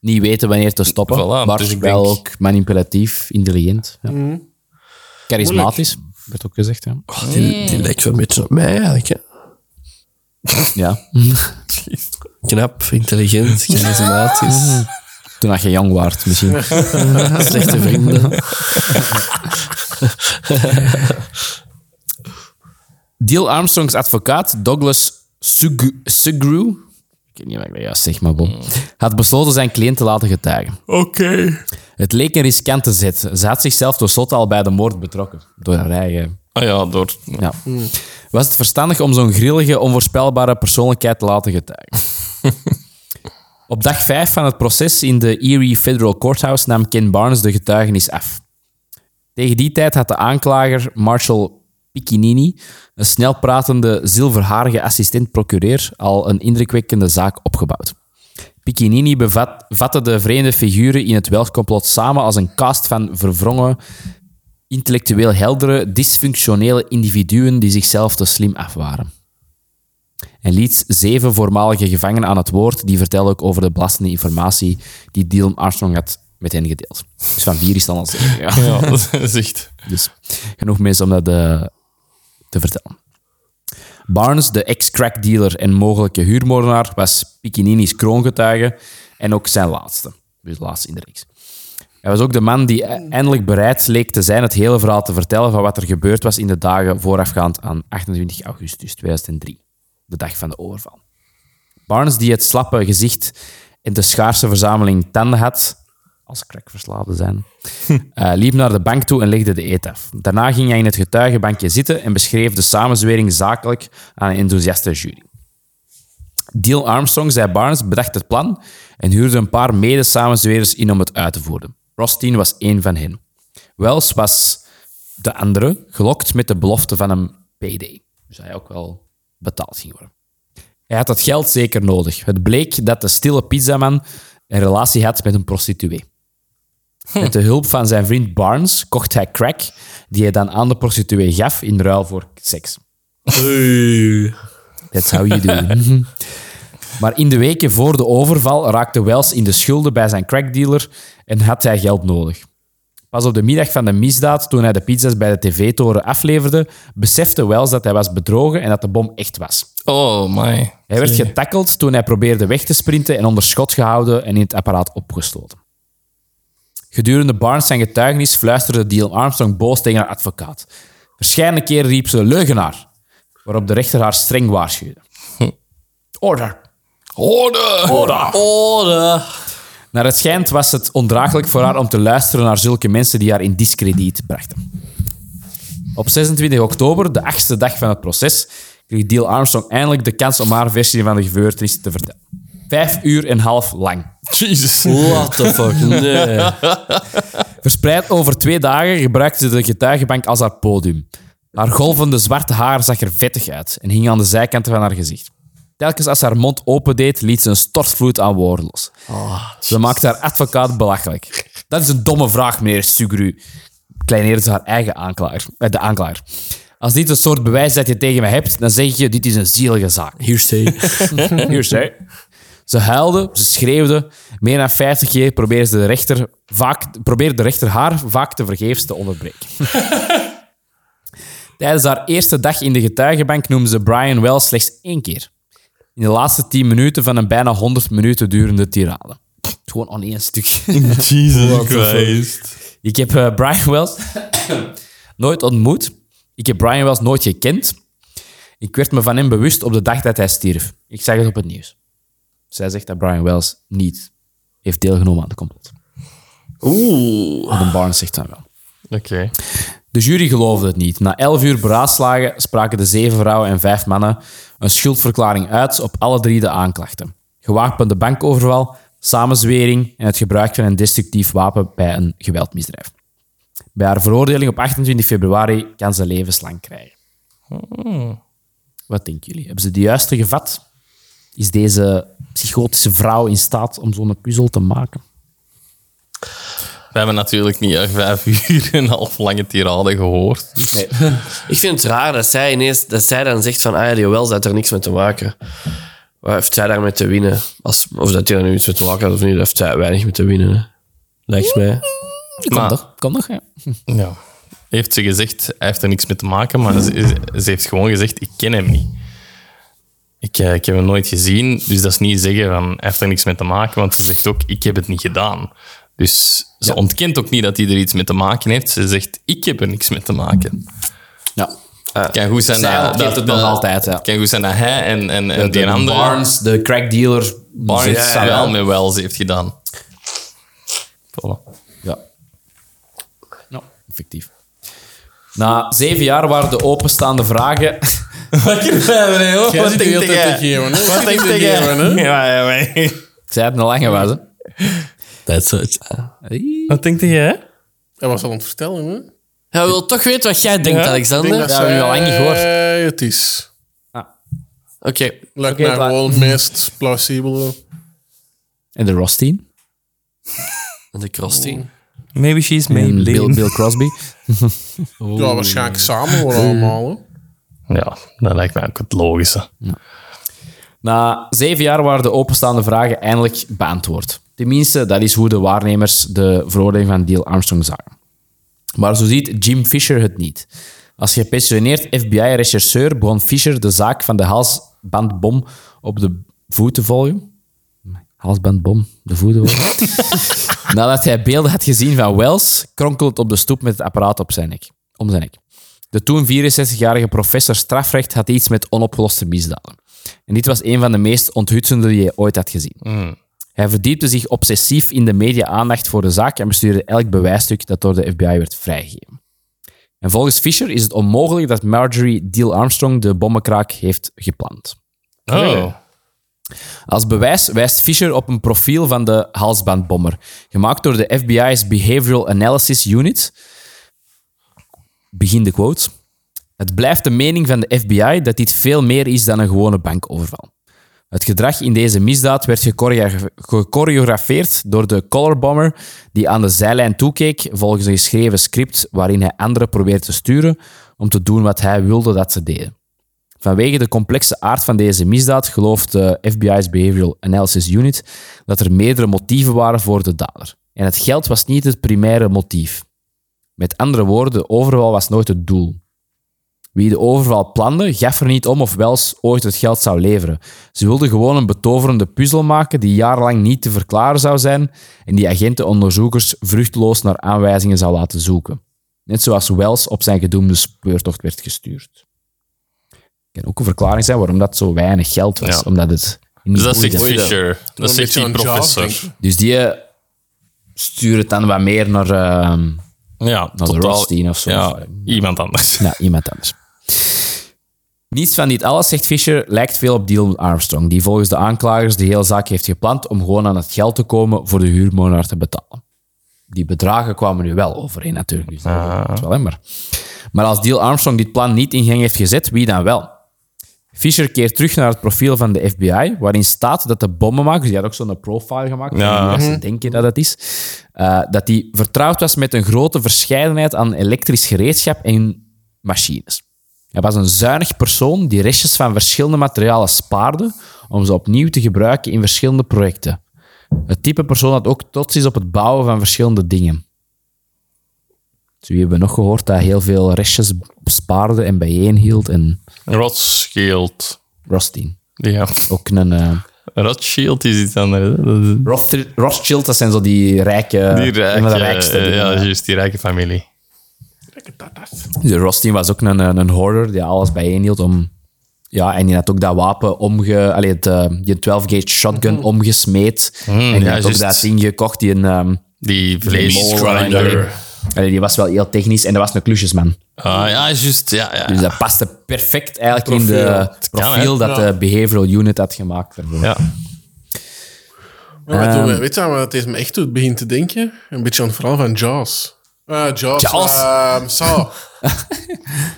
Niet weten wanneer te stoppen,
Voilà,
maar
dus ik
wel
denk-
ook manipulatief, intelligent. Ja. Charismatisch, Mm. werd ook gezegd. Ja.
Die, die lijkt wel een beetje op mij eigenlijk. hè.
ja.
Knap, intelligent, charismatisch,
Toen dat je jong was, misschien.
slechte vrienden.
Deal Armstrongs advocaat Douglas Sug- Sugru, ik weet niet wat ik dat juist zeg, maar bon, had besloten zijn cliënt te laten getuigen. Oké. Het leek een riskante zet. Ze had zichzelf tenslotte al bij de moord betrokken. Door haar eigen...
Ah ja, door...
Ja. Was het verstandig om zo'n grillige, onvoorspelbare persoonlijkheid te laten getuigen? Op dag 5 van het proces in de Erie Federal Courthouse nam Ken Barnes de getuigenis af. Tegen die tijd had de aanklager Marshall Piccinini, een snelpratende, zilverharige assistent-procureur, al een indrukwekkende zaak opgebouwd. Piccinini bevat, vatte de vreemde figuren in het Welsh-complot samen als een cast van verwrongen, intellectueel heldere, dysfunctionele individuen die zichzelf te slim af waren. En liet zeven voormalige gevangenen aan het woord, die vertelden ook over de belastende informatie die Dylan Armstrong had met hen gedeeld. Dus van vier is dan al zeven. Ja.
Ja, dat is echt...
Dus genoeg mensen om dat eh, te vertellen. Barnes, de ex-crack dealer en mogelijke huurmoordenaar, was Piccinini's kroongetuige en ook zijn laatste. Dus laatste in de reeks. Hij was ook de man die e- eindelijk bereid leek te zijn het hele verhaal te vertellen van wat er gebeurd was in de dagen voorafgaand aan 28 augustus 2003, de dag van de overval. Barnes, die het slappe gezicht en de schaarse verzameling tanden had, als crackverslaafde zijn, eh, liep naar de bank toe en legde de eet af. Daarna ging hij in het getuigenbankje zitten en beschreef de samenzwering zakelijk aan een enthousiaste jury. Deal Armstrong, zei Barnes, bedacht het plan en huurde een paar mede-samenzwerers in om het uit te voeren. Rostin was één van hen. Wells was de andere, gelokt met de belofte van een payday. Dus hij ook wel betaald ging worden. Hij had dat geld zeker nodig. Het bleek dat de stille pizzaman een relatie had met een prostituee. Met de hulp van zijn vriend Barnes kocht hij crack, die hij dan aan de prostituee gaf in ruil voor seks. That's how you do. it. maar in de weken voor de overval raakte Wells in de schulden bij zijn crackdealer en had hij geld nodig. Pas op de middag van de misdaad, toen hij de pizza's bij de tv-toren afleverde, besefte Wells dat hij was bedrogen en dat de bom echt was.
Oh, my.
Hij werd getackeld toen hij probeerde weg te sprinten en onder schot gehouden en in het apparaat opgesloten. Gedurende Barnes zijn getuigenis fluisterde Dylan Armstrong boos tegen haar advocaat. Verscheidene keer riep ze leugenaar, waarop de rechter haar streng waarschuwde. Order.
Orde! oh,
Orde.
Naar het schijnt was het ondraaglijk voor haar om te luisteren naar zulke mensen die haar in discrediet brachten. Op 26 oktober, de achtste dag van het proces, kreeg Deal Armstrong eindelijk de kans om haar versie van de gebeurtenissen te vertellen. Vijf uur en half lang.
Jesus.
What the fuck? Nee.
Verspreid over twee dagen gebruikte ze de getuigenbank als haar podium. Haar golvende zwarte haar zag er vettig uit en hing aan de zijkanten van haar gezicht. Telkens als ze haar mond opendeed, liet ze een stortvloed aan woorden los. ze maakte haar advocaat belachelijk. Dat is een domme vraag, meneer Sugru. Kleineerde ze haar eigen aanklager, eh, de aanklager. Als dit een soort bewijs is dat je tegen me hebt, dan zeg je, dit is een zielige zaak.
Hier stay.
Hier, zij. Ze huilde, ze schreeuwde. Meer dan 50 keer probeerde de rechter, vaak, probeerde de rechter haar vaak te vergeefs te onderbreken. Tijdens haar eerste dag in de getuigenbank noemde ze Brian Wells slechts één keer. In de laatste 10 minuten van een bijna 100 minuten durende tirade. Gewoon aan één stuk.
Jesus Christ.
Ik heb eh, Brian Wells nooit ontmoet. Ik heb Brian Wells nooit gekend. Ik werd me van hem bewust op de dag dat hij stierf. Ik zag het op het nieuws. Zij zegt dat Brian Wells niet heeft deelgenomen aan het complot. Oeh. En Barnes zegt dan wel.
Oké.
De jury geloofde het niet. Na elf uur beraadslagen spraken de zeven vrouwen en vijf mannen een schuldverklaring uit op alle drie de aanklachten. Gewapende bankoverval, samenzwering en het gebruik van een destructief wapen bij een geweldmisdrijf. Bij haar veroordeling op 28 februari kan ze levenslang krijgen. Wat denken jullie? Hebben ze de juiste gevat? Is deze psychotische vrouw in staat om zo'n puzzel te maken?
We hebben natuurlijk niet echt vijf uur en een half lange tirade gehoord. Dus
Ik vind het raar dat zij ineens dat zij dan zegt van ah ja, die Wells had er niks mee te maken. Wat heeft zij daarmee te winnen? Als, of dat hij er nu iets mee te maken had of niet, daar heeft zij weinig mee te winnen. hè. Lijkt mij.
Kom
Maar-
nog, kom nog. Ja.
Ja. Heeft ze gezegd, hij heeft er niks mee te maken, maar ze, ze heeft gewoon gezegd, ik ken hem niet. Ik, eh, ik heb hem nooit gezien, dus dat is niet zeggen van, hij heeft er niks mee te maken, want ze zegt ook, ik heb het niet gedaan. Dus ze ontkent ook niet dat hij er iets mee te maken heeft. Ze zegt, ik heb er niks mee te maken.
Ja.
Het kan goed zijn
Zij
dat,
ontgeeft
dat,
het nog
dat-
altijd, ja.
Het kan goed zijn dat hij en, en, en
De,
die andere...
Barnes, de crackdealer,
Barnes
zit
ja,
samen.
wel met Wells heeft gedaan. Voilà.
Ja. Nou, effectief. Na zeven jaar waren de openstaande vragen.
Jij zit de hele tijd te geven, hè? Zit hier te geven, hè?
Ja, ja,
Ik zei het een lange was, hè.
That's it.
Wat denk jij?
Hij was al aan het vertellen, hè? Ik
Hij wil toch weten wat jij denkt,
Ja.
Alexander.
dat
hebben we al lang niet gehoord.
zij Het is.
Oké,
Lijkt
Oké,
mij
klaar.
gewoon het meest plausibele.
En de Rosteen.
de Krosty.
Maybe she's
En Bill,
Maybelline.
Bill Crosby.
Ja, waarschijnlijk samen wel allemaal. hè.
Ja, dat lijkt mij ook het logische.
Na zeven jaar waren de openstaande vragen eindelijk beantwoord. Tenminste, dat is hoe de waarnemers de veroordeling van Neil Armstrong zagen. Maar zo ziet Jim Fisher het niet. Als gepensioneerd FBI-rechercheur begon Fisher de zaak van de halsbandbom op de voet te volgen. Halsbandbom, de voeten. hoor. Nadat hij beelden had gezien van Wells, kronkelend op de stoep met het apparaat op zijn nek, om zijn nek. De toen 64-jarige professor strafrecht had iets met onopgeloste misdaden. En dit was een van de meest onthutsende die hij ooit had gezien. Hij verdiepte zich obsessief in de media-aandacht voor de zaak en bestuurde elk bewijsstuk dat door de FBI werd vrijgegeven. En volgens Fisher is het onmogelijk dat Marjorie Deal Armstrong de bommenkraak heeft gepland.
Oh.
Als bewijs wijst Fisher op een profiel van de halsbandbommer, gemaakt door de FBI's Behavioral Analysis Unit. Begin de quote. Het blijft de mening van de FBI dat dit veel meer is dan een gewone bankoverval. Het gedrag in deze misdaad werd gechorea- gechoreografeerd door de colorbomber die aan de zijlijn toekeek volgens een geschreven script waarin hij anderen probeerde te sturen om te doen wat hij wilde dat ze deden. Vanwege de complexe aard van deze misdaad gelooft eh, de FBI's Behavioral Analysis Unit dat er meerdere motieven waren voor de dader. En het geld was niet het primaire motief. Met andere woorden, de overval was nooit het doel. Wie de overval plande, gaf er niet om of Wells ooit het geld zou leveren. Ze wilden gewoon een betoverende puzzel maken die jarenlang niet te verklaren zou zijn en die agenten onderzoekers vruchteloos naar aanwijzingen zou laten zoeken. Net zoals Wells op zijn gedoemde speurtocht werd gestuurd. kan ook een verklaring zijn waarom dat zo weinig geld was.
Ja.
Omdat het niet
Dus dat
boeide.
zegt Fisher.
Wel
Dat
een
zegt
beetje
die
aan Jaws
professor.
denken.
Dus die eh, stuurt het dan wat meer naar, ehm,
Ja,
naar de
totaal.
Rothstein of zo.
Ja, iemand anders.
Ja, iemand anders. Niets van dit alles, zegt Fisher, lijkt veel op Dylan Armstrong, die volgens de aanklagers de hele zaak heeft gepland om gewoon aan het geld te komen voor de huurmoordenaar te betalen. Die bedragen kwamen nu wel overeen natuurlijk. Dus dat is wel jammer. Maar als Deal Armstrong dit plan niet in gang heeft gezet, wie dan wel? Fisher keert terug naar het profiel van de FBI, waarin staat dat de bommenmaker, die had ook zo'n profile gemaakt,
Ja.
van wie ze denken dat het is, eh, dat hij vertrouwd was met een grote verscheidenheid aan elektrisch gereedschap en machines. Hij was een zuinig persoon die restjes van verschillende materialen spaarde om ze opnieuw te gebruiken in verschillende projecten. Het type persoon dat ook trots is op het bouwen van verschillende dingen. Dus wie hebben we nog gehoord dat hij heel veel restjes spaarde en bijeenhield en
Rothschild.
Rothstein.
Ja,
Ook een... eh,
Rothschild is iets anders. hè. Dat is
Rothschild, Rothschild, dat zijn zo die rijke...
die
een van
rijke,
de rijkste.
eh,
dingen.
ja, juist die rijke familie.
De Rothstein was ook een, een, een hoarder die alles bijeenhield om... Ja, en die had ook dat wapen omge... Allee, het, eh, die 12-gauge shotgun omgesmeed. en die
Mm, ja,
had ook
juist.
dat ding gekocht, die een... ehm,
Die
mole
vleesgrinder.
grinder. Allee, die was wel heel technisch en dat was een klusjesman.
Ah, ja, juist. Ja, ja.
Dus dat paste perfect eigenlijk in
Profiel.
de
kan,
profiel
hè?
dat de behavioral unit had gemaakt. daarvoor.
ja.
Maar wat doen we? Weet je wat het is me echt doet? Begin te denken. Een beetje aan het verhaal van Jaws. Ah, Jaws.
Jaws.
ehm, zo. dat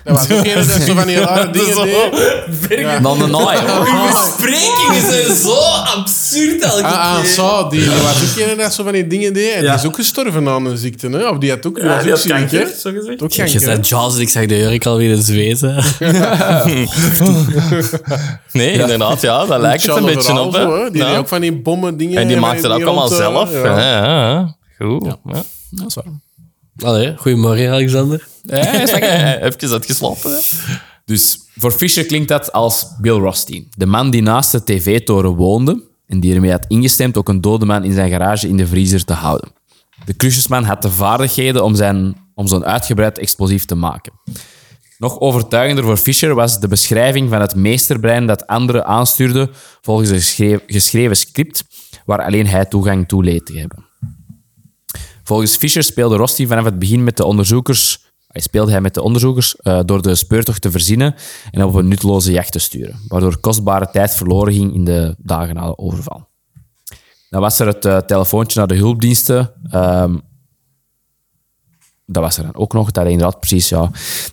was ook een dat zo van die rare dingen deed.
Dan de naai, hoor.
Besprekingen zijn zo absurd elke
Ah, ah,
keer.
zo. Die dat was ook een dat zo van die dingen deed. En die is ook gestorven aan een ziekte. Hè? Of die had ook, die was ook ziek, hè? Die had ook
Je
kanker.
zei Jaws en ik zag de jurk alweer in zweten.
Nee, inderdaad, ja, daar lijkt het een
Charles
beetje
Overal
op.
zo,
hè.
hè. Die deed
Ja.
ook van die bommen dingen.
En die
van
maakt het ook
dingen
allemaal
rond, eh,
zelf.
ja.
Ja. Ja, ja. Goed. Ja.
Dat is waar.
Allee, goedemorgen Alexander.
Even uitgeslapen. hè.
Dus voor Fisher klinkt dat als Bill Rothstein. De man die naast de tv-toren woonde en die ermee had ingestemd ook een dode man in zijn garage in de vriezer te houden. De klusjesman had de vaardigheden om, zijn- om zo'n uitgebreid explosief te maken. Nog overtuigender voor Fisher was de beschrijving van het meesterbrein dat anderen aanstuurde volgens een geschreven, geschreven script waar alleen hij toegang toe leed te hebben. Volgens Fischer speelde Rosti vanaf het begin met de onderzoekers. Hij speelde hij met de onderzoekers eh, door de speurtocht te verzinnen en op een nutteloze jacht te sturen, waardoor kostbare tijd verloren ging in de dagen na de overval. Dan was er het eh, telefoontje naar de hulpdiensten. Ehm, dat was er dan ook nog. Dat hij inderdaad precies, ja,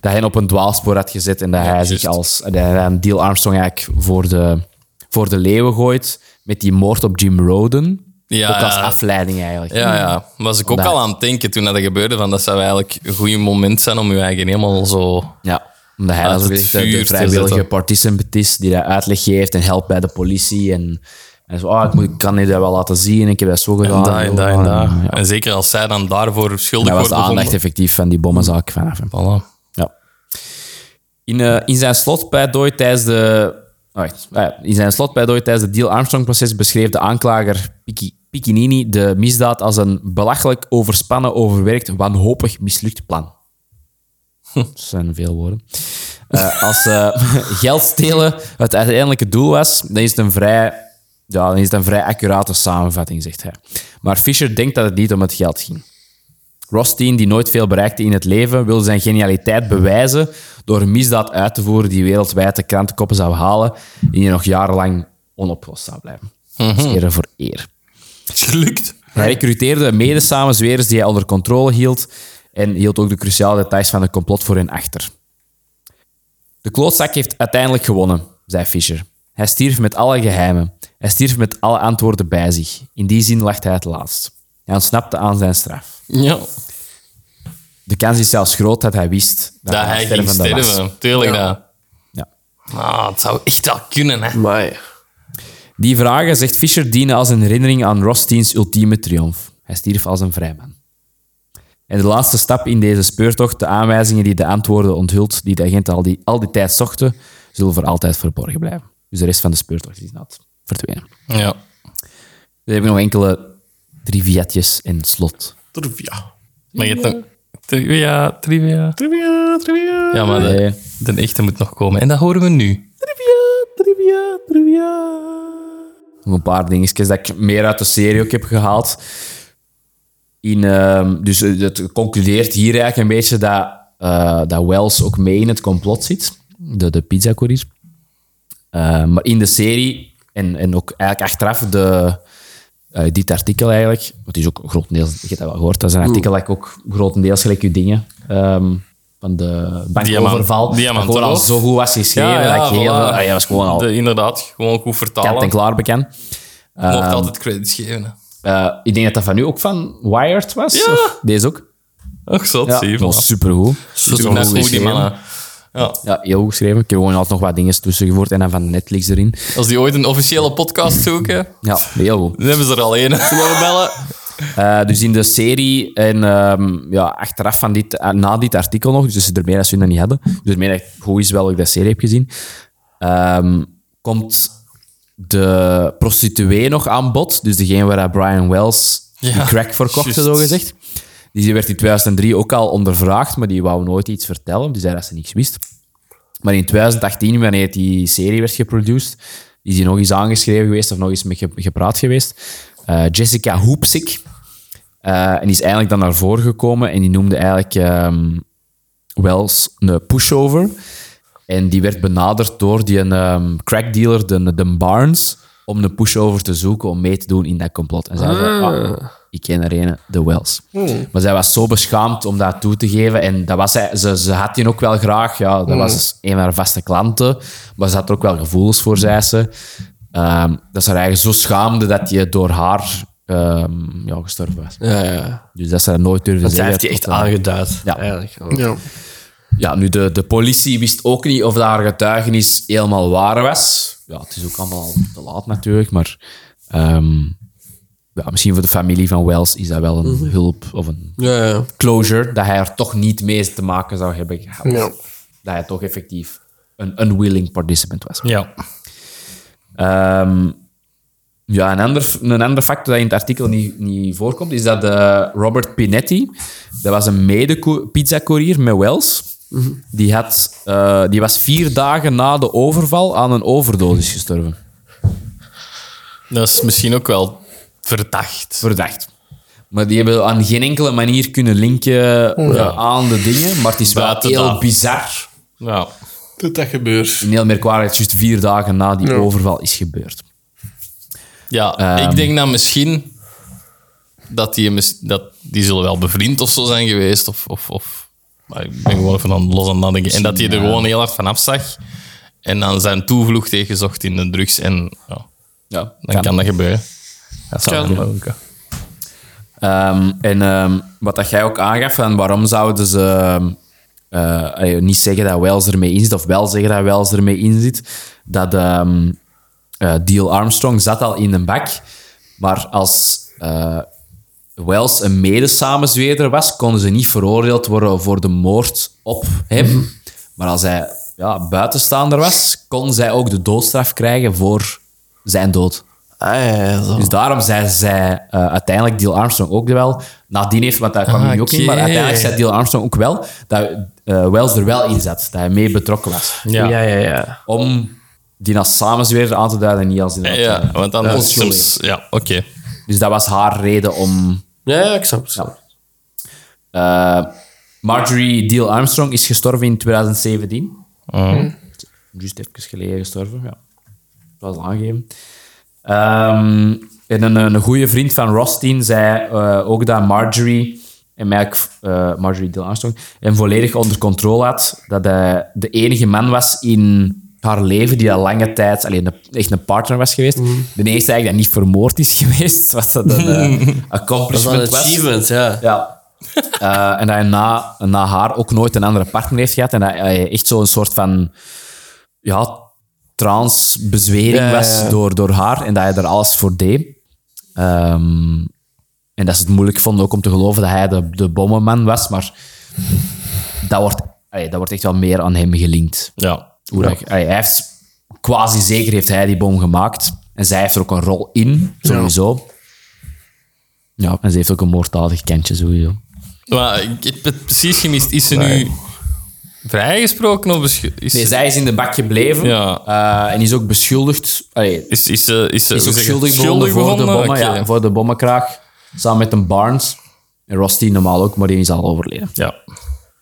dat hij hem op een dwaalspoor had gezet en dat hij zich als dat hij dan Deal Armstrong eigenlijk voor de, voor de leeuwen gooit met die moord op Jim Roden.
Ja,
ook als
ja.
afleiding eigenlijk.
Ja, ja. Was ik ook
Vandaar.
al aan het denken toen dat gebeurde, van dat zou eigenlijk een goed moment zijn om je eigen helemaal zo...
Ja, omdat hij
Uit
dan zo
het
gezegd de,
vuur
de
te
vrijwillige
zetten.
participant is die daar uitleg geeft en helpt bij de politie. En, en zo, ah, ik, moet, ik kan dit wel laten zien, ik heb dat zo gedaan.
En daar, en daar, en daar.
Ja.
En zeker als zij dan daarvoor schuldig
Dat
wordt
was de aandacht
bevonden.
effectief van die bommenzaak vanaf hem.
Voilà.
Ja. In, eh, in zijn slotpleidooi tijdens de... oh, wacht. Ah ja, in zijn slotpleidooi tijdens het Deal Armstrong-proces beschreef de aanklager Picchi- Piccinini de misdaad als een belachelijk overspannen, overwerkt, wanhopig mislukt plan. Dat zijn veel woorden. Eh, als eh, geld stelen het uiteindelijke doel was, dan is het een vrij, ja, dan is het een vrij accurate samenvatting, zegt hij. Maar Fisher denkt dat het niet om het geld ging. Rothstein, die nooit veel bereikte in het leven, wil zijn genialiteit bewijzen door een misdaad uit te voeren die wereldwijd de krantenkoppen zou halen en die nog jarenlang onopgelost zou blijven. Dus Eer voor eer.
Is gelukt.
Hij recruteerde mede-samenzwerers die hij onder controle hield en hield ook de cruciale details van het complot voor hen achter. De klootzak heeft uiteindelijk gewonnen, zei Fisher. Hij stierf met alle geheimen. Hij stierf met alle antwoorden bij zich. In die zin lacht hij het laatst. Hij ontsnapte aan zijn straf.
Ja.
De kans is zelfs groot dat hij wist dat,
Dat hij ging
stervende was.
sterven. Tuurlijk dat.
Ja.
Ah, het zou echt wel kunnen, hè.
Maar
Die vragen, zegt Fischer, dienen als een herinnering aan Rothsteins ultieme triomf. Hij stierf als een vrijman. En de laatste stap in deze speurtocht, de aanwijzingen die de antwoorden onthult, die de agenten al die, al die tijd zochten, zullen voor altijd verborgen blijven. Dus de rest van de speurtocht is nat verdwenen.
Ja.
We hebben nog enkele triviatjes en slot.
Trivia.
Maar je hebt nog... Trivia, trivia.
Trivia, trivia.
Ja, maar
Eh,
de, de echte moet nog komen. En dat horen we nu.
Trivia, trivia.
Nog een paar dingetjes dat ik meer uit de serie ook heb gehaald. In, ehm, dus eh, het concludeert hier eigenlijk een beetje dat, eh, dat Wells ook mee in het complot zit. De, de pizzacourier. Eh, maar in de serie, en, en ook eigenlijk achteraf, de, eh, dit artikel eigenlijk... want Het is ook grotendeels... Je hebt dat wel gehoord. Dat is een artikel dat ik ook grotendeels gelijk je dingen... ehm, van de bankoverval.
Diamant-
dat gewoon al
Diamantenhoofd.
zo goed was geschreven. dat ik heel,
voilà.
ah, ja, dat was gewoon al
De- inderdaad, gewoon goed
kant en
vertalen.
klaar bekend.
Mocht
Ehm.
altijd credits geven. hè.
Eh, ik denk dat dat van u ook van Wired was.
Ja.
Of deze ook.
Och, zot, zie je.
dat was supergoed.
Zo
Supergoed
goed, die
geschreven.
mannen. Ja.
Ja, heel goed geschreven. Ik heb gewoon altijd nog wat dingen tussengevoerd en dan van Netflix erin.
Als die ooit een officiële podcast zoeken,
Ja, heel goed.
dan hebben ze er al één. Zullen we bellen?
Eh, dus in de serie en ehm, ja, achteraf van dit, eh, na dit artikel nog, dus ermee dat ze hun dat niet hadden, dus ermee dat ik goed is wel dat ik dat serie heb gezien, ehm, komt de prostituee nog aan bod. Dus degene waar dat Brian Wells die
Ja,
crack verkocht,
juist.
zo gezegd. Die werd in 2003 ook al ondervraagd, maar die wou nooit iets vertellen. Die zei dat ze niks wist. Maar in 2018, wanneer die serie werd geproduced, is die nog eens aangeschreven geweest of nog eens mee ge- gepraat geweest. Eh, Jessica Hoepsik. Eh, en die is eigenlijk dan naar voren gekomen en die noemde eigenlijk ehm, Wells een pushover. En die werd benaderd door die ehm, crackdealer, de, de Barnes, om een pushover te zoeken om mee te doen in dat complot. En zij zei, "Ah, ik ken er een, de Wells.
Hmm.
Maar zij was zo beschaamd om dat toe te geven. En dat was zij, ze, ze had die ook wel graag. Ja,
Hmm.
dat was een van haar vaste klanten. Maar ze had er ook wel gevoelens voor, zei ze. Ehm, dat ze haar eigen zo schaamde dat je door haar ehm, ja, gestorven was.
ja, ja.
Dus dat ze dat nooit durfde
Zij
zeggen.
heeft die echt
tot aan-
aangeduid.
Ja.
Eigenlijk.
Ja.
ja, nu de, de politie wist ook niet of dat haar getuigenis helemaal waar was. Ja, het is ook allemaal al te laat natuurlijk, maar ehm, ja, misschien voor de familie van Wells is dat wel een hulp of een
Ja, ja.
closure dat hij er toch niet mee te maken zou hebben gehad.
Ja.
Dat hij toch effectief een unwilling participant was.
Ja.
Ehm, ja, een ander, een ander factor dat in het artikel niet, niet voorkomt, is dat eh, Robert Pinetti, dat was een mede-pizzacourier met Wells, die, had, eh, die was vier dagen na de overval aan een overdosis gestorven.
Dat is misschien ook wel verdacht.
Verdacht. Maar die hebben aan geen enkele manier kunnen linken eh, aan de dingen, maar het is wel
Buiten
heel
dat.
bizar.
Ja.
Dat dat gebeurt.
En heel merkwaardig dat het juist vier dagen na die overval is gebeurd.
Ja, ik denk dat misschien dat die, mis- dat die zullen wel bevriend of zo zijn geweest. Of, of, of, maar ik ben gewoon even aan het los aan het nadenken. En dat hij er gewoon heel hard van afzag. En dan zijn toevlucht heeft gezocht in de drugs. En ja,
Ja,
dan kan. dat gebeuren. Dat zou wel lukken.
Ehm, en ehm, wat dat jij ook aangaf, van waarom zouden ze ehm, eh, eh, niet zeggen dat Wells ermee inzit, of wel zeggen dat Wells ermee inzit, dat ehm eh, Deal Armstrong zat al in een bak, maar als eh, Wells een medesamenzweerder was, konden ze niet veroordeeld worden voor de moord op hem. Maar als hij ja, buitenstaander was, kon zij ook de doodstraf krijgen voor zijn dood.
Ah, ja, ja, zo.
Dus daarom zei zij eh, uiteindelijk Deal Armstrong ook wel. Nadien heeft, want daar kwam hij nu ook in, maar
Ah, oké.
uiteindelijk zei Deal Armstrong ook wel dat eh, Wells er wel in zat, dat hij mee betrokken was.
Ja.
ja, ja, ja.
Om die als samenzweerder aan te duiden en niet als inderdaad.
Ja,
eh,
want dan
eh,
is
onschuldig.
soms... Ja, oké.
Dus dat was haar reden om...
Ja, ja, ik snap het.
eh, Marjorie Deal Armstrong is gestorven in 2017.
Ehm, Hm.
Just even geleden gestorven, ja. Dat was aangegeven. Ehm, en een, een goede vriend van Rostin zei eh, ook dat Marjorie, en mij ook, eh, Marjorie Dill Armstrong, hem volledig onder controle had. Dat hij de enige man was in haar leven die al lange tijd alleen een, echt een partner was geweest.
Mhm.
De eerste eigenlijk dat niet vermoord is geweest, wat dat een eh,
Dat is wel
accomplishment
een
was.
achievement, ja.
Ja. Eh, en dat hij na, na haar ook nooit een andere partner heeft gehad. En dat hij echt zo'n soort van ja, transbezwering was door, door haar. En dat hij er alles voor deed. Ehm, en dat ze het moeilijk vonden ook om te geloven dat hij de, de bommenman was. Maar dat wordt, allee, dat wordt echt wel meer aan hem gelinkt.
Ja.
Hoe dat- allee, hij heeft, quasi zeker heeft hij die bom gemaakt. En zij heeft er ook een rol in, sowieso. Ja, en ze heeft ook een moorddadig kentje, sowieso.
Maar ik heb het precies gemist. Is ze nu vrijgesproken of besch- is
Nee,
ze-
zij is in de bak gebleven
Ja.
eh, en is ook beschuldigd. Allee,
Is, is, ze- is, ze-
is
hoe
ook
zeg je het?
schuldig bevonden voor, de bommen,
Oké.
ja, voor de bommenkraag. Samen met een Barnes. En Rusty normaal ook, maar die is al overleden.
Ja.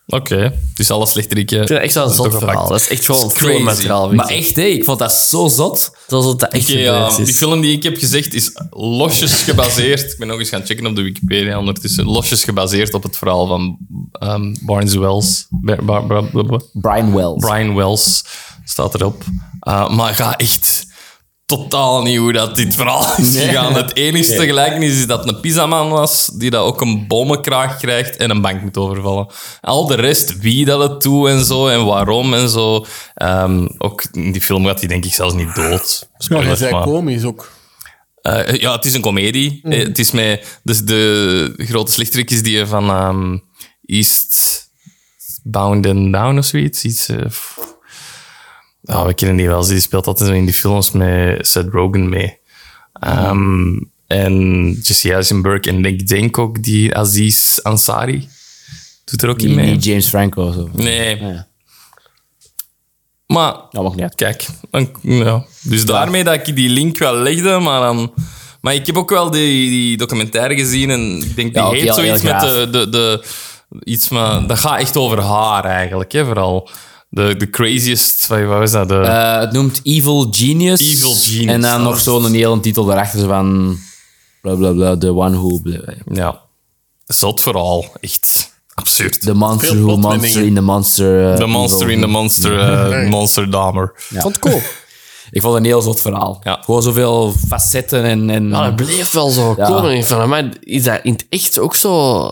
Oké, het is alles slechterikje.
Ik vind dat echt wel een zot
Toch
verhaal.
gepakt.
Dat is echt gewoon
It's crazy.
filmmateriaal.
Maar echt, hé, ik vond dat zo zot.
Dat is wat dat echt
Oké, ja,
gebeurd
die
is.
film die ik heb gezegd is losjes gebaseerd. ik ben nog eens gaan checken op de Wikipedia ondertussen. Losjes gebaseerd op het verhaal van ehm, Barnes Wells. Ba- ba- ba- ba- ba-
Brian Wells.
Brian Wells staat erop. Eh, maar ga echt totaal niet hoe dat dit verhaal is gegaan. Het enige gelijkenis is dat het een pizzaman was die dat ook een bommenkraag krijgt en een bank moet overvallen. Al de rest, wie dat het doet en zo en waarom en zo. Ehm, ook in die film gaat hij denk ik zelfs niet dood.
Ja, hij
Spoilers,
zei
maar-
komisch ook.
eh, ja, het is een komedie. Eh, het is met dus de grote slechterik is die van ehm, East Bound and Down of zoiets. Iets, eh, f- Ah, we kennen die wel. Die speelt altijd zo in die films met Seth Rogen mee. Ehm, En Jesse Eisenberg en ik denk ook die Aziz Ansari. Doet er ook in
Niet-
mee.
Niet James Franco of zo.
Nee.
Ja.
Maar
Dat mag niet uit.
Kijk, dan, ja. dus daarmee dat ik die link wel legde, maar dan... Maar ik heb ook wel die, die documentaire gezien en ik denk, die
Ja, ook
heet
heel-
zoiets
heel
met
gaaf.
de, de, de... Iets, maar dat gaat echt over haar eigenlijk, hè, vooral. De, de craziest... Wat wat was dat? De,
Eh, het noemt Evil Genius.
Evil Genius.
En dan nog zo'n hele titel daarachter zo van... Bla bla bla, The One Who... bla, bla.
ja. Zot verhaal. Echt absurd.
The
De
Monster
Veel
Who
plotwendingen.
Monster in the Monster... eh,
monster
evil.
in de monster... eh, monster damer.
Ja. Vond cool. ik vond het een heel zot verhaal.
Ja.
Gewoon zoveel facetten en... en
Maar Ah, dat bleef wel zo
Ja.
komen. Ik van, maar is dat in het echt ook zo...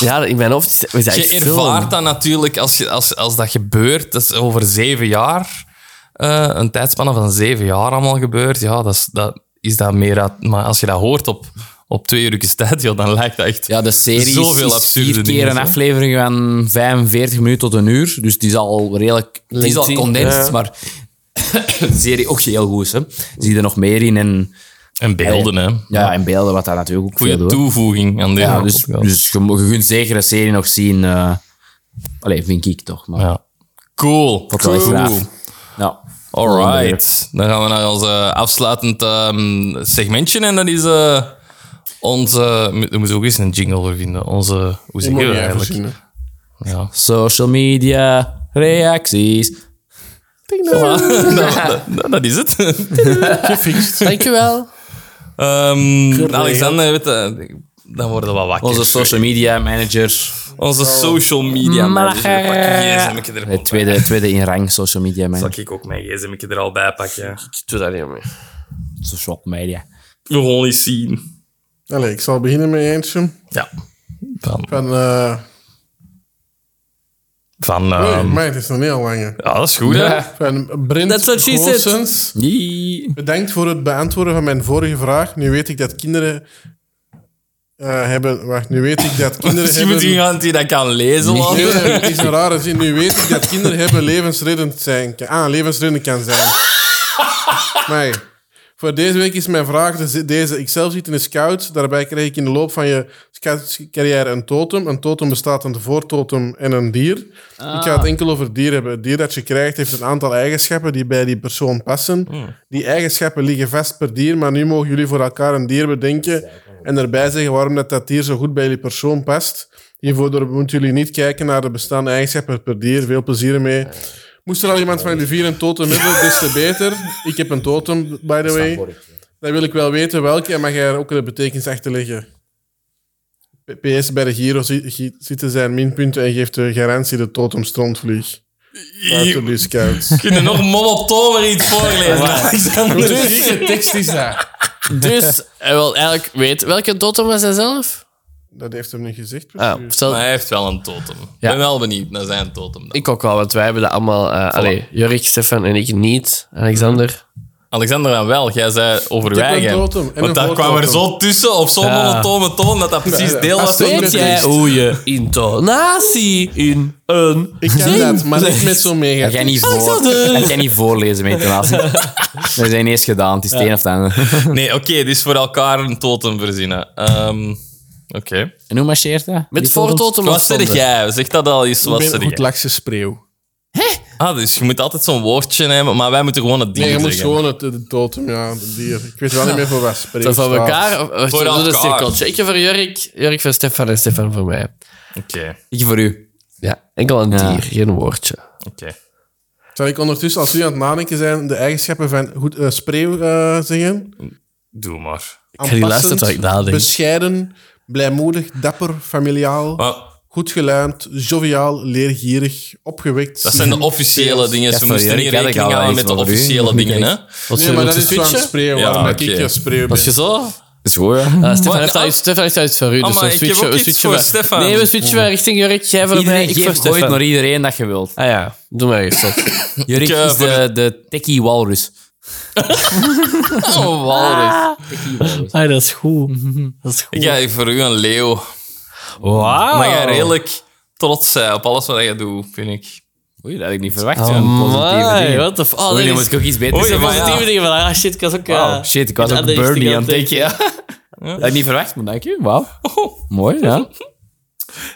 Ja, in mijn hoofd is dat, is dat echt
Je
film.
ervaart dat natuurlijk als, je, als, als dat gebeurt. Dat is over zeven jaar. eh, een tijdspanne van zeven jaar allemaal gebeurt. Ja, dat is dat, is dat meer... uit- maar als je dat hoort op, op twee uur tijd, joh, dan lijkt dat echt...
Ja, de serie is-
Zoveel
is
absurde
vier keer
dingen,
een
hè?
aflevering van 45 minuten tot een uur. Dus die is al redelijk... Die is al
Lengthy,
condensed,
ja.
maar... de serie ook heel goed, is, hè. Zie je er nog meer in en...
En beelden, hè.
Ja, in beelden, wat daar natuurlijk ook veel
Goede
doet.
toevoeging aan deze
Ja, dus,
podcast.
dus je, mo- je kunt zeker een serie nog zien. eh Allee, vind ik toch. Maar
ja. Cool.
vond het wel echt
Cool.
raar. Nou,
Alright. Dan gaan we naar ons eh, afsluitend ehm, segmentje. En dat is eh, onze... We moeten ook eens een jingle voor vinden. Onze... Hoe
Die
zeg
moet
je
je
dat
eigenlijk
eigenlijk?
zien. hè.
Ja.
social media, reacties.
dat, dat- dat is het.
Dankjewel.
Ehm, Alexander, weet je, dan worden we wat wakker.
Onze social media manager.
Onze social media manager. Pak je gsm'tje er
Eh, tweede, tweede in rang, social media manager.
Zal ik ook mijn gsm'tje er al bij pakken?
Ik doe dat niet meer.
Social media.
Gewoon eens zien.
Allee, ik zal beginnen met eentje.
Ja. Van...
Van, eh,
van
nee,
ehm,
maar het is nog niet al langer.
ja, dat is goed, hè?
Van
That's what
Brent
she said.
Goossens.
Nee.
Bedankt voor het beantwoorden van mijn vorige vraag. Nu weet ik dat kinderen eh, hebben... Wacht, nu weet ik dat kinderen
Misschien moet
hebben...
je iemand die dat kan lezen, laten.
Nee, nee, het is een rare zin. Nu weet ik dat kinderen hebben levensreddend zijn. Ah, levensreddend kan zijn. Nee. Voor deze week is mijn vraag dus deze. Ik zelf zit in de scout. Daarbij kreeg ik in de loop van je scoutscarrière een totem. Een totem bestaat uit een voortotem en een dier. Ik ga het enkel over het dier hebben. Het dier dat je krijgt heeft een aantal eigenschappen die bij die persoon passen. Die eigenschappen liggen vast per dier, maar nu mogen jullie voor elkaar een dier bedenken en erbij zeggen waarom dat, dat dier zo goed bij die persoon past. Hiervoor moeten jullie niet kijken naar de bestaande eigenschappen per dier. Veel plezier ermee. Moest er al iemand van jullie vier een totem hebben, des te beter. Ik heb een totem, by the way. Dan wil ik wel weten welke, en mag jij er ook de betekenis achter leggen. P- PS bij de Giro zi- gi- zitten zijn minpunten en geeft de garantie de totem strontvlieg. Buiten die scouts.
Kunnen nog monotomer iets voorlezen, Alexander?
Welke tekst is dat?
Dus hij wil eigenlijk weten welke totem was hij zelf?
Dat heeft hem niet gezegd.
Ah,
precies.
stel,
Maar hij heeft wel een totem. Ik ben wel benieuwd naar zijn totem. dan.
ik ook wel, want wij hebben dat allemaal. eh allee, Jurik, Stefan en ik niet. Alexander.
Alexander dan wel, jij zei over
heb
wij.
een
hè.
totem en
Want
een
daar kwam er
voortotem.
zo tussen op zo'n monotone toon dat dat precies
Ja,
deel
dat
was
is
van
toch
de
Weet jij
tekst.
hoe je intonatie in een.
Ik kan dat, maar niet met zo'n mega.
Dat jij niet, voor, dat jij niet voorlezen met intonatie. Dat is ineens gedaan. Het is het een of het ander.
Nee, oké, dus voor elkaar een totem verzinnen. Ehm, oké.
En hoe marcheert dat?
Met voortotem
Wat
of
zeg
zonder?
jij? Zeg dat al eens, wat
Ik ben een
zeg
goed
jij?
lakse spreeuw.
Ah, dus je moet altijd zo'n woordje nemen, maar wij moeten gewoon het ding
Nee, je moet
zeggen.
gewoon het, de totem, ja, de dier. Ik weet wel niet meer voor wat spreeuw
Van
staat.
elkaar? Of, of,
Voor
we doen een
elkaar.
cirkeltje. Ik voor Jurik, Jurik voor Stefan en Stefan voor mij.
Oké,
Ik voor u.
Ja, enkel een
Ja.
dier, geen woordje.
oké.
Zal ik ondertussen, als jullie aan het nadenken zijn, de eigenschappen van goed, eh, spreeuw eh, zeggen?
Doe maar.
Ik
ga niet luisteren terwijl ik nadenk.
Bescheiden, blijmoedig, dapper, familiaal,
Maar
goed geluimd, joviaal, leergierig, opgewekt.
dat zijn de officiële dingen. Ze
sorry,
moesten niet
Erik, had ik al
rekening houden
iets
met de
over u.
officiële
Niet
dingen, hè?
Wat
Nee, maar dat is
switchen?
van spreeuw,
Ja,
waarom dat
oké.
ik een spreeuw ben.
Als je zo...
Dat is goed, hè?
Ah, Stefan, heeft
ah.
daar iets, Stefan heeft daar iets voor u, dus
maar
dan
ik heb
switchen
ook
we.
iets
Switchen
voor
we.
Stefan.
Nee, we switchen wel richting Jurik. Jij voor mij,
Iedereen
ik voor
geeft ooit
Stefan.
naar iedereen dat je wilt.
Ah ja, doe maar eens. wat.
Jurik
eh,
is
voor
de, de techie walrus.
Oh, walrus.
Ah, dat is goed. Dat is goed.
Ik ga voor u een leeuw.
Wauw.
Maar jij redelijk trots zijn op alles wat je doet, vind ik.
Oei, dat had ik niet verwacht.
Oh,
zo'n positieve
my,
dingen.
what the f...
Oei,
Oh, dat
dan
is
moet ik ook iets beter
Oei,
zeggen.
maar
Positieve
ja.
dingen van, ah shit, ik was ook...
Wauw,
eh,
shit, ik was
in
ook
de andere
birdie aan
richting
het denken. Ja. Dat had ik niet verwacht, maar dank je. Wauw. Mooi, ja.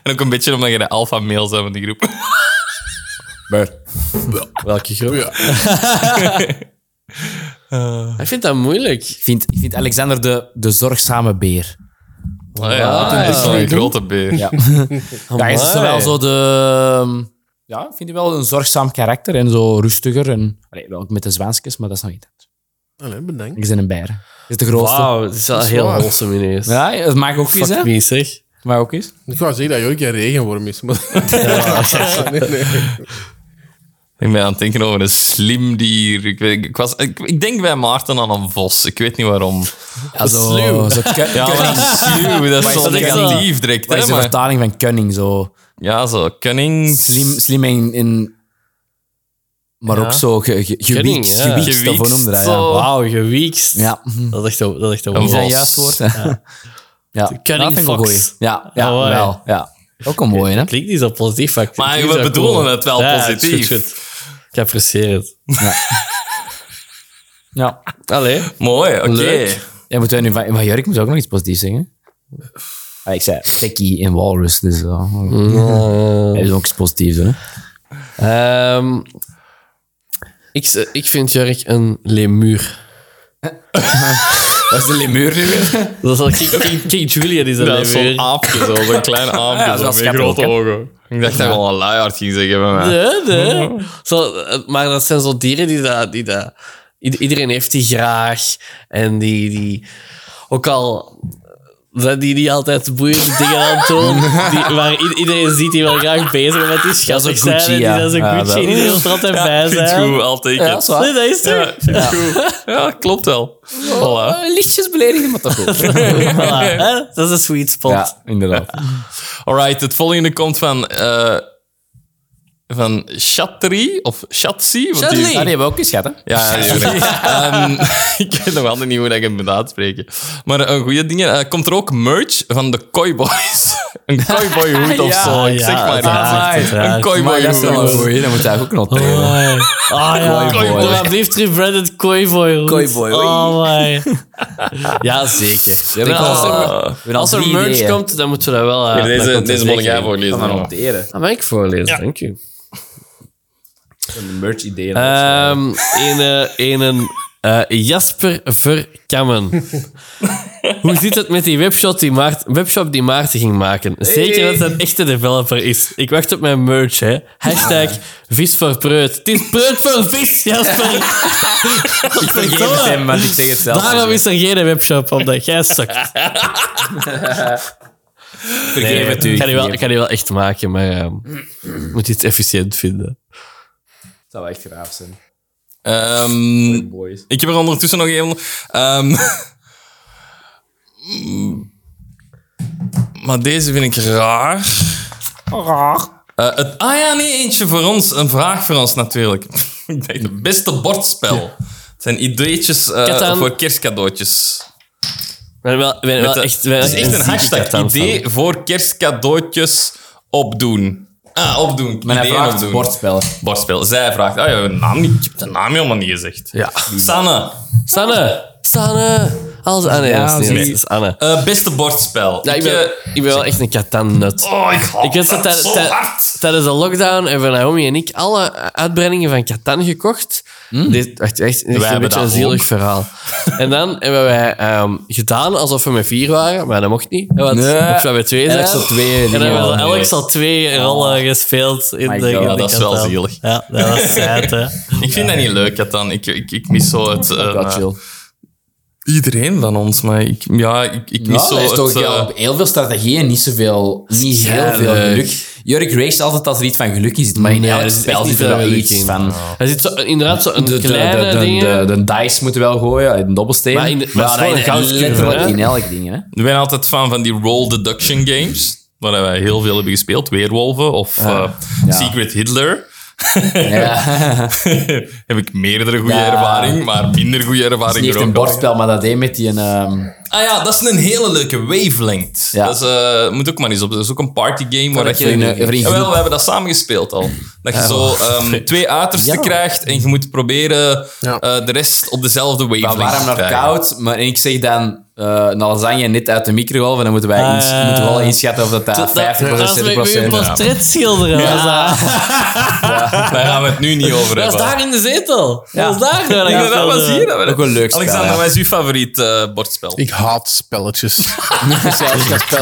En ook een beetje omdat je de alpha male bent van die groep.
Welke groep?
Eh.
Ik vind dat moeilijk.
Ik vind, ik vind Alexander de, de zorgzame beer.
Oh, ja, dat is wel een grote beer.
Ja. Daar is ze wel zo de... Ja, ik vind je wel een zorgzaam karakter en zo rustiger. En, allee, wel ook met de zwaanskes, maar dat is nog niet.
Allee, bedankt.
Ik ben een bijer. Dat is de grootste.
Wauw, het is wel heel
waar.
wholesome ineens.
Ja, dat mag ook eens,
Fuck
hè?
me, zeg.
Mag ook eens.
Ik wou zeggen dat Jork een regenworm is, maar... nee, nee.
Ik ben aan het denken over een slim dier. Ik, weet, ik, was, ik, ik denk bij Maarten aan een vos. Ik weet niet waarom.
Ja, zo,
Sluw.
zo kun-
Ja, maar
kunning.
dat is sluw. Dat is
is
zo
dat echt
negatief direct.
Dat
Hè,
is de
maar,
vertaling van cunning, zo.
ja, zo. Cunning.
Slim, slim en... en- maar ook zo ge, ge,
Cunning,
gewiekst,
ja.
gewiekst, of hoe
Gewiekst,
noemde dat, ja.
zo.
Wauw, gewiekst.
Ja,
Dat is echt een, dat Oh. is echt een
Een
woord.
vos.
zijn juist woord. hè. Ja,
cunning
dat vind ik een
fox.
goeie. Ja, ja
Mooi.
wel. Ja. Ook een mooie, hè?
Klinkt niet zo positief, maar ik vind
Maar
het
we
niet zo
bedoelen het wel
Ja,
positief.
goed, goed. Ik apprecieer het.
Ja.
Allee.
Mooi, oké.
Leuk.
Ja, moeten wij nu van... Maar Jurk moet ook nog iets positiefs zeggen. Ah, ik zei Becky en Walrus, dus... eh,
Oh.
Hij is ook iets positiefs, hè?
Ehm, ik,
eh,
z- ik vind Jurk een lemuur.
Dat is de lemuur nu weer.
Dat is al King, King, King Julian is dat
Dat is
dan weer.
zo'n aapje, zo. Ah. Zo'n klein aapje.
dat is wel
zo, met
schattig
grote
ook, hè.
ogen. Ik dacht dat hij wel een luiaard ging zeggen bij mij.
Nee,
Oh.
nee. Zo, eh, maar dat zijn zo dieren die dat... Die dat i- iedereen heeft die graag. En die... die
Ook al zijn die niet altijd boeiende dingen aan het doen, die, maar i- iedereen ziet die wel graag bezig met die
is een
schattig zijn.
Gucci,
en die-
ja.
Dat is een
Ja,
Gucci,
dat-
en iedereen wil er altijd bij
vind het
zijn.
goed, al teken.
Ja,
Ja,
dat is waar.
Nee, dat is toch?
vind het goed. Ja, klopt wel. Voilà.
Eh, Lichtjes beledigen, maar toch goed.
Voilà, hè? Dat is een sweet spot.
ja, inderdaad.
Alright, het volgende komt van... eh van Chatri of Chatsi. want die-
Ah, die hebben we ook eens gehad, hè?
Ja, ja, ja. Ehm, ik weet nog altijd niet hoe dat ik het moet uitspreken. Maar een goede ding. eh, komt er ook merch van de Koi Boys? een Koi Boy hoed of
Ja,
zo.
ja,
zeg maar.
ja,
iets.
uiteraard.
een Koi Boy
Maar dat is wel een
hoed.
goeie, dan moet je eigenlijk ook nog tegen.
Ah ja,
Koi boy.
Doe alsjeblieft rebranded Koivoy. Roet.
Kooiboy, oei.
Oh my. Ja, zeker.
We hebben
als er-
al- we hebben al
Als er
drie
merch
ideeën.
komt, dan moeten we dat wel... eh,
Hier,
dat
Deze,
komt
deze
er
moet ik
zeker
jij
in.
voorlezen.
Dan
Ja.
noteren.
Dat mag ik voorlezen, dank u.
Een merch idee.
Ehm een, eh, een eh, Jasper Verkammen. Hoe zit het met die webshop die, Maart, webshop die Maarten ging maken? Zeker dat het een echte developer is. Ik wacht op mijn merch, hè. Hashtag vis voor preut. Het is preut voor vis, Jasper.
ik vergeef het
verdomme.
hem, want ik zeg het zelf.
eh,
Daarom is er geen webshop, omdat jij sukt.
vergeef het u.
Ik ga die wel, ik ga die wel echt maken, maar ehm, ik moet iets efficiënt vinden.
Het zou echt graaf zijn.
Ehm,
Boys.
ik heb er ondertussen nog één. Ehm, mm, maar deze vind ik raar. Raar. het, ah ja, nee, eentje voor ons. Een vraag voor ons natuurlijk. ik denk het beste bordspel. Het zijn ideetjes eh,
Catan.
voor kerstcadeautjes.
Maar wel, wel, wel
Dat-
echt, wel
dat is echt een
zieke kat
hashtag.
aan
Idee voor kerstcadeautjes opdoen. Ah, opdoen.
Maar hij
Ideeën
vraagt
opdoen.
bordspel.
Bordspel. Zij vraagt. Ah, ja, naam niet, ik heb de naam helemaal niet gezegd. Ja. Sanne,
Sanne! Sanne! Als Anne. Ja, dat is niet-
zie-
dat is Anne.
eh, beste bordspel.
Ja, ik, ben,
eh,
ik ben wel echt een katan-nut.
oh, ik haat
Ik weet dat
dat
tij-
zo
tij-
hard.
tijdens de lockdown hebben Naomi en ik alle uitbreidingen van Catan gekocht. Dit, echt, echt, echt een
Hmm. hebben
beetje een
dat
zielig
ook.
verhaal. en dan hebben wij ehm, gedaan alsof we met vier waren, maar dat mocht niet. Want
Nee.
mochten we met twee zijn.
Elk zo twee
En dan
dingen
hebben we
wel,
elk al twee rollen eh, gespeeld in
My God.
de in
Ja,
de
Oh. dat is wel
Catan.
zielig.
Ja, dat was sad, hè.
Ik vind dat niet leuk, Katan. Ik, ik, ik mis zo het... eh,
Dat chill.
iedereen van ons, maar ik, ja, ik, ik mis
Ja,
zo
er is
het...
toch
eh,
wel op heel veel strategieën niet zoveel, niet heel veel geluk. Jurk race altijd als er iets van geluk in zit, maar in
Nee,
elk
er zit
spel
echt niet
zit er
veel
wel
geluk
iets
in.
van.
Er zit zo, inderdaad zo'n
De, de,
kleine
de, de,
dingen.
de, de dice moeten wel gooien, de dobbelsteen.
Maar in de- maar het is
dat
wel een
in-
goudcurve,
letterlijk
hè?
in elk ding. Hè?
Ik ben altijd fan van die roll deduction games, waar wij heel veel hebben gespeeld. Weerwolven of eh, Secret Hitler.
Ja. Het
Heb ik meerdere goede
Ja.
ervaring, maar minder goede
is
ervaring
niet
er
echt een
ook. al.
bordspel, maar dat deed met die... Een, ehm,
Ah ja, dat is een hele leuke wavelength.
Ja.
Dat is, eh, moet ook maar eens op. Dat is ook een party game waar
dat
je...
je in, eh, voor in
Jawel,
groep-
we hebben dat samen gespeeld al. Dat je zo ehm, twee uitersten
Ja.
krijgt en je moet proberen eh, de rest op dezelfde wavelength
van warm
te
naar
krijgen.
koud. Maar en ik zeg dan eh een lasagne net uit de microgolf. En dan moeten wij ins-
Eh,
Ah.
moeten we wel inschatten of dat, daar 50
Dat is met met je
70
portret schilderen. Dat is daar-
Daar gaan we het nu niet over
Dat is
hebben.
daar in de zetel. Dat is daar. waar ik
Ja, dat
wilde-
was hier.
eh, Ook een leuk spel,
Alexander,
ja.
wat is uw favoriet eh, bordspel?
Ik haat spelletjes.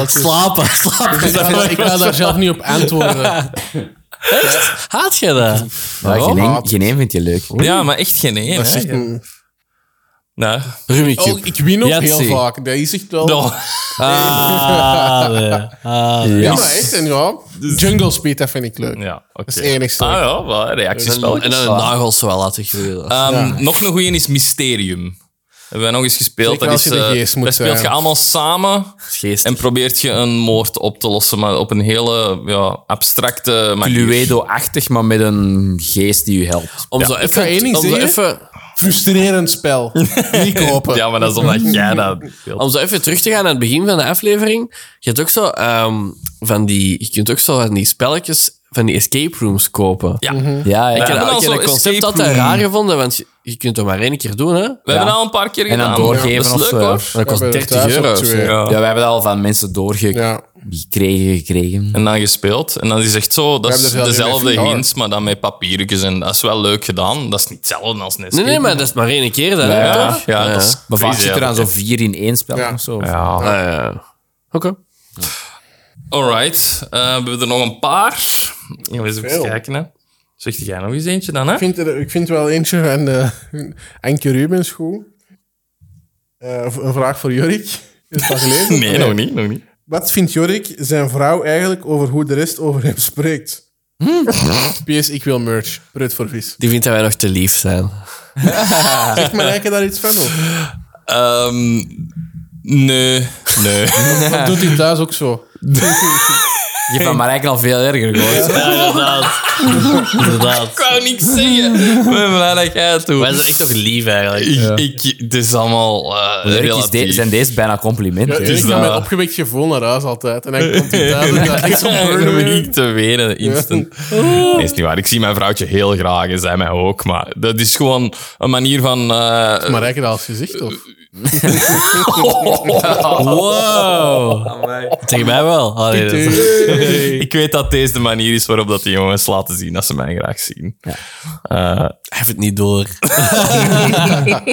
Slapen, slapen.
Dus
ik, ga, daar- ik ga daar zelf niet op antwoorden.
Haat je dat?
Ja, geen,
Oh.
een- geen een vindt je leuk.
Ja, maar echt geen één.
Dat is
hè?
echt een-
Nou,
Mm. Oh, ik win ook
Yahtzee.
heel vaak. Dat is echt wel...
dan-
Ah, nee. Ah, nee.
Ja, maar echt. En ja, Jungle Speed, dat vind ik leuk.
Dus- Ja, oké.
is het enigste.
Ah ja, wel, reactiespel.
En dan de nagels wel laten groeien.
Ehm, Nog een goeie is Mysterium. Hebben we nog eens gespeeld.
Zeker
Dat
als
is,
je de
eh,
geest moet
dat speelt je
zijn.
allemaal samen en probeert je een moord op te lossen, maar op een hele ja, abstracte manier.
Cluedo-achtig, maar met een geest die u helpt.
Om zo
Ik ga één
even...
ding
Om zo
zeggen.
even
Frustrerend spel. Niet kopen.
Ja, maar dat is omdat jij dat speelt.
Om zo even terug te gaan naar het begin van de aflevering. Je hebt ook zo ehm, van die... Je kunt ook zo van die spelletjes van die escape rooms kopen.
Ja.
Ja,
Ik
ja.
Ja.
heb
hebben al
ik heb
zo'n
dat concept
escape
altijd
room.
raar gevonden, want je, je kunt het maar één keer doen, hè?
We hebben
Ja.
dat al een paar keer
En
gedaan.
dan
dat
doorgeven
is
of
leuk,
zo.
hoor.
Dat kost
hebben
30
thuis ook
euro.
twee.
Ja. we hebben dat al van mensen doorgekregen.
Ja.
gekregen.
En dan gespeeld. En dan is echt zo, dat
We
is
hebben dus er zelf
dezelfde
in gedaan.
hints, maar dan met papiertjes. En dat is wel leuk gedaan. Dat is niet hetzelfde als een
Nee, nee,
escape
maar dat is maar één keer dan,
room.
hè,
Ja,
toch?
ja, dat is
Maar vaak
crazy,
zit er dan
eigenlijk.
zo vier in één spel
Ja.
of zo.
Ah, ja. Oké.
Alright, Eh, we hebben er nog een paar. Ja, we eens even
Veel.
kijken. Hè. Zeg jij nog eens eentje dan, hè?
Ik vind, er, ik vind wel eentje van eh Anke Rubens goed. Eh, een vraag voor Jorik. Is het al gelezen?
Nee, nog niet, nog niet.
Wat vindt Jorik zijn vrouw eigenlijk over hoe de rest over hem spreekt? PS, ik wil merch. Rut voor vis.
Hm. Die vindt dat wij nog te lief zijn.
Zeg maar, heb je daar iets van op?
Ehm, nee, nee.
Dat doet hij thuis ook zo.
Je hebt van Marijke al veel erger gehoord.
Ja, inderdaad.
ik
inderdaad.
wou niks zeggen. Ik ben blij dat jij het doet.
Wij zijn echt toch lief eigenlijk.
Ik, ik, het is allemaal eh
Leuk is
relatief.
de- zijn deze bijna complimenten.
Jorik gaat met opgewekt gevoel naar huis altijd. En dan komt hij thuis en dan echt zo'n
Ja, dan ben ik
burner.
te wenen, instant. Nee, is niet waar. Ik zie mijn vrouwtje heel graag en zij mij ook. Maar dat is gewoon een manier van... eh,
Maar heb je dat als gezicht, of?
Wow. Tegen mij wel. Allee, dat is-
ik weet dat deze de manier is waarop dat die jongens laten zien dat ze mij graag zien. Eh,
Hij heeft het niet door.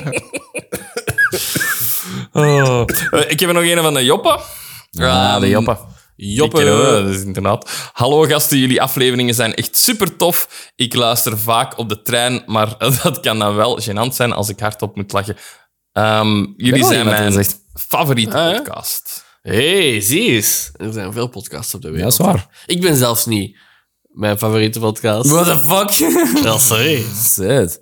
oh. Eh, ik heb er nog een van de Joppe.
Ah,
Ehm,
de joppen.
Joppe, eh,
Die kennen we.
dat is inderdaad. Hallo gasten, jullie afleveringen zijn echt super tof. Ik luister vaak op de trein, maar dat kan dan wel gênant zijn als ik hardop moet lachen. Ehm, jullie
wel
zijn
iemand die
mijn
dat zegt.
favoriete
Ah, ja?
podcast.
Hé, hey, zie eens. Er zijn veel podcasts op de
Ja, dat is
wereld.
waar.
ik ben zelfs niet mijn favoriete podcast.
What the fuck?
Ja, sorry.
Shit.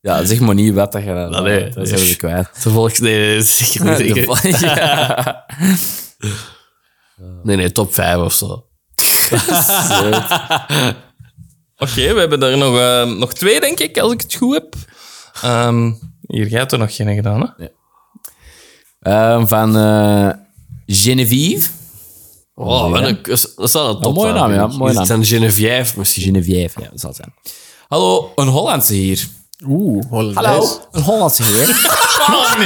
Ja, zeg maar niet wat dat je...
Allee.
dat zijn we kwijt.
De volks... Nee, nee, zeker niet.
De
Ik-
vo- ja.
Nee, nee, top 5 of zo.
Oké, we hebben er nog, eh, nog twee, denk ik, als ik het goed heb. Ehm, hier, jij hebt er nog geen gedaan, hè?
Ehm, van eh Genevieve.
Oh, wat een... Dat is wel een top
mooie
vijf,
naam, Ah, ja,
jongens.
mooie
Is het
naam.
een Geneviève misschien.
Genevieve, ja, dat zal het zijn. Hallo, een Hollandse hier.
Oeh, Hollands.
Een Hollandse heer. Oh,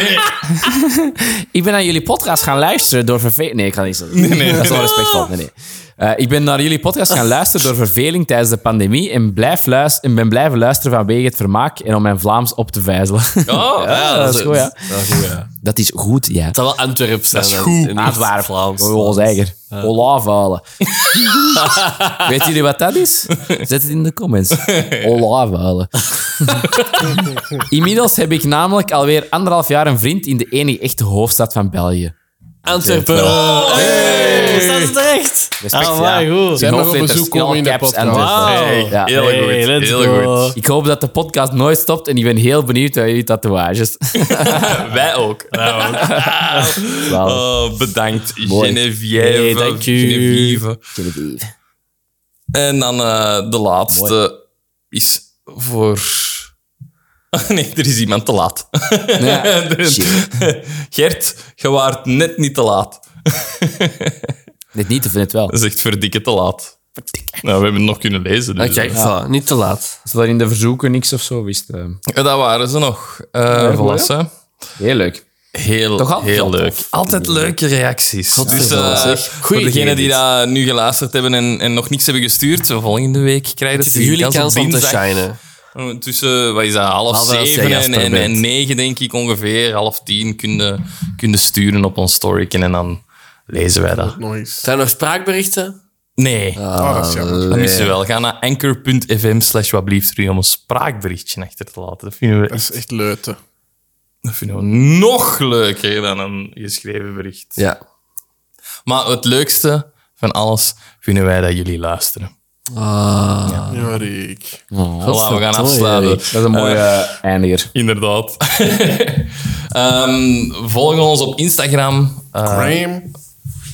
ik ben naar jullie podcast gaan luisteren door verveling. Nee, ik ga niet zo. dat is onrespectvol. Nee, nee. Eh, ik ben naar jullie podcast gaan luisteren door verveling tijdens de pandemie en, blijf luis- en ben blijven luisteren vanwege het vermaak en om mijn Vlaams op te vijzelen.
Oh,
ja, dat is goed, ja. Dat is goed, ja.
Het zal wel Antwerp zijn. Dat is
goed.
Antwerpen. Vlaams. Ons eigen. Olavalen. Weet jullie wat dat is? Zet het in de comments. Olavalen. Inmiddels heb ik namelijk alweer anderhalf jaar een vriend in de enige echte hoofdstad van België.
Antwerpen.
Hey. Staat het terecht?
Respect,
Ah, maar
ja.
goed.
In
Zijn we op
hoofdletters,
bezoek
in
komen
all
in de
caps,
podcast?
Antwerpen.
Hey,
Ja.
Heel
Hey,
goed,
let's
heel
go.
goed.
Ik hoop dat de podcast nooit stopt en ik ben heel benieuwd naar jullie tatoeages.
Wij ook.
Wel,
Oh, bedankt,
Mooi.
Geneviève.
Hey, dank u.
Geneviève.
Genevieve.
En dan eh, de laatste is voor. Nee, er is iemand te laat.
Ja. Shit.
Gert, je waart net niet te laat.
Dit niet, of dit wel.
Dat is echt verdikke te laat. Nou, we hebben het nog kunnen lezen. dus,
Ah, kijk, voilà, niet te laat.
Als er in de verzoeken niks of zo wist. eh,
eh. Dat waren ze nog. Eh voilà, hè.
Heel leuk.
Heel,
Toch altijd
heel
wel
leuk.
tof.
Altijd leuke reacties. Dus
wel,
eh,
zeg.
voor
Goeie
degenen die
idee,
dat nu geluisterd hebben en, en nog niks hebben gestuurd, volgende week krijgen ze
Jullie
op
kans om te
dinsdag. Eh,
shinen.
Tussen, wat is dat, half
Half elf,
zeven
zeg, als
en,
het er
en,
bent.
en negen, denk ik ongeveer. Half tien kunnen, kunnen sturen op ons story. En dan lezen wij dat.
Nog eens.
Zijn er nog spraakberichten?
Nee,
Ah, dat is jammer.
dat missen we wel. Ga naar anchor.fm slash watblieft terug om een spraakberichtje achter te laten. Dat vinden we,
Dat is echt leuten.
dat vinden we nog leuker dan een geschreven bericht.
Ja.
Maar het leukste van alles vinden wij dat jullie luisteren.
Jorik.
Voilà, we gaan afsluiten.
Dat is een mooie eh, eindiger.
Inderdaad. Ehm, volg ons op Instagram. eh,
Graham.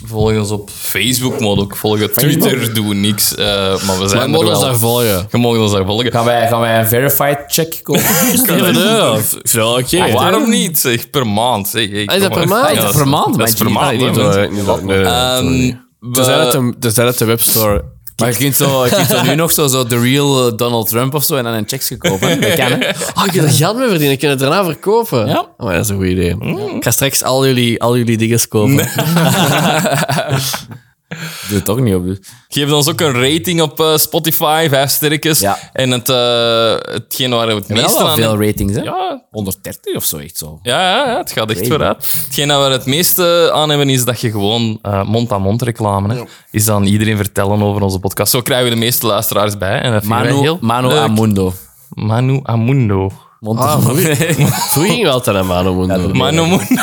Volg ons op Facebook, maar ook volg op Twitter. Doe niks. eh, maar we zijn
Moet
er wel.
ons daar volgen.
Je mag ons daar volgen.
Gaan wij, gaan wij een verified check kopen?
Even deur. Ja, oké.
Ah, waarom niet? Zeg, per maand. Zeg, hey,
is dat
kom
per
maar.
maand?
Ja,
Ah, per maand,
Dat is per
mijn
maand.
G.
hè,
Ah,
mensen.
Ehm,
Ehm, we-
Tenzij dat de- tenzij dat de webstore
Maar je kunt, zo, je kunt zo nu nog zo, zo de real eh, Donald Trump of zo en dan een checks kopen. Dat kan, hè?
Oh, ik kan er geld mee verdienen. Ik kan het daarna verkopen.
Ja.
Oh, dat is een goed idee.
Ik ga straks al jullie, al jullie dingen kopen.
Doe het toch niet op. dus.
Geef ons ook een rating op eh, Spotify, vijf sterretjes.
Ja.
En het, eh, hetgeen waar we het
Wel
meest
wel
aan
veel ratings, hè?
Ja,
130 of zo, echt zo.
Ja, ja, ja, het gaat echt
Crazy.
vooruit. Hetgeen dat we het meeste aan hebben, is dat je gewoon eh, mond-aan-mond reclame. Hè. Is dan iedereen vertellen over onze podcast. Zo krijgen we de meeste luisteraars bij. En dat vinden wij
Manu,
heel
Manu
leuk.
Amundo.
Manu Amundo.
Mond
Vroeger ging wel Tanamano Mundo.
Mano Moon.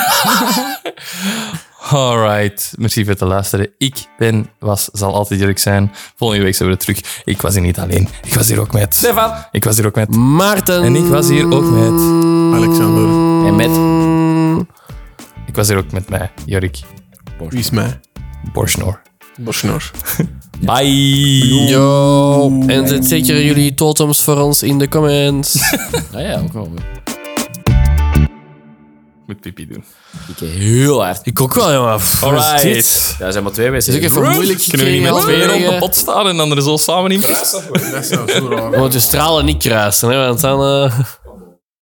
Alright. Merci voor het luisteren. Ik ben, was, zal altijd Jurk zijn. Volgende week zijn we er terug. Ik was hier niet alleen. Ik was hier ook met...
Stefan.
Ik was hier ook met...
Maarten.
En ik was hier ook met...
Alexander,
En met
Ik was hier ook met mij, Jurk
wie is mij?
Borsnor.
Borsnor.
Bye.
Yo. En zet zeker jullie totems voor ons in de comments.
Ah ja, ook wel.
Moet pipi doen.
Ik keek heel hard.
ik ook wel, jongen.
Alright.
Ja, er zijn maar twee wedstrijden.
even moeilijk
Kunnen we niet met
gekregen.
twee rond de pot staan en dan er zo samen in pissen?
Dat is nou zo raar.
Je moet je stralen niet kruisen, hè, want dan... eh,